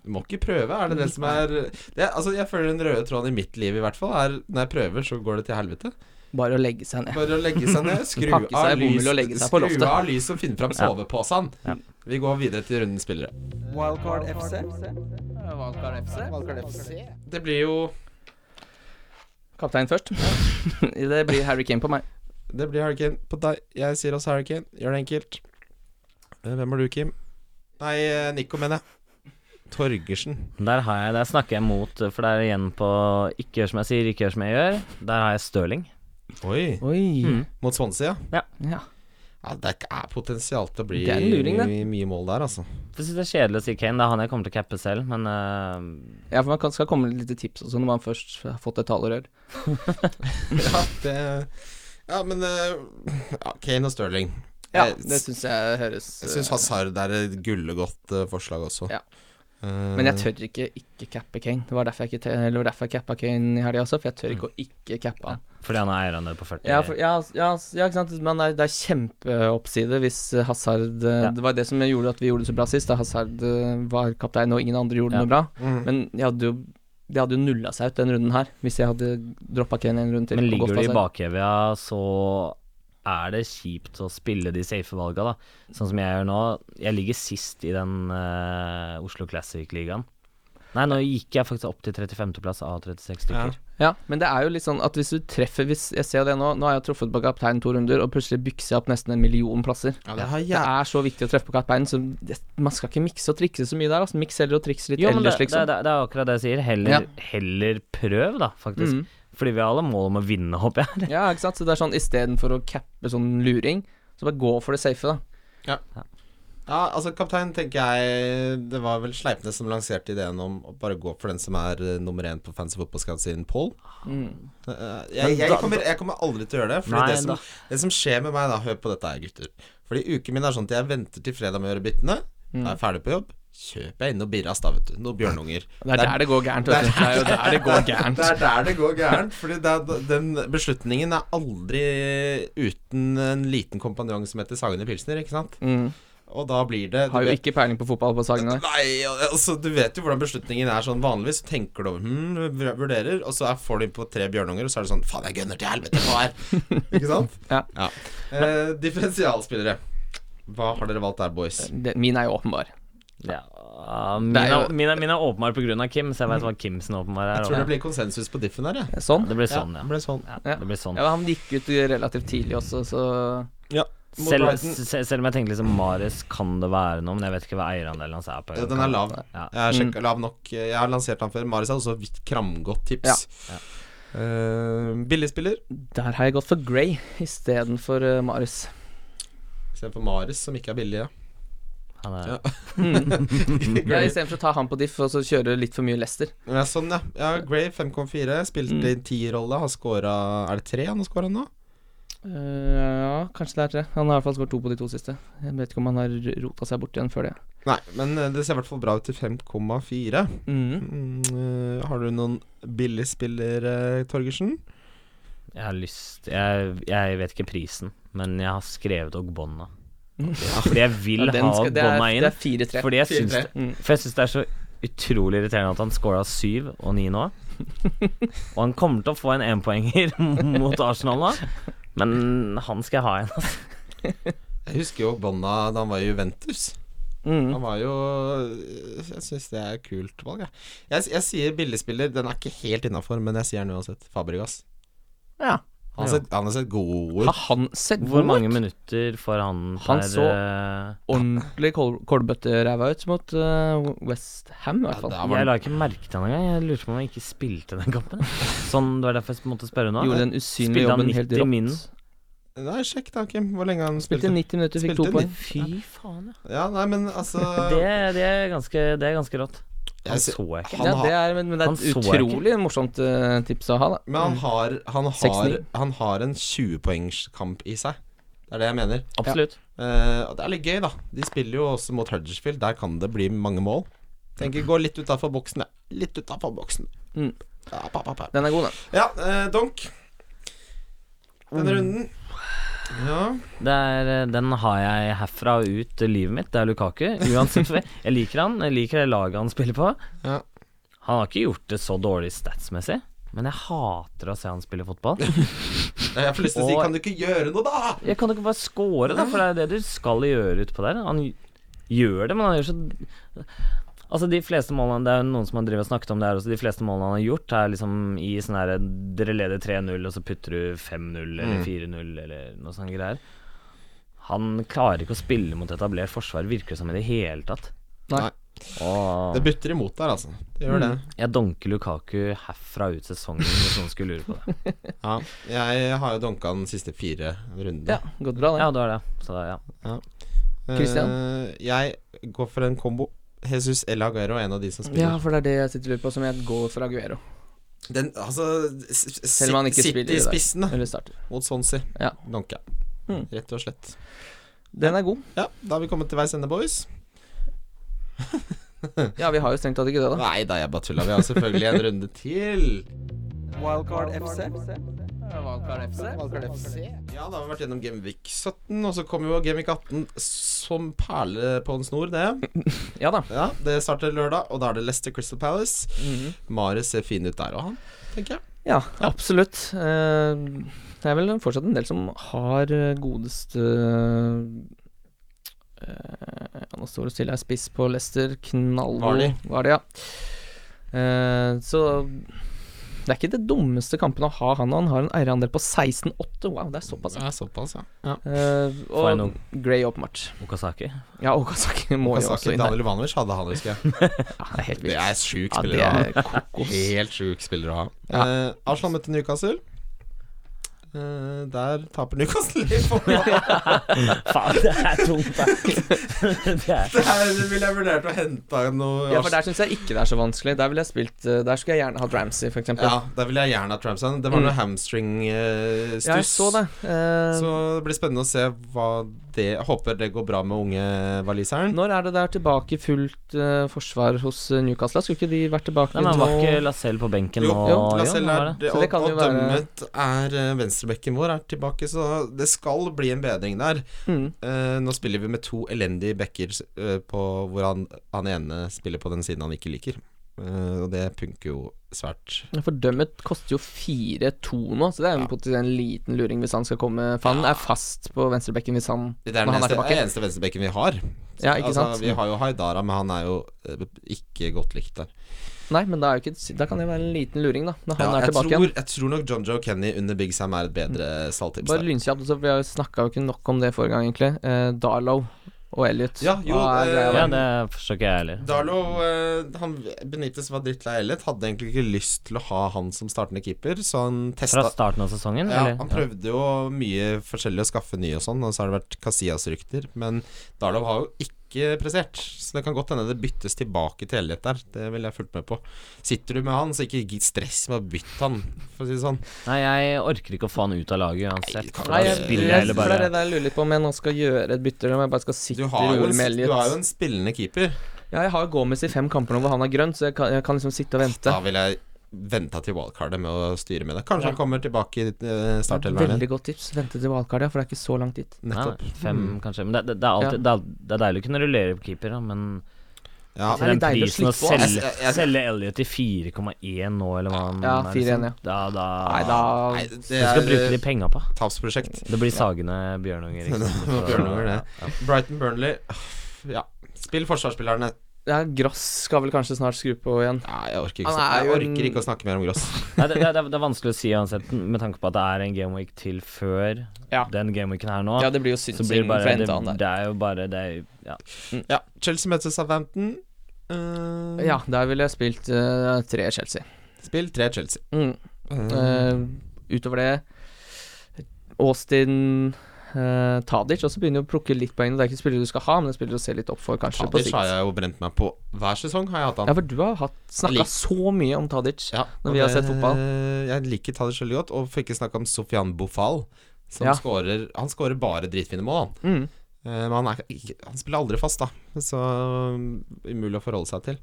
B: Du må ikke prøve, er det det som er det, Altså, jeg føler den røde tråden i mitt liv, i hvert fall, er når jeg prøver, så går det til helvete.
C: <laughs> Bare å legge seg ned.
B: Bare å legge seg
C: <laughs>
B: ned, skru
C: Pakke seg i
B: av
C: bomull
B: lys,
C: og legge seg på
B: skru
C: loftet.
B: av lys og finne fram
D: Ja.
B: soveposen.
D: Ja.
B: Vi går videre til rundens spillere.
A: Wildcard FC.
B: Det blir jo
C: Kaptein først. <laughs> Det blir Harry Kane på meg.
B: Det blir Harry Kane på deg. Jeg sier også Harry Kane. Gjør det enkelt. Eh, Hvem er du, Kim? Nei, eh, Nico, mener jeg. Torgersen.
D: Der, har jeg, der snakker jeg mot, for det er igjen på ikke gjør som jeg sier, ikke gjør som jeg gjør. Der har jeg Stirling.
B: Oi.
C: Oi.
D: Mm.
B: Mot Swansea, ja.
C: Ja.
B: ja. Det er potensial til å bli
C: Det er en luring, det.
B: mye, mye mål der, altså. <laughs>
D: Jeg synes det er kjedelig å si Kane, det er han jeg kommer til å cappe selv, men eh,
C: ja, for man kan, skal komme med litt tips også når man først har fått et talerør.
B: Ja, det Ja, men eh, ja, Kane og Sterling.
C: Ja,
B: Jeg-
C: det syns jeg høres eh,
B: jeg syns Hazard er et gullegodt eh, forslag også.
C: Ja.
B: Eh,
D: Mm.
C: Men jeg tør ikke ikke cappe Kane. Det var derfor jeg, ikke, te- eller det var derfor jeg cappa Kane i helga også, for jeg tør
D: Mm.
C: ikke å ikke cappe han.
D: fordi han er eieren nede på 40.
C: Ja, for, ja, altså, ja, ja, ikke sant. Men det er, det er kjempeoppside hvis eh, Hazard eh,
D: Ja.
C: Det var det som gjorde at vi gjorde det så bra sist, da Hazard eh, var kaptein og ingen andre gjorde
D: Ja.
C: noe bra.
B: mm.
C: Men jeg hadde jo det hadde jo nulla seg ut den runden her, hvis jeg hadde droppa Kane en runde til.
D: men
C: og gått
D: ligger du i
C: Hazard.
D: bakhevja, så er det kjipt å spille de safe valga, da. Sånn som jeg gjør nå. Jeg ligger sist i den eh, Oslo Classic-ligaen. Nei, nå gikk jeg faktisk opp til 35.-plass av 36
B: Ja.
D: stykker.
C: Ja, men det er jo litt sånn at hvis du treffer Hvis jeg ser det nå, nå har jeg truffet på kapteinen to runder, og plutselig bykser jeg opp nesten en million plasser.
B: ja, det har
C: Det
B: jeg
C: er så viktig å treffe på kapteinen, så det, man skal ikke mikse og trikse så mye der. Altså. Miks heller og trikse litt
D: Jo, men det,
C: ellers, liksom.
D: det, det, det er akkurat det jeg sier. Heller, heller prøv, da, faktisk.
C: Mm.
D: Fordi vi har alle mål om å vinne, håper jeg. <laughs>
C: Ja, ikke sant. Så det er sånn istedenfor å cappe sånn luring, så bare gå for det safe, da.
B: Ja, altså kaptein tenker jeg Det var vel Sleipnes som lanserte ideen om å bare gå for den som er eh, nummer én på Fancy Football Scouts sin Paul.
C: Mm.
B: Eh, Jeg,
D: Men
B: jeg,
D: da-
B: kommer, jeg kommer aldri til å gjøre det. Fordi
D: Nei,
B: det,
D: da.
B: som, det som skjer med meg da, hør på dette her, gutter. Fordi uken min er sånn at jeg venter til fredag med å gjøre byttene. Da
C: Mm.
B: er jeg ferdig på jobb. Kjøper jeg inn noen birras, da, vet du. Noen bjørnunger.
C: Det er der det går gærent. vet du. Det er jo der det går gærent.
B: Det er der det går gærent. Fordi det er, den beslutningen er aldri uten en liten kompanjong som heter Sagene Pilsner, ikke sant?
C: Mm.
B: Og da blir det du
C: Har jo
B: vet-
C: ikke peiling på fotball på Sagene.
B: Nei, al- altså du vet jo hvordan beslutningen er sånn vanligvis. Så tenker du over hm, vur- vurderer, og så er- får du inn på tre bjørnunger, og så er det sånn Faen, jeg gønner til helvete på
D: <laughs>
B: her. Ikke sant?
C: Ja.
B: Eh, differensialspillere. Hva har dere valgt der, boys?
C: Det- Min er jo åpenbar.
D: Ja, min,
B: Det er
D: er,
B: jo-
D: min, er, min er åpenbar pga. Kim, så jeg veit hva Kimsen åpenbar er.
B: Jeg tror det
D: og-
B: blir konsensus på diffen her, jeg.
C: Sånn.
D: Det blir sånn, ja.
B: Det ble sånn.
D: ja.
C: Ja.
D: Det blir sånn.
C: Ja, han gikk ut relativt tidlig også, så
B: Ja. mot
D: Selv,
B: Brighton.
D: se- selv om jeg tenkte liksom Marius kan det være noe, men jeg vet ikke hva eierandelen hans er på.
B: Ja, den er lav.
D: Ja.
B: Jeg har
C: Mm.
B: sjekket lav nok. Jeg har lansert han før. Marius har også vidt kramgodt tips.
D: Ja.
B: Eh, billig spiller
C: Der har jeg gått for Grey istedenfor uh, Marius.
B: istedenfor Marius, som ikke er billig. Ja.
D: Han er,
B: Ja.
C: Ja, istedenfor å ta han på diff og så kjøre litt for mye Lester.
B: Ja, sånn, ja. ja Gray 5,4. Spilte i en tierrolle. Har scora Er det tre han har scora nå?
C: Eh, ja, kanskje det er tre. Han har i hvert fall skåret to på de to siste. Jeg vet ikke om han har rota seg bort igjen før det.
B: Nei, men eh, det ser i hvert fall bra ut til 5,4. Mm, eh, har du noen billigspillere, Torgersen?
D: jeg har lyst jeg, jeg vet ikke prisen, men jeg har skrevet Ogbonna. Fordi jeg vil
C: Mm. Ja, den
D: ha
C: skal- det er-
D: Ogbonna inn.
C: Det er fire-tre.
D: Fordi jeg syns
B: 4-3.
D: det,
C: Mm.
D: for jeg syns det er så utrolig irriterende at han scora syv og ni
C: <laughs>
D: nå. Og han kommer til å få en énpoenger <laughs> mot Arsenal nå, men han skal jeg ha igjen.
B: Jeg husker jo Bonna da han var i Juventus.
C: Mm.
B: Han var jo eh, Jeg syns det er et kult valg, jeg. Jeg, jeg sier billigspiller. Den er ikke helt innafor, men jeg sier den uansett. Fabregas.
C: Ja.
B: Han har sett, han har sett god ut.
C: Har han sett
D: Hvor
C: god
D: mange
C: ut?
D: minutter får han per
C: Han så-
D: eh,
C: Ordentlig kål- kålbøtteræva ut mot eh, West Ham, i hvert fall.
B: Ja, da var
D: Jeg
B: den-
D: la ikke merke til han engang. Jeg lurte på om han ikke spilte den kampen. Sånn, Det var derfor jeg måtte spørre nå.
C: Gjorde den usynlige
D: Spilte han
C: jobben helt
D: 90 min?
C: rått.
B: Nei, sjekk da, Kim, hvor lenge han
C: Spilte
B: spilte.
C: 90 minutter, fikk to
B: Spilte
C: poeng.
D: Fy faen, ja.
B: Ja, nei, men altså
D: Det, det, er ganske, det er ganske rått.
B: jeg
D: Han
B: sy-
D: så jeg ikke.
B: han
C: Ja,
B: har-
C: det er, men, men det
D: han
C: er
D: så
C: et
D: jeg ikke.
C: utrolig morsomt eh, tips å ha, da.
B: Men han har, han har,
C: 69.
B: han har en 20-poengskamp i seg. Det er det jeg mener.
D: Absolutt.
B: Eh, og det er litt gøy, da. De spiller jo også mot Huddersfield. Der kan det bli mange mål. Tenker gå litt utafor boksen, jeg. Litt utafor boksen.
C: Mm.
B: Ja, pa, pa, pa.
C: Den er god, den.
B: ja eh, Donk.
C: Mm.
B: Denne runden. Ja.
D: Det er, eh, den har jeg herfra og ut livet mitt. Det er Lukaku. Uansett
B: <laughs>
D: hva- Jeg liker han. Jeg liker det laget han spiller på.
B: Ja.
D: Han har ikke gjort det så dårlig statsmessig, men jeg hater å se han spille fotball.
B: Jeg får lyst til å si,
D: Og-
B: kan du ikke gjøre noe, da?
D: Jeg kan jo ikke bare score, da, for det er det du skal gjøre utpå der. Han gjør det, men han gjør så Altså, de fleste målene Det er jo noen som har drevet og snakket om det her også. De fleste målene han har gjort, er liksom i sånn herre Dere leder 3-0, og så putter du 5-0 eller 4-0 eller noe sånt greier. Han klarer ikke å spille mot etablert forsvar, virker det som i det hele tatt.
C: Nei.
D: Og
B: Det butter imot der, altså. Det
C: Mm.
B: gjør det.
D: jeg donker Lukaku herfra ut sesongen, hvis noen skulle lure på det.
B: Ja. Jeg har jo donka den siste fire rundene.
C: Ja, gått bra,
D: Ja,
C: den.
D: du har det. Så da, ja.
C: Christian?
B: Eh, jeg går for en kombo. Jesus El Aguero er en av de som
C: Ja,
B: spiller.
C: for det er det jeg sitter og lurer på, som jeg går for Aguero.
B: Den, altså s- s-
C: Selv om han ikke
B: City
C: spiller i dag.
B: spissen, da,
C: Eller starter.
B: mot Swansea.
C: Ja.
B: Donka.
C: Mm.
B: Rett og slett.
C: Den er god.
B: Ja, da har vi kommet til veis ende, boys.
C: Ja, vi har jo strengt tatt ikke det, da.
B: Nei da, jeg bare tulla. Vi har selvfølgelig en runde til.
C: Wildcard FC. Wildcard FC.
B: Ja, da har vi vært gjennom Gameweek 17, og så kommer jo Gameweek 18 som perle på en snor, det.
C: Ja da.
B: Ja, Det starter lørdag, og da er det Leicester Crystal Palace.
C: Mhm.
B: Marius ser fin ut der òg, han, tenker jeg.
C: Ja, absolutt. Eh, Det er vel fortsatt en del som har eh, godeste eh, ja, Nå står det stille her. Spiss på Leicester. Knallgod
B: Vardy.
C: var det, ja. Eh, så det er ikke det dummeste kampen å ha han, og han har en eierandel på 16,8. Wow, det er såpass.
B: Ja, såpass, ja. ja.
C: Eh,
D: Får jeg
C: og Gray, åpenbart.
D: Okasaki.
C: Ja, Okazaki må jo også
B: Kazaki,
C: inn der.
B: Daniel Ivanovic hadde han, husker jeg.
C: <laughs> Ja, det er helt
B: Det
C: vilt.
B: er sjuk
C: Ja,
B: spiller
C: det
B: å ha.
C: er kokos.
B: Helt sjuk spiller å ha.
C: Ja.
B: Eh, Arsenal møtte Newcastle. Eh, der taper Newcastle i forhold. <laughs>
D: Faen, det er tungt, da. det er
B: Der ville jeg vurdert å hente noe
C: Ja, for der syns jeg ikke det er så vanskelig. Der ville jeg spilt eh, Der skulle jeg gjerne hatt Ramsey, for eksempel.
B: Ja, der ville jeg gjerne hatt Ramsand. Det var noe
C: Mm.
B: hamstring-stuss.
C: Ja, jeg så det. Eh,
B: Så det blir spennende å se hva det jeg Håper det går bra med unge waliseren.
C: når er det der tilbake fullt eh, forsvar hos eh, Newcastle? Skulle ikke de vært tilbake
D: Nei, men Var
C: nå?
D: ikke Lacelle på benken
B: Jo,
D: nå?
B: jo,
D: Jon?
B: Lascelles er
D: Var det?
B: det,
C: Så
B: og,
C: det kan jo
B: og
C: være-
B: dømmet er eh, venstrebekken vår er tilbake, så det skal bli en bedring der.
C: Mm.
B: Eh, nå spiller vi med to elendige backer eh, på hvor han, han ene spiller på den siden han ikke liker. Eh, og det punker jo svært.
C: For Dømmet koster jo 4-2 nå, så det er jo potensielt en liten luring hvis han skal komme. For han er fast på venstrebekken hvis han
B: Det er den
C: Men han er
B: eneste,
C: tilbake.
B: det er eneste venstrebekken vi har. Altså,
C: Ja, ikke sant?
B: vi har jo Haidara, men han er jo eh, ikke godt likt der.
C: Nei, men da, er jo ikke, da kan det være en liten luring, da. Når han
B: Ja,
C: er
B: jeg,
C: tilbake
B: tror,
C: igjen. Mm.
B: jeg tror nok John Joe Kenny under Big Sam er et bedre salgtips.
C: Bare
B: der.
C: lynkjapt, også, for vi har jo snakka jo ikke nok om det forrige gang, egentlig. Eh, Darlow og Elliot.
B: Ja, jo,
C: Hva er
B: eh,
C: greia der?
D: Ja, det forstår ikke jeg heller.
B: Darlo eh, han Benitez var drittlei Elliot. Hadde egentlig ikke lyst til å ha han som startende keeper, så han
D: Fra
B: testa
D: starten av
B: ja,
D: sesongen, Mm. eller?
B: Han prøvde jo mye forskjellig å skaffe nye og sånn, og så har det vært Casillas-rykter. Men Darlow har jo ikke prestert, så det kan godt hende det byttes tilbake til Elliot der. Det ville jeg fulgt med på. Sitter du med han, så ikke gitt stress med å bytte han, for å si det sånn.
D: Nei, jeg orker ikke å få han ut av laget uansett.
B: Nei, kan
C: Nei, jeg,
B: Da
D: Da
C: jeg,
D: spiller jeg heller
C: for det er
D: bare
C: det der jeg lurer litt på om jeg nå skal gjøre et bytte, eller om jeg bare skal
B: Du
C: sitte
B: har jo
C: rolig
B: en,
C: med
B: du har
C: Elliot.
B: jo en spillende keeper.
C: Ja, jeg har Gomez i fem kamper nå hvor han er grønn, så jeg kan, jeg kan liksom sitte og vente.
B: Da vil jeg venta til wildcardet med å styre med det. Kanskje han kommer tilbake i eh, startelveren.
C: Veldig godt tips. Vente til valgkart, ja, for det er ikke så langt dit.
D: Nei,
B: Nettopp.
D: Fem,
C: Mm.
D: kanskje. Men det, det, det, er alltid, det, er, det er deilig å kunne rullere på keeper, da, men
B: Ja,
D: til den
C: Det er litt
D: prisen
C: deilig
D: å
C: å slippe på, ass.
D: selge, selge Elliot til 4,1 nå, eller hva han
C: Ja,
D: er,
C: 4-1,
D: liksom,
C: ja.
D: Da, da,
C: Nei, da
B: Nei,
D: Du
B: det
D: skal bruke
B: er eh,
D: de penga på.
B: tapsprosjekt.
D: Det blir Sagene Bjørnunger. ikke sant?
B: <laughs>
D: Så-
B: Bjørnunger, det. Brighton Burnley Ja. Spill forsvarsspillerne.
C: ja, Gross skal vel kanskje snart skru på igjen.
B: Nei, jeg orker ikke,
C: Han
B: snak-
C: er
B: jeg
C: jo en-
B: orker ikke å snakke mer om Gross.
D: Nei, det, det, er- det er vanskelig å si uansett, med tanke på at det er en gameweek til før
C: Ja.
D: den gameweeken her nå.
C: Ja, det blir jo
D: så blir
C: synsing
D: det
C: for
D: bare
C: en
D: det,
C: til han der.
D: det er jo bare det er, jo- ja.
B: Ja, Chelsea møter Southampton. Eh,
C: Ja, der ville jeg spilt eh, tre Chelsea.
B: Spill tre Chelsea.
C: Mm.
B: Eh,
C: Eh, utover det Austin eh, Tadic også begynner jo å plukke litt poeng. Det er ikke spillere du skal ha, men det er spillere du ser litt opp for, kanskje, på
B: Tadic har
C: sikt.
B: jeg jo brent meg på hver sesong, har jeg hatt han.
C: Ja, for du har hatt snakka
B: Litt.
C: så mye om Tadic.
B: Ja,
C: når
B: og
C: vi har
B: det-
C: sett fotball.
B: Jeg liker Tadic veldig godt, og får ikke snakke om Sofian Bofal. Som
C: Ja.
B: skårer, han skårer bare dritfine mål, han.
C: Mm.
B: Eh, Men han, er, ikke- han spiller aldri fast, da. Så um, umulig å forholde seg til.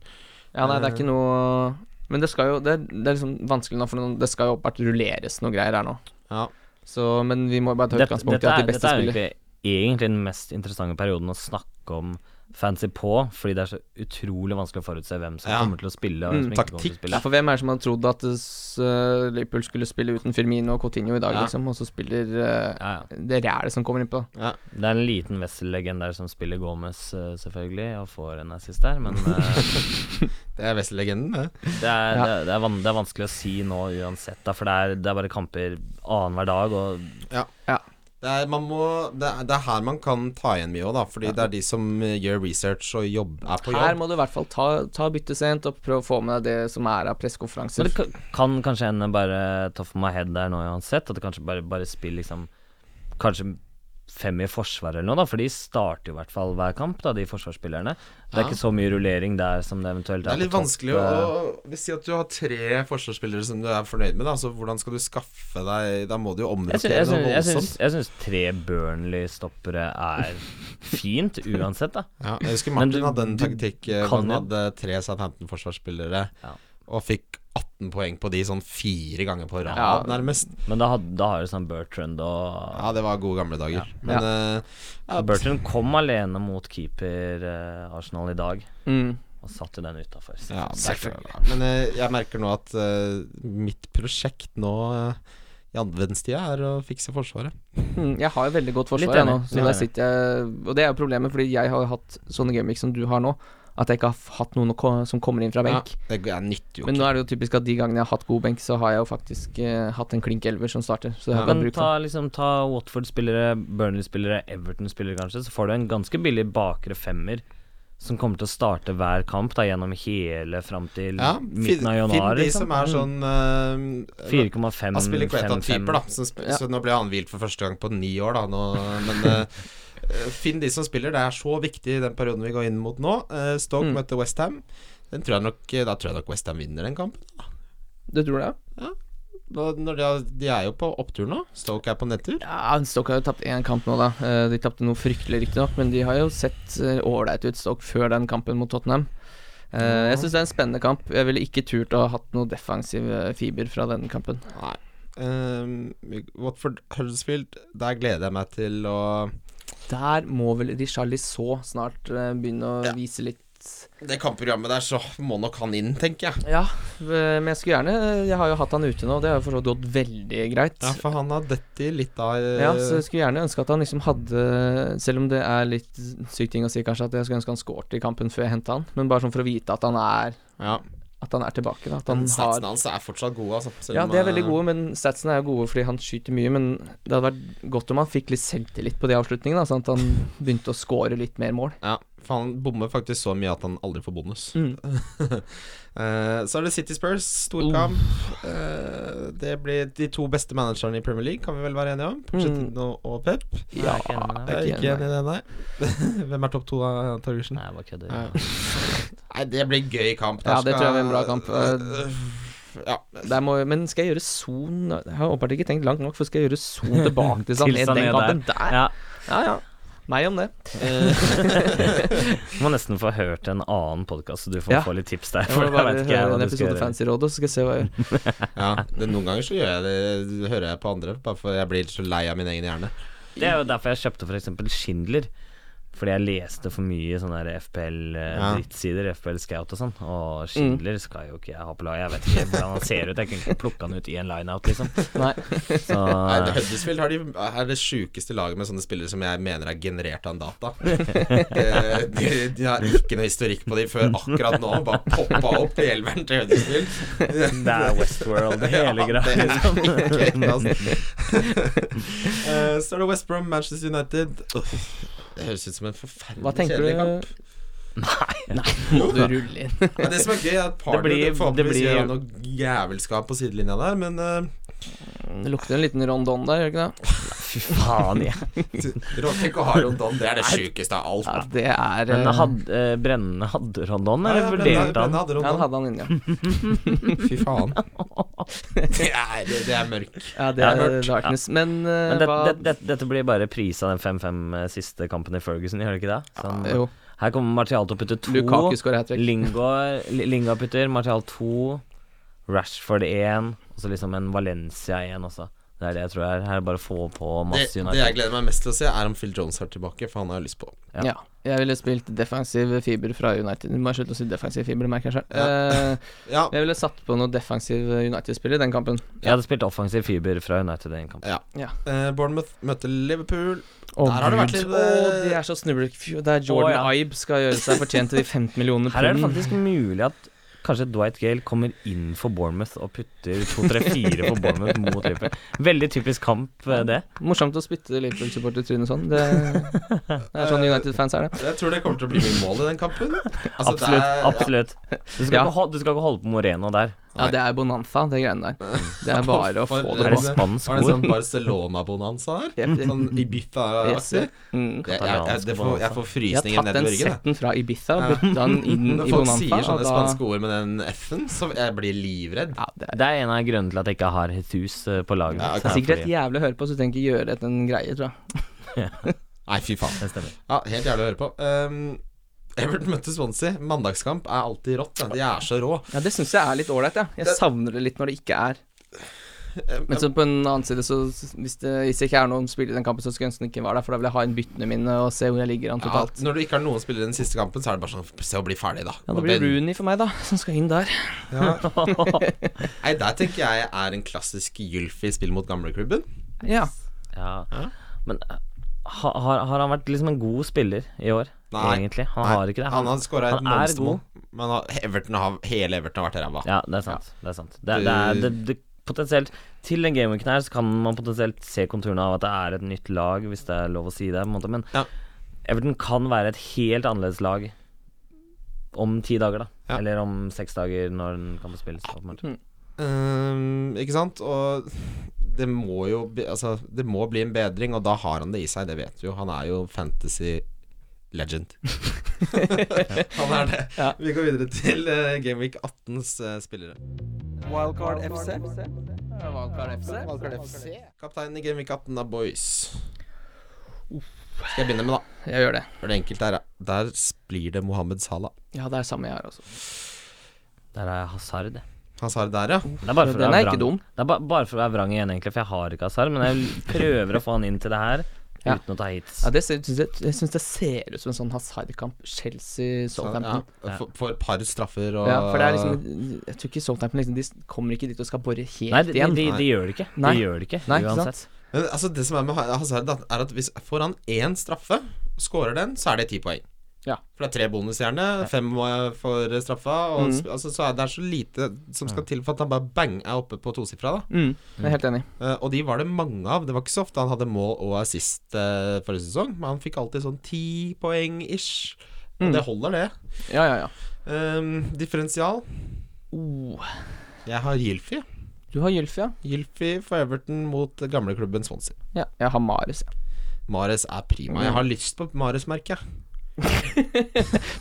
C: Ja, nei, det er ikke noe Men det skal jo Det, det er liksom vanskelig nå, for noen- det skal jo åpenbart rulleres noe greier her nå.
B: Ja.
C: Så, men vi må bare ta
D: Dette,
C: utgangspunkt i
D: dette
C: at
D: er,
C: de beste
D: dette
C: spiller.
D: er egentlig, egentlig den mest interessante perioden å snakke om fancy på, fordi det er så utrolig vanskelig å forutse hvem som
B: Ja.
D: kommer til å spille, og hvem
B: Mm,
D: som ikke kommer til å
B: taktikk.
C: Ja,
D: spille.
C: for hvem er det som har trodd at eh, s- eh, Liverpool skulle spille uten Firmino og Coutinho i dag,
B: Ja.
C: liksom, og så spiller eh,
D: Ja, ja.
C: det rælet som kommer innpå, da.
D: Det er en liten Wessel-legend der som spiller Gomez, eh, selvfølgelig, og får en assist der, men eh,
C: <laughs>
B: Det er Wessel-legenden, det.
D: det, er,
C: Ja.
D: det, er- det, er van, det er vanskelig å si nå uansett, da, for det er, det er bare kamper annenhver dag, og
B: Det er, man må, det, er, det er her man kan ta igjen mye òg, da. Fordi det er de som eh, gjør research og jobb, er på
C: Her
B: jobb.
C: må du i hvert fall ta, ta byttet sent og prøve å få med deg det som er av
D: Men
C: pressekonferanser.
D: det kan, kan kanskje hende bare tough my head der nå uansett, at det kanskje bare, bare spiller liksom Kanskje fem i forsvar eller noe, da, for de starter jo i hvert fall hver kamp, da, de forsvarsspillerne. Det er
B: Ja.
D: ikke så mye rullering der som det eventuelt
B: Det er eh, litt
D: på topp,
B: vanskelig å Hvis Si at du har tre forsvarsspillere som du er fornøyd med, da. Så hvordan skal du skaffe deg Da må du jo
D: eh, Jeg syns-
B: omrokere
D: jeg syns-
B: noe
D: jeg syns-
B: voldsomt.
D: jeg syns tre Burnley-stoppere er fint, uansett, da.
B: Ja, jeg husker
D: Men
B: Martin
D: du-
B: hadde en
D: du
B: taktikk eh, hvor
D: kan
B: han
D: jo-
B: hadde tre Southampton-forsvarsspillere
D: Ja.
B: og fikk 18 poeng på de sånn fire ganger på rad,
C: Ja.
B: nærmest.
D: Men da, had, da har du sånn Bertrand og
B: Ja, det var gode gamle dager. Men eh, ja,
D: Bertrand kom alene mot keeper eh, Arsenal i dag,
C: Mm.
D: og satte den utafor.
B: Ja, selvfølgelig. Men eh, jeg merker nå at eh, mitt prosjekt nå eh, i adventstida er å fikse Forsvaret.
C: Mm. Jeg har jo veldig godt
D: Litt
C: forsvar jeg, nå,
D: enig,
C: så
D: litt
C: der
D: enig.
C: sitter jeg Og det er jo problemet, fordi jeg har jo hatt sånne gameweeks som du har nå, at jeg ikke har f- hatt noen å ko- som kommer inn fra benk.
B: Ja, det er nyttig jo
C: Men
B: ikke.
C: nå er det jo typisk at de gangene jeg har hatt god benk, så har jeg jo faktisk eh, hatt en klink elver som starter. Så jeg
B: Ja.
C: har ikke
D: Men
C: hatt bruk for
D: ta, liksom, ta Watford-spillere, Burnley-spillere, Everton-spillere kanskje, så får du en ganske billig bakre femmer som kommer til å starte hver kamp da, gjennom hele fram til
B: Ja,
D: midten av
B: finn
D: januar.
B: de
D: liksom.
B: som er sånn eh,
D: Mm. 4,5
B: Han spiller Kveta-typer, da.
D: 5-5.
B: Som, sp-
C: Ja.
B: Så nå ble han hvilt for første gang på ni år, da. Nå, men eh, eh, finn de som spiller. Det er så viktig i den perioden vi går inn mot nå. Eh, Stoke
C: Mm.
B: møter Westham. Den tror jeg nok eh, Da tror jeg nok Westham vinner den kampen.
C: Du tror det?
B: Da, når de, har- de er jo på opptur nå. Stoke er på nedtur.
C: Ja, Stoke har jo tapt én kamp nå, da. Eh, De tapte noe fryktelig, riktignok, men de har jo sett eh, ålreit ut, Stoke, før den kampen mot Tottenham. Eh, Jeg syns det er en spennende kamp. Jeg ville ikke turt å ha hatt noe defensiv eh, fiber fra den kampen.
B: Nei. Ehm, Watford Huddersfield, der gleder jeg meg til å
C: Der må vel Richarli så snart eh, begynne å
B: Ja.
C: vise litt
B: Det kampprogrammet der, så må nok han inn, tenker jeg.
C: Ja, eh, men jeg skulle gjerne Jeg har jo hatt han ute nå, og det har jo for så vidt gått veldig greit.
B: Ja, for han har dette i litt av eh,
C: Ja, så jeg skulle gjerne ønske at han liksom hadde Selv om det er litt sykt ting å si, kanskje, at jeg skulle ønske han skåret i kampen før jeg henta han, men bare sånn for å vite at han er
B: ja.
C: At han er tilbake, da. At han
B: Men
C: har
B: Satsene hans er fortsatt gode, altså. selv
C: Ja,
B: om,
C: de er veldig
B: eh,
C: gode, men statsene er jo gode fordi han skyter mye. Men det hadde vært godt om han fikk litt selvtillit på de avslutningene, da, sånn at han begynte å score litt mer mål.
B: Ja, for han bommer faktisk så mye at han aldri får bonus.
C: Mm.
B: Eh, så er det City Spurs, storkamp. Eh, det blir de to beste managerne i Premier League, kan vi vel være enige om?
C: Mm.
B: Pochettino og Pep.
C: Ja,
D: jeg er
B: Jeg er ikke
D: ikke enig med deg.
B: enig i det, nei. <laughs> Hvem er topp to av Torgersen?
D: Nei, jeg bare kødder.
B: Ja. Nei, det blir gøy kamp. Der
C: Ja, det
B: skal-
C: tror jeg blir en bra kamp. Eh,
B: Øh, Eh,
C: <laughs>
B: ja.
C: Der må, men skal jeg gjøre Son Jeg har åpenbart ikke tenkt langt nok, for skal jeg gjøre Son
D: <laughs>
C: tilbake til Sané
D: Til Sané
C: den kampen der?
D: Ja,
C: Ja, ja. Meg om det.
D: du må nesten få hørt en annen podkast, så du får
C: Ja.
D: få litt tips der.
C: Jeg
D: <laughs> For
C: må
D: da
C: bare
D: vet ikke jeg
C: høre
D: hva
C: en
D: du skal
C: episode
D: gjøre.
C: Fancy Råd, og så skal jeg se hva
D: <laughs>
C: jeg gjør.
B: ja det, noen ganger så gjør jeg det, hører jeg på andre, bare for jeg blir så lei av min egen hjerne.
D: Det er jo derfor jeg kjøpte f.eks. Schindler. Fordi jeg leste for mye sånne eh,
B: Ja.
D: FPL-drittsider, FPL Scout og sånn. Og Schindler skal jo ikke jeg ha på lag. Jeg vet ikke hvordan han ser ut. Jeg kunne ikke plukka han ut i en lineout, liksom.
C: Nei.
D: Så
B: Nei, det- Huddersfield har de, er det sjukeste laget med sånne spillere som jeg mener er generert av en
D: <laughs>
B: data. De, de, de har ikke noe historikk på de før akkurat nå. Bare poppa opp i elveren til Huddersfield.
D: det er Westworld, hele
B: <laughs> Ja, det
D: greia.
B: er
D: Liksom.
B: ikke kødd, altså.
D: <laughs>
B: Eh, Så er det West Brom, Manchester United. Uff, Det høres ut som en
C: Hva
B: forferdelig
C: tenker
B: kjedelig kamp.
C: du?
D: <laughs>
C: Må du rulle inn?
B: Men det som er gøy, er at Pardew
D: blir-
B: forhåpentligvis
D: det blir-
B: gjør noe jævelskap på sidelinja der, men eh,
C: Det lukter en liten rondon der, gjør det ikke det?
D: Fy faen,
B: <laughs>
D: jeg.
B: Råtek og Haron Don, det er det sjukeste av alt.
C: Ja, det er
D: Men
C: eh,
D: hadde, eh, Brennende hadde Rondon,
B: Ja,
D: eller
B: ja, Brenne-
D: vurderte
B: Brenne
D: han?
B: hadde
C: ja,
B: Rondon.
C: han hadde han
D: <laughs>
C: inne, ja.
B: Fy <laughs> faen. Det er, det, det er mørk.
C: ja det
D: Jeg har
C: er
D: hørt.
C: darkness. Men, eh,
D: Men det,
C: hva
D: det, det, dette blir bare pris av den 5-5 eh, siste kampen i Ferguson, gjør det ikke det? Sånn,
C: Jo,
D: her kommer Martial til å putte to.
C: Lukaku skårer hat trick.
D: Lingard Li- Lingard putter, Martial 2, Rashford 1, og så liksom en Valencia 1 også. Det er det jeg tror er. Her er det bare å få på
B: Det,
D: Mass
B: det jeg
D: United.
B: gleder meg mest til å se, er om Phil Jones er tilbake, for han har jeg lyst på.
D: Ja.
C: Ja. Jeg ville spilt defensiv fiber fra United. Nå må jeg slutte å si defensiv fiber, det merker jeg selv. Eh,
B: Ja,
C: Jeg ville satt på noe defensiv eh, United-spiller i den kampen.
D: Jeg hadde spilt offensiv fiber fra United i en kamp.
B: eh, Bournemouth møter Liverpool.
C: Å,
B: Der har det vært
C: Gud.
B: litt,
C: Å,
B: eh,
C: de er så snublek. Fy, Det er Jordan
D: Å, ja.
C: Ibe skal gjøre seg fortjent til de 15 millioner
D: Her er det
C: pund.
D: faktisk mulig at kanskje Dwight Gale kommer inn for Bournemouth og putter 2-3-4 for Bournemouth mot Liverpool. Veldig typisk kamp, eh, det.
C: Morsomt å spytte Liverpool-supporter i trynet sånn. Det, det er sånn United-fans
B: <laughs>
C: er, det.
B: Jeg tror det kommer til å bli mye mål i den kampen. Altså, det
D: Absolutt.
B: er-
D: absolutt Du skal,
C: Ja.
D: ikke, holde, du skal ikke holde på Moreno der.
C: Ja, det er bonanza, det greiene der. Det er bare å få
B: For-
C: det
D: Er det
C: på.
D: spansk
B: Var det en
D: ord?
B: sånn Barcelona-bonanza her?
C: Jep.
B: Sånn Ibiza-aktig?
C: Mm.
B: Det- Jeg, jeg, det får- jeg får
C: Jeg har
B: frysninger
C: tatt
B: ned i
C: den
B: ryggen. jeg.
C: setten fra Ibiza og putta den inn
B: <laughs> Når
C: i
B: folk
C: bonanza.
B: sier sånne
C: og da-
B: spanske ord med den F-en, så jeg blir livredd.
C: ja, det er
D: Det er en av grunnene til at jeg ikke har Jesus eh, på laget.
B: Ja, ok.
D: mitt, er
C: sikkert helt
D: fordi-
C: jævlig å høre på, så du trenger ikke gjøre det til en greie, tror jeg.
B: Nei, fy faen.
D: Det stemmer.
B: Ja, helt jævlig å høre på. Um, Everton møtte Swansea. Mandagskamp er alltid rått. da. De er så rå.
C: Ja, Det syns jeg er litt ålreit, jeg. Jeg
B: Det-
C: savner det litt når det ikke er. Men så på en annen side, så hvis det hvis det ikke er noen spillere i den kampen, så skulle jeg ønske den ikke var der, for da vil jeg ha inn byttene mine og se hvor jeg ligger an
B: Ja,
C: totalt.
B: når du ikke har noen spillere i den siste kampen, så er det bare sånn Se å bli ferdig, da.
C: Ja, det blir Rooney for meg, da, som skal inn der.
B: Nei, der tenker jeg er en klassisk Gylfi spill mot gamleklubben.
C: Ja.
D: Ja.
B: Ja.
D: Men eh, ha, har, har han vært liksom en god spiller i år,
B: Nei.
D: egentlig? Han har ikke det.
B: Han har skåra et
D: han er
B: monstermål. Men han- Everton har, hele Everton har vært ræva.
D: Ja, det er sant. Det er sant. Det, det er det, det, potensielt Til den gameweeken her så kan man potensielt se konturene av at det er et nytt lag, hvis det er lov å si det, på en måte. Men
B: Ja.
D: Everton kan være et helt annerledes lag om ti dager, da.
B: Ja.
D: Eller om seks dager, når den kan spilles.
B: <laughs>
D: åpenbart.
B: Ehm, ikke sant? Og det må jo bli, altså, det må bli en bedring, og da har han det i seg, det vet vi jo. Han er jo fantasy
C: <laughs>
B: legend. han er det.
C: Ja.
B: Vi går videre til eh, Gameweek 18s eh, spillere.
C: Wildcard FC. Wildcard FC.
B: Kapteinen i Gameweek 18 er Boys. Skal jeg begynne med, da?
C: Jeg gjør det.
B: For det enkelte her, ja. der blir det Mohammed Salah.
C: Ja, det er samme jeg har, altså.
D: Der er Hazard. det.
B: Han sa det der, ja.
D: Det er bare for å
C: Den
D: være
C: er ikke
D: vrang.
C: dum.
D: Det er ba bare for å være vrang igjen, egentlig, for jeg har ikke Hazard. Men jeg prøver å få han inn til det her.
C: Ja.
D: uten å ta hits.
C: Ja, det ser, synes jeg- jeg syns det ser ut som en sånn Hazard-kamp.
B: Sånn,
C: Chelsea-Southampton.
B: ja, for, for et par straffer og
C: Ja, for det er liksom Jeg tror ikke Southampton liksom, De kommer ikke dit og skal bore helt
D: Nei, de, de,
C: igjen.
D: de, de gjør det ikke.
C: Nei.
D: De gjør det ikke,
C: Nei, ikke sant?
D: uansett.
B: Men altså, det som er med Ha- Hazard, da, er at hvis får han én straffe, scorer den, så er det ti poeng.
C: Ja.
B: For det er tre bonusstjerner, fem må- for straffa, og sp- altså, så er det er så lite som skal til for at han bare bang er oppe på tosifra, da.
C: Mm, jeg er helt enig.
B: Eh, og de var det mange av. Det var ikke så ofte han hadde mål og assist eh, forrige sesong, men han fikk alltid sånn ti poeng ish. Og det holder, det.
C: Ja, ja, ja.
B: Ehm, differensial.
C: Oh,
B: Jeg har Gylfi.
C: du har Gylfi, ja.
B: Gylfi for Everton mot gamleklubben Swansea.
C: ja. Jeg har Mares. Ja.
B: Mares er prima. Jeg har lyst på Mares-merket.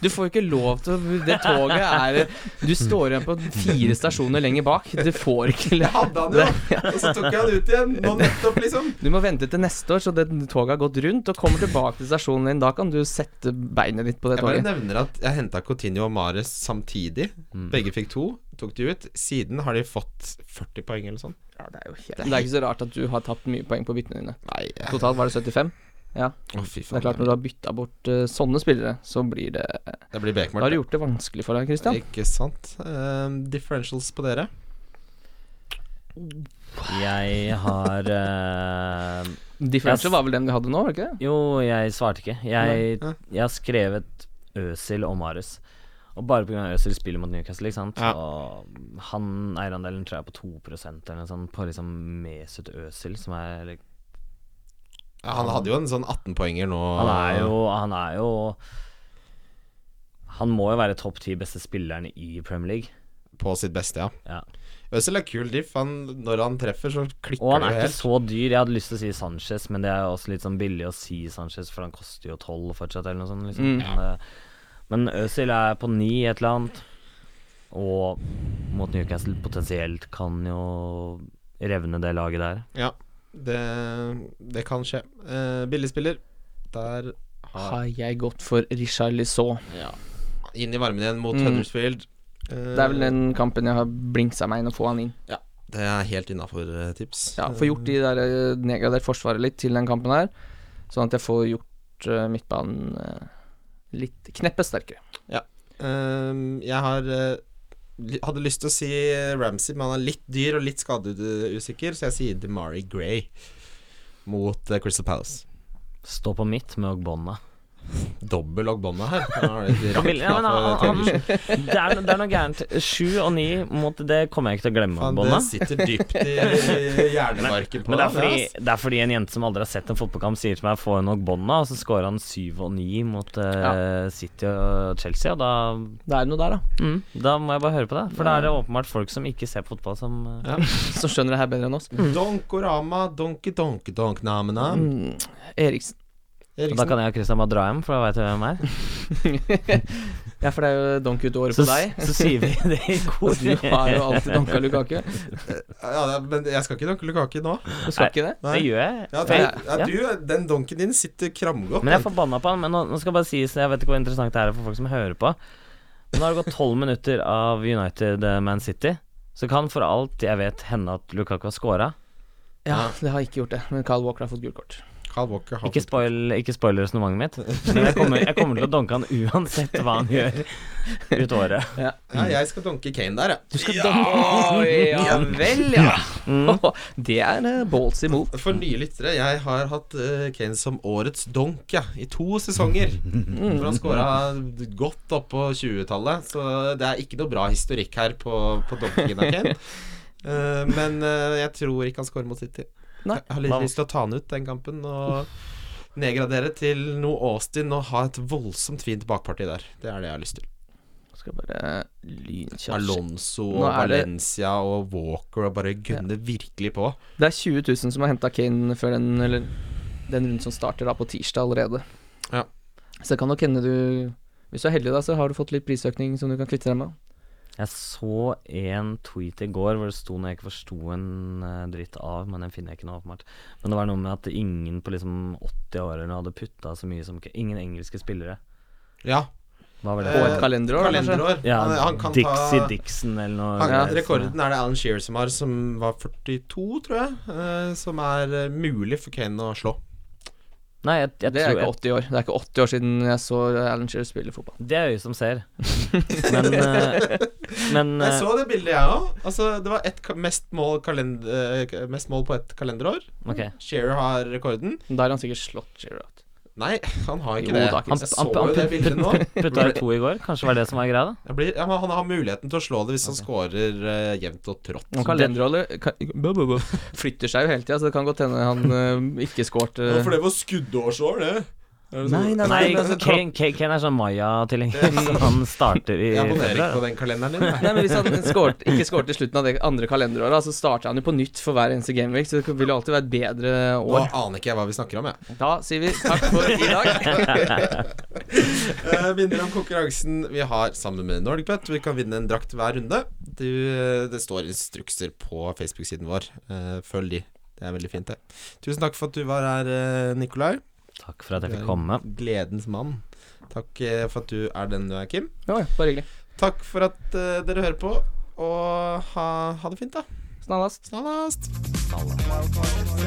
C: Du får jo ikke lov til å Det toget er Du står igjen på fire stasjoner lenger bak. Du får ikke
B: Jeg hadde han jo, og så tok jeg han ut igjen. Nå nettopp, liksom.
C: Du må vente til neste år, så det toget har gått rundt, og kommer tilbake til stasjonen din. Da kan du sette beinet ditt på det
B: Jeg bare
C: toget.
B: nevner at jeg henta Coutinho og Mares samtidig. Begge fikk to. Tok de ut. Siden har de fått 40 poeng eller sånn.
C: Ja, det er jo helt Det er ikke så rart at du har tapt mye poeng på byttene dine.
B: Nei. eh,
C: Totalt var det 75.
B: Å, fy
C: Det
B: faen.
C: er klart, når du har bytta bort eh, sånne spillere, så blir det
B: Det blir
C: Da har
B: bekmørkt.
C: du gjort det vanskelig for deg, Christian.
B: Ikke sant. Ehm, differentials på dere?
D: Jeg har eh,
C: Differential
D: Yes.
C: var vel den vi hadde nå, var det ikke det?
D: Jo, jeg svarte ikke. Jeg,
B: Nei, ja.
D: jeg har skrevet Øsil og Marius. Og bare pga. Øsil spiller mot Newcastle, ikke sant.
B: Ja.
D: Og han eierandelen tror jeg er på 2 eller noe sånt på liksom Mesut Øsil, som er
B: Ja, han hadde jo en sånn 18-poenger nå.
D: Han er jo Han er jo Han må jo være topp ti beste spilleren i Premier League.
B: På sitt beste, ja.
D: Ja.
B: Øzil er kul diff. Han, når han treffer, så klikker
D: Og han
B: det
D: er
B: jo
D: ikke
B: helt.
D: så dyr. Jeg hadde lyst til å si Sanchez, men det er jo også litt sånn billig å si Sanchez, for han koster jo tolv fortsatt, eller noe sånt. Liksom.
C: Mm.
D: Men, eh, men Øzil er på ni, et eller annet. Og mot Newcastle potensielt kan jo revne det laget der.
B: Ja, det, det kan skje. Uh, Billigspiller. Der har
C: Har jeg gått for Richard Lisot?
B: inn i varmen igjen mot
C: Mm.
B: Huddersfield. Eh,
C: Det er vel den kampen jeg har blingsa meg inn og få han inn.
B: Det er helt innafor eh, tips.
C: Ja, Få gjort de der eh, nedgradert forsvaret litt til den kampen her, sånn at jeg får gjort eh, midtbanen eh, litt kneppet sterkere.
B: Ehm, jeg har eh, li- hadde lyst til å si eh, Ramsey, men han er litt dyr og litt skadeusikker, så jeg sier Demari Gray mot eh, Crystal Palace.
D: Stå på midt med Ogbonna.
B: Dobbel Ogbonna her. Han har litt
D: <laughs> Ja,
B: rakt
D: men han-
B: da for
D: han-
B: Taylor.
D: Det er, no- det er noe gærent. Sju og ni mot Det kommer jeg ikke til å glemme,
B: Faen,
D: Ogbonna.
B: det sitter dypt i i
D: <laughs>
B: hjernemarken på
D: Men det er,
B: han,
D: fordi,
B: ass.
D: det er fordi en jente som aldri har sett en fotballkamp, sier til meg 'få henne Ogbonna', og så scorer han 7 og 9 mot eh, City og Chelsea, og da
C: Det er noe der, da,
D: mm, Da må jeg bare høre på det. For da er det åpenbart folk som ikke ser på fotball, som eh,
C: <laughs> som skjønner det her bedre enn oss.
B: Donkorama, donki donki donk namena.
C: Mm, Eriksen. <laughs>
D: og Da
B: Eriksen.
D: kan jeg og Christian bare dra hjem, for da veit jeg hvem jeg er.
C: Ja, for det er jo donkey-ut-året
D: Så,
C: på deg.
D: så sier vi det
C: <laughs>
D: i kor.
C: Og du har jo alltid donka Lukaku.
B: Ja, det er- men jeg skal ikke donke Lukaki nå.
C: Du skal ikke det?
D: <laughs> Det gjør jeg.
B: Ja, du,
D: For jeg-
B: ja, du, den donken din sitter kramgodt.
D: Men jeg er forbanna på han. Men nå, nå skal jeg bare sies, jeg vet ikke hvor interessant det er for folk som hører på. Men nå har det gått tolv minutter av United eh, Man City. Så kan for alt jeg vet hende at Lukaku har scora.
C: Ja, det har ikke gjort det. Men Carl Walker har fått gult kort.
B: Carl Walker har
D: Ikke spoil, ikke spoil resonnementet mitt. Men jeg kommer, jeg kommer til å donke han uansett hva han gjør ut året.
B: Ja, jeg skal donke Kane der, jeg.
C: Du skal donke Ja vel, ja. <laughs> Det er eh, balls imot.
B: For nye lyttere, jeg har hatt eh, Kane som årets donk ja, i to sesonger. For han scora godt opp på 20-tallet, så det er ikke noe bra historikk her på, på donkingen av Kane. Eh, men eh, jeg tror ikke han scorer mot City.
C: Nei.
B: Jeg har litt lyst til å ta han ut den kampen og nedgradere til noe Austin og ha et voldsomt fint bakparti der. Det er det jeg har lyst til.
C: Skal bare eh, lynkjapt
B: Alonso
C: Nå
B: og
C: er det-
B: Valencia og Walker og bare gunne virkelig på.
C: Det er 20 000 som har henta Kane før den, eller, den runden som starter da på tirsdag allerede.
B: Ja.
C: Så det kan nok hende du Hvis du er heldig, da, så har du fått litt prisøkning som du kan kvitte deg med.
D: Jeg så en tweet i går hvor det sto noe jeg ikke forsto en eh, dritt av, men den finner jeg ikke nå, åpenbart. Men det var noe med at ingen på liksom 80-årene hadde putta så mye som Ingen engelske spillere.
B: Ja,
D: Hva var det?
C: Og
B: Eh,
C: et kalenderår,
B: kalenderår.
D: Ja,
B: han, han kan
D: Dixie
B: ta
D: Dixon eller noe.
B: han,
C: Ja.
B: Rekorden er det Alan Shearer som har, som var 42, tror jeg. eh, som er eh, mulig for Kane å slå.
D: Nei, jeg, jeg
C: Det er
D: tror
C: ikke 80
D: jeg,
C: år. Det er ikke 80 år siden jeg så Alan Shearer spille fotball.
D: Det er øyet som ser. Men,
B: <laughs>
D: eh, men
B: Jeg
D: eh,
B: så det bildet, jeg òg. Altså, det var ett ka- mest, mål kalend- eh, mest mål på ett kalenderår.
D: Ok.
B: Shearer har rekorden.
C: Da har han sikkert slått Shearer out.
B: Nei, han har ikke
C: Jo,
B: det.
C: da, ikke
B: Jeg
C: sant.
B: så jo det bildet nå.
D: Putta jo to i går. Kanskje var det som var greia, da.
B: Jeg blir, ja, men han har muligheten til å slå det hvis han scorer eh, jevnt og trått.
C: Og Kalenderholder ka, bo, bo, bo, flytter seg jo hele tida, så det kan godt hende han eh, ikke skårte
B: det var skuddårsår, det.
C: Nei, nei, nei,
D: Nei,
C: men altså, Klopp-
D: Kane, Kane Kane er sånn Maya-tilhenger, så han starter i
B: Jeg abonnerer ikke
D: februar.
B: på den kalenderen din.
C: eh, Nei, men Hvis han skårte, ikke skårte i slutten av det andre kalenderåret, så starter han jo på nytt for hver eneste gameweek, så det vil jo alltid være et bedre
B: Nå
C: år.
B: aner ikke jeg hva vi snakker om, jeg.
C: Da sier vi takk for i dag.
B: Eh, Vinner om konkurransen vi har sammen med NordicBet. Vi kan vinne en drakt hver runde. Du, eh, det står instrukser på Facebook-siden vår. Eh, Følg de. Det er veldig fint, det. Tusen takk for at du var her, eh, Nikolai.
D: Takk for at jeg fikk komme.
B: Gledens mann. Takk eh, for at du er den du er, Kim.
C: Ja, ja, bare hyggelig.
B: Takk for at eh, dere hører på, og ha, ha det fint, da.
C: Snallast.
B: Snallast!
D: Snalla.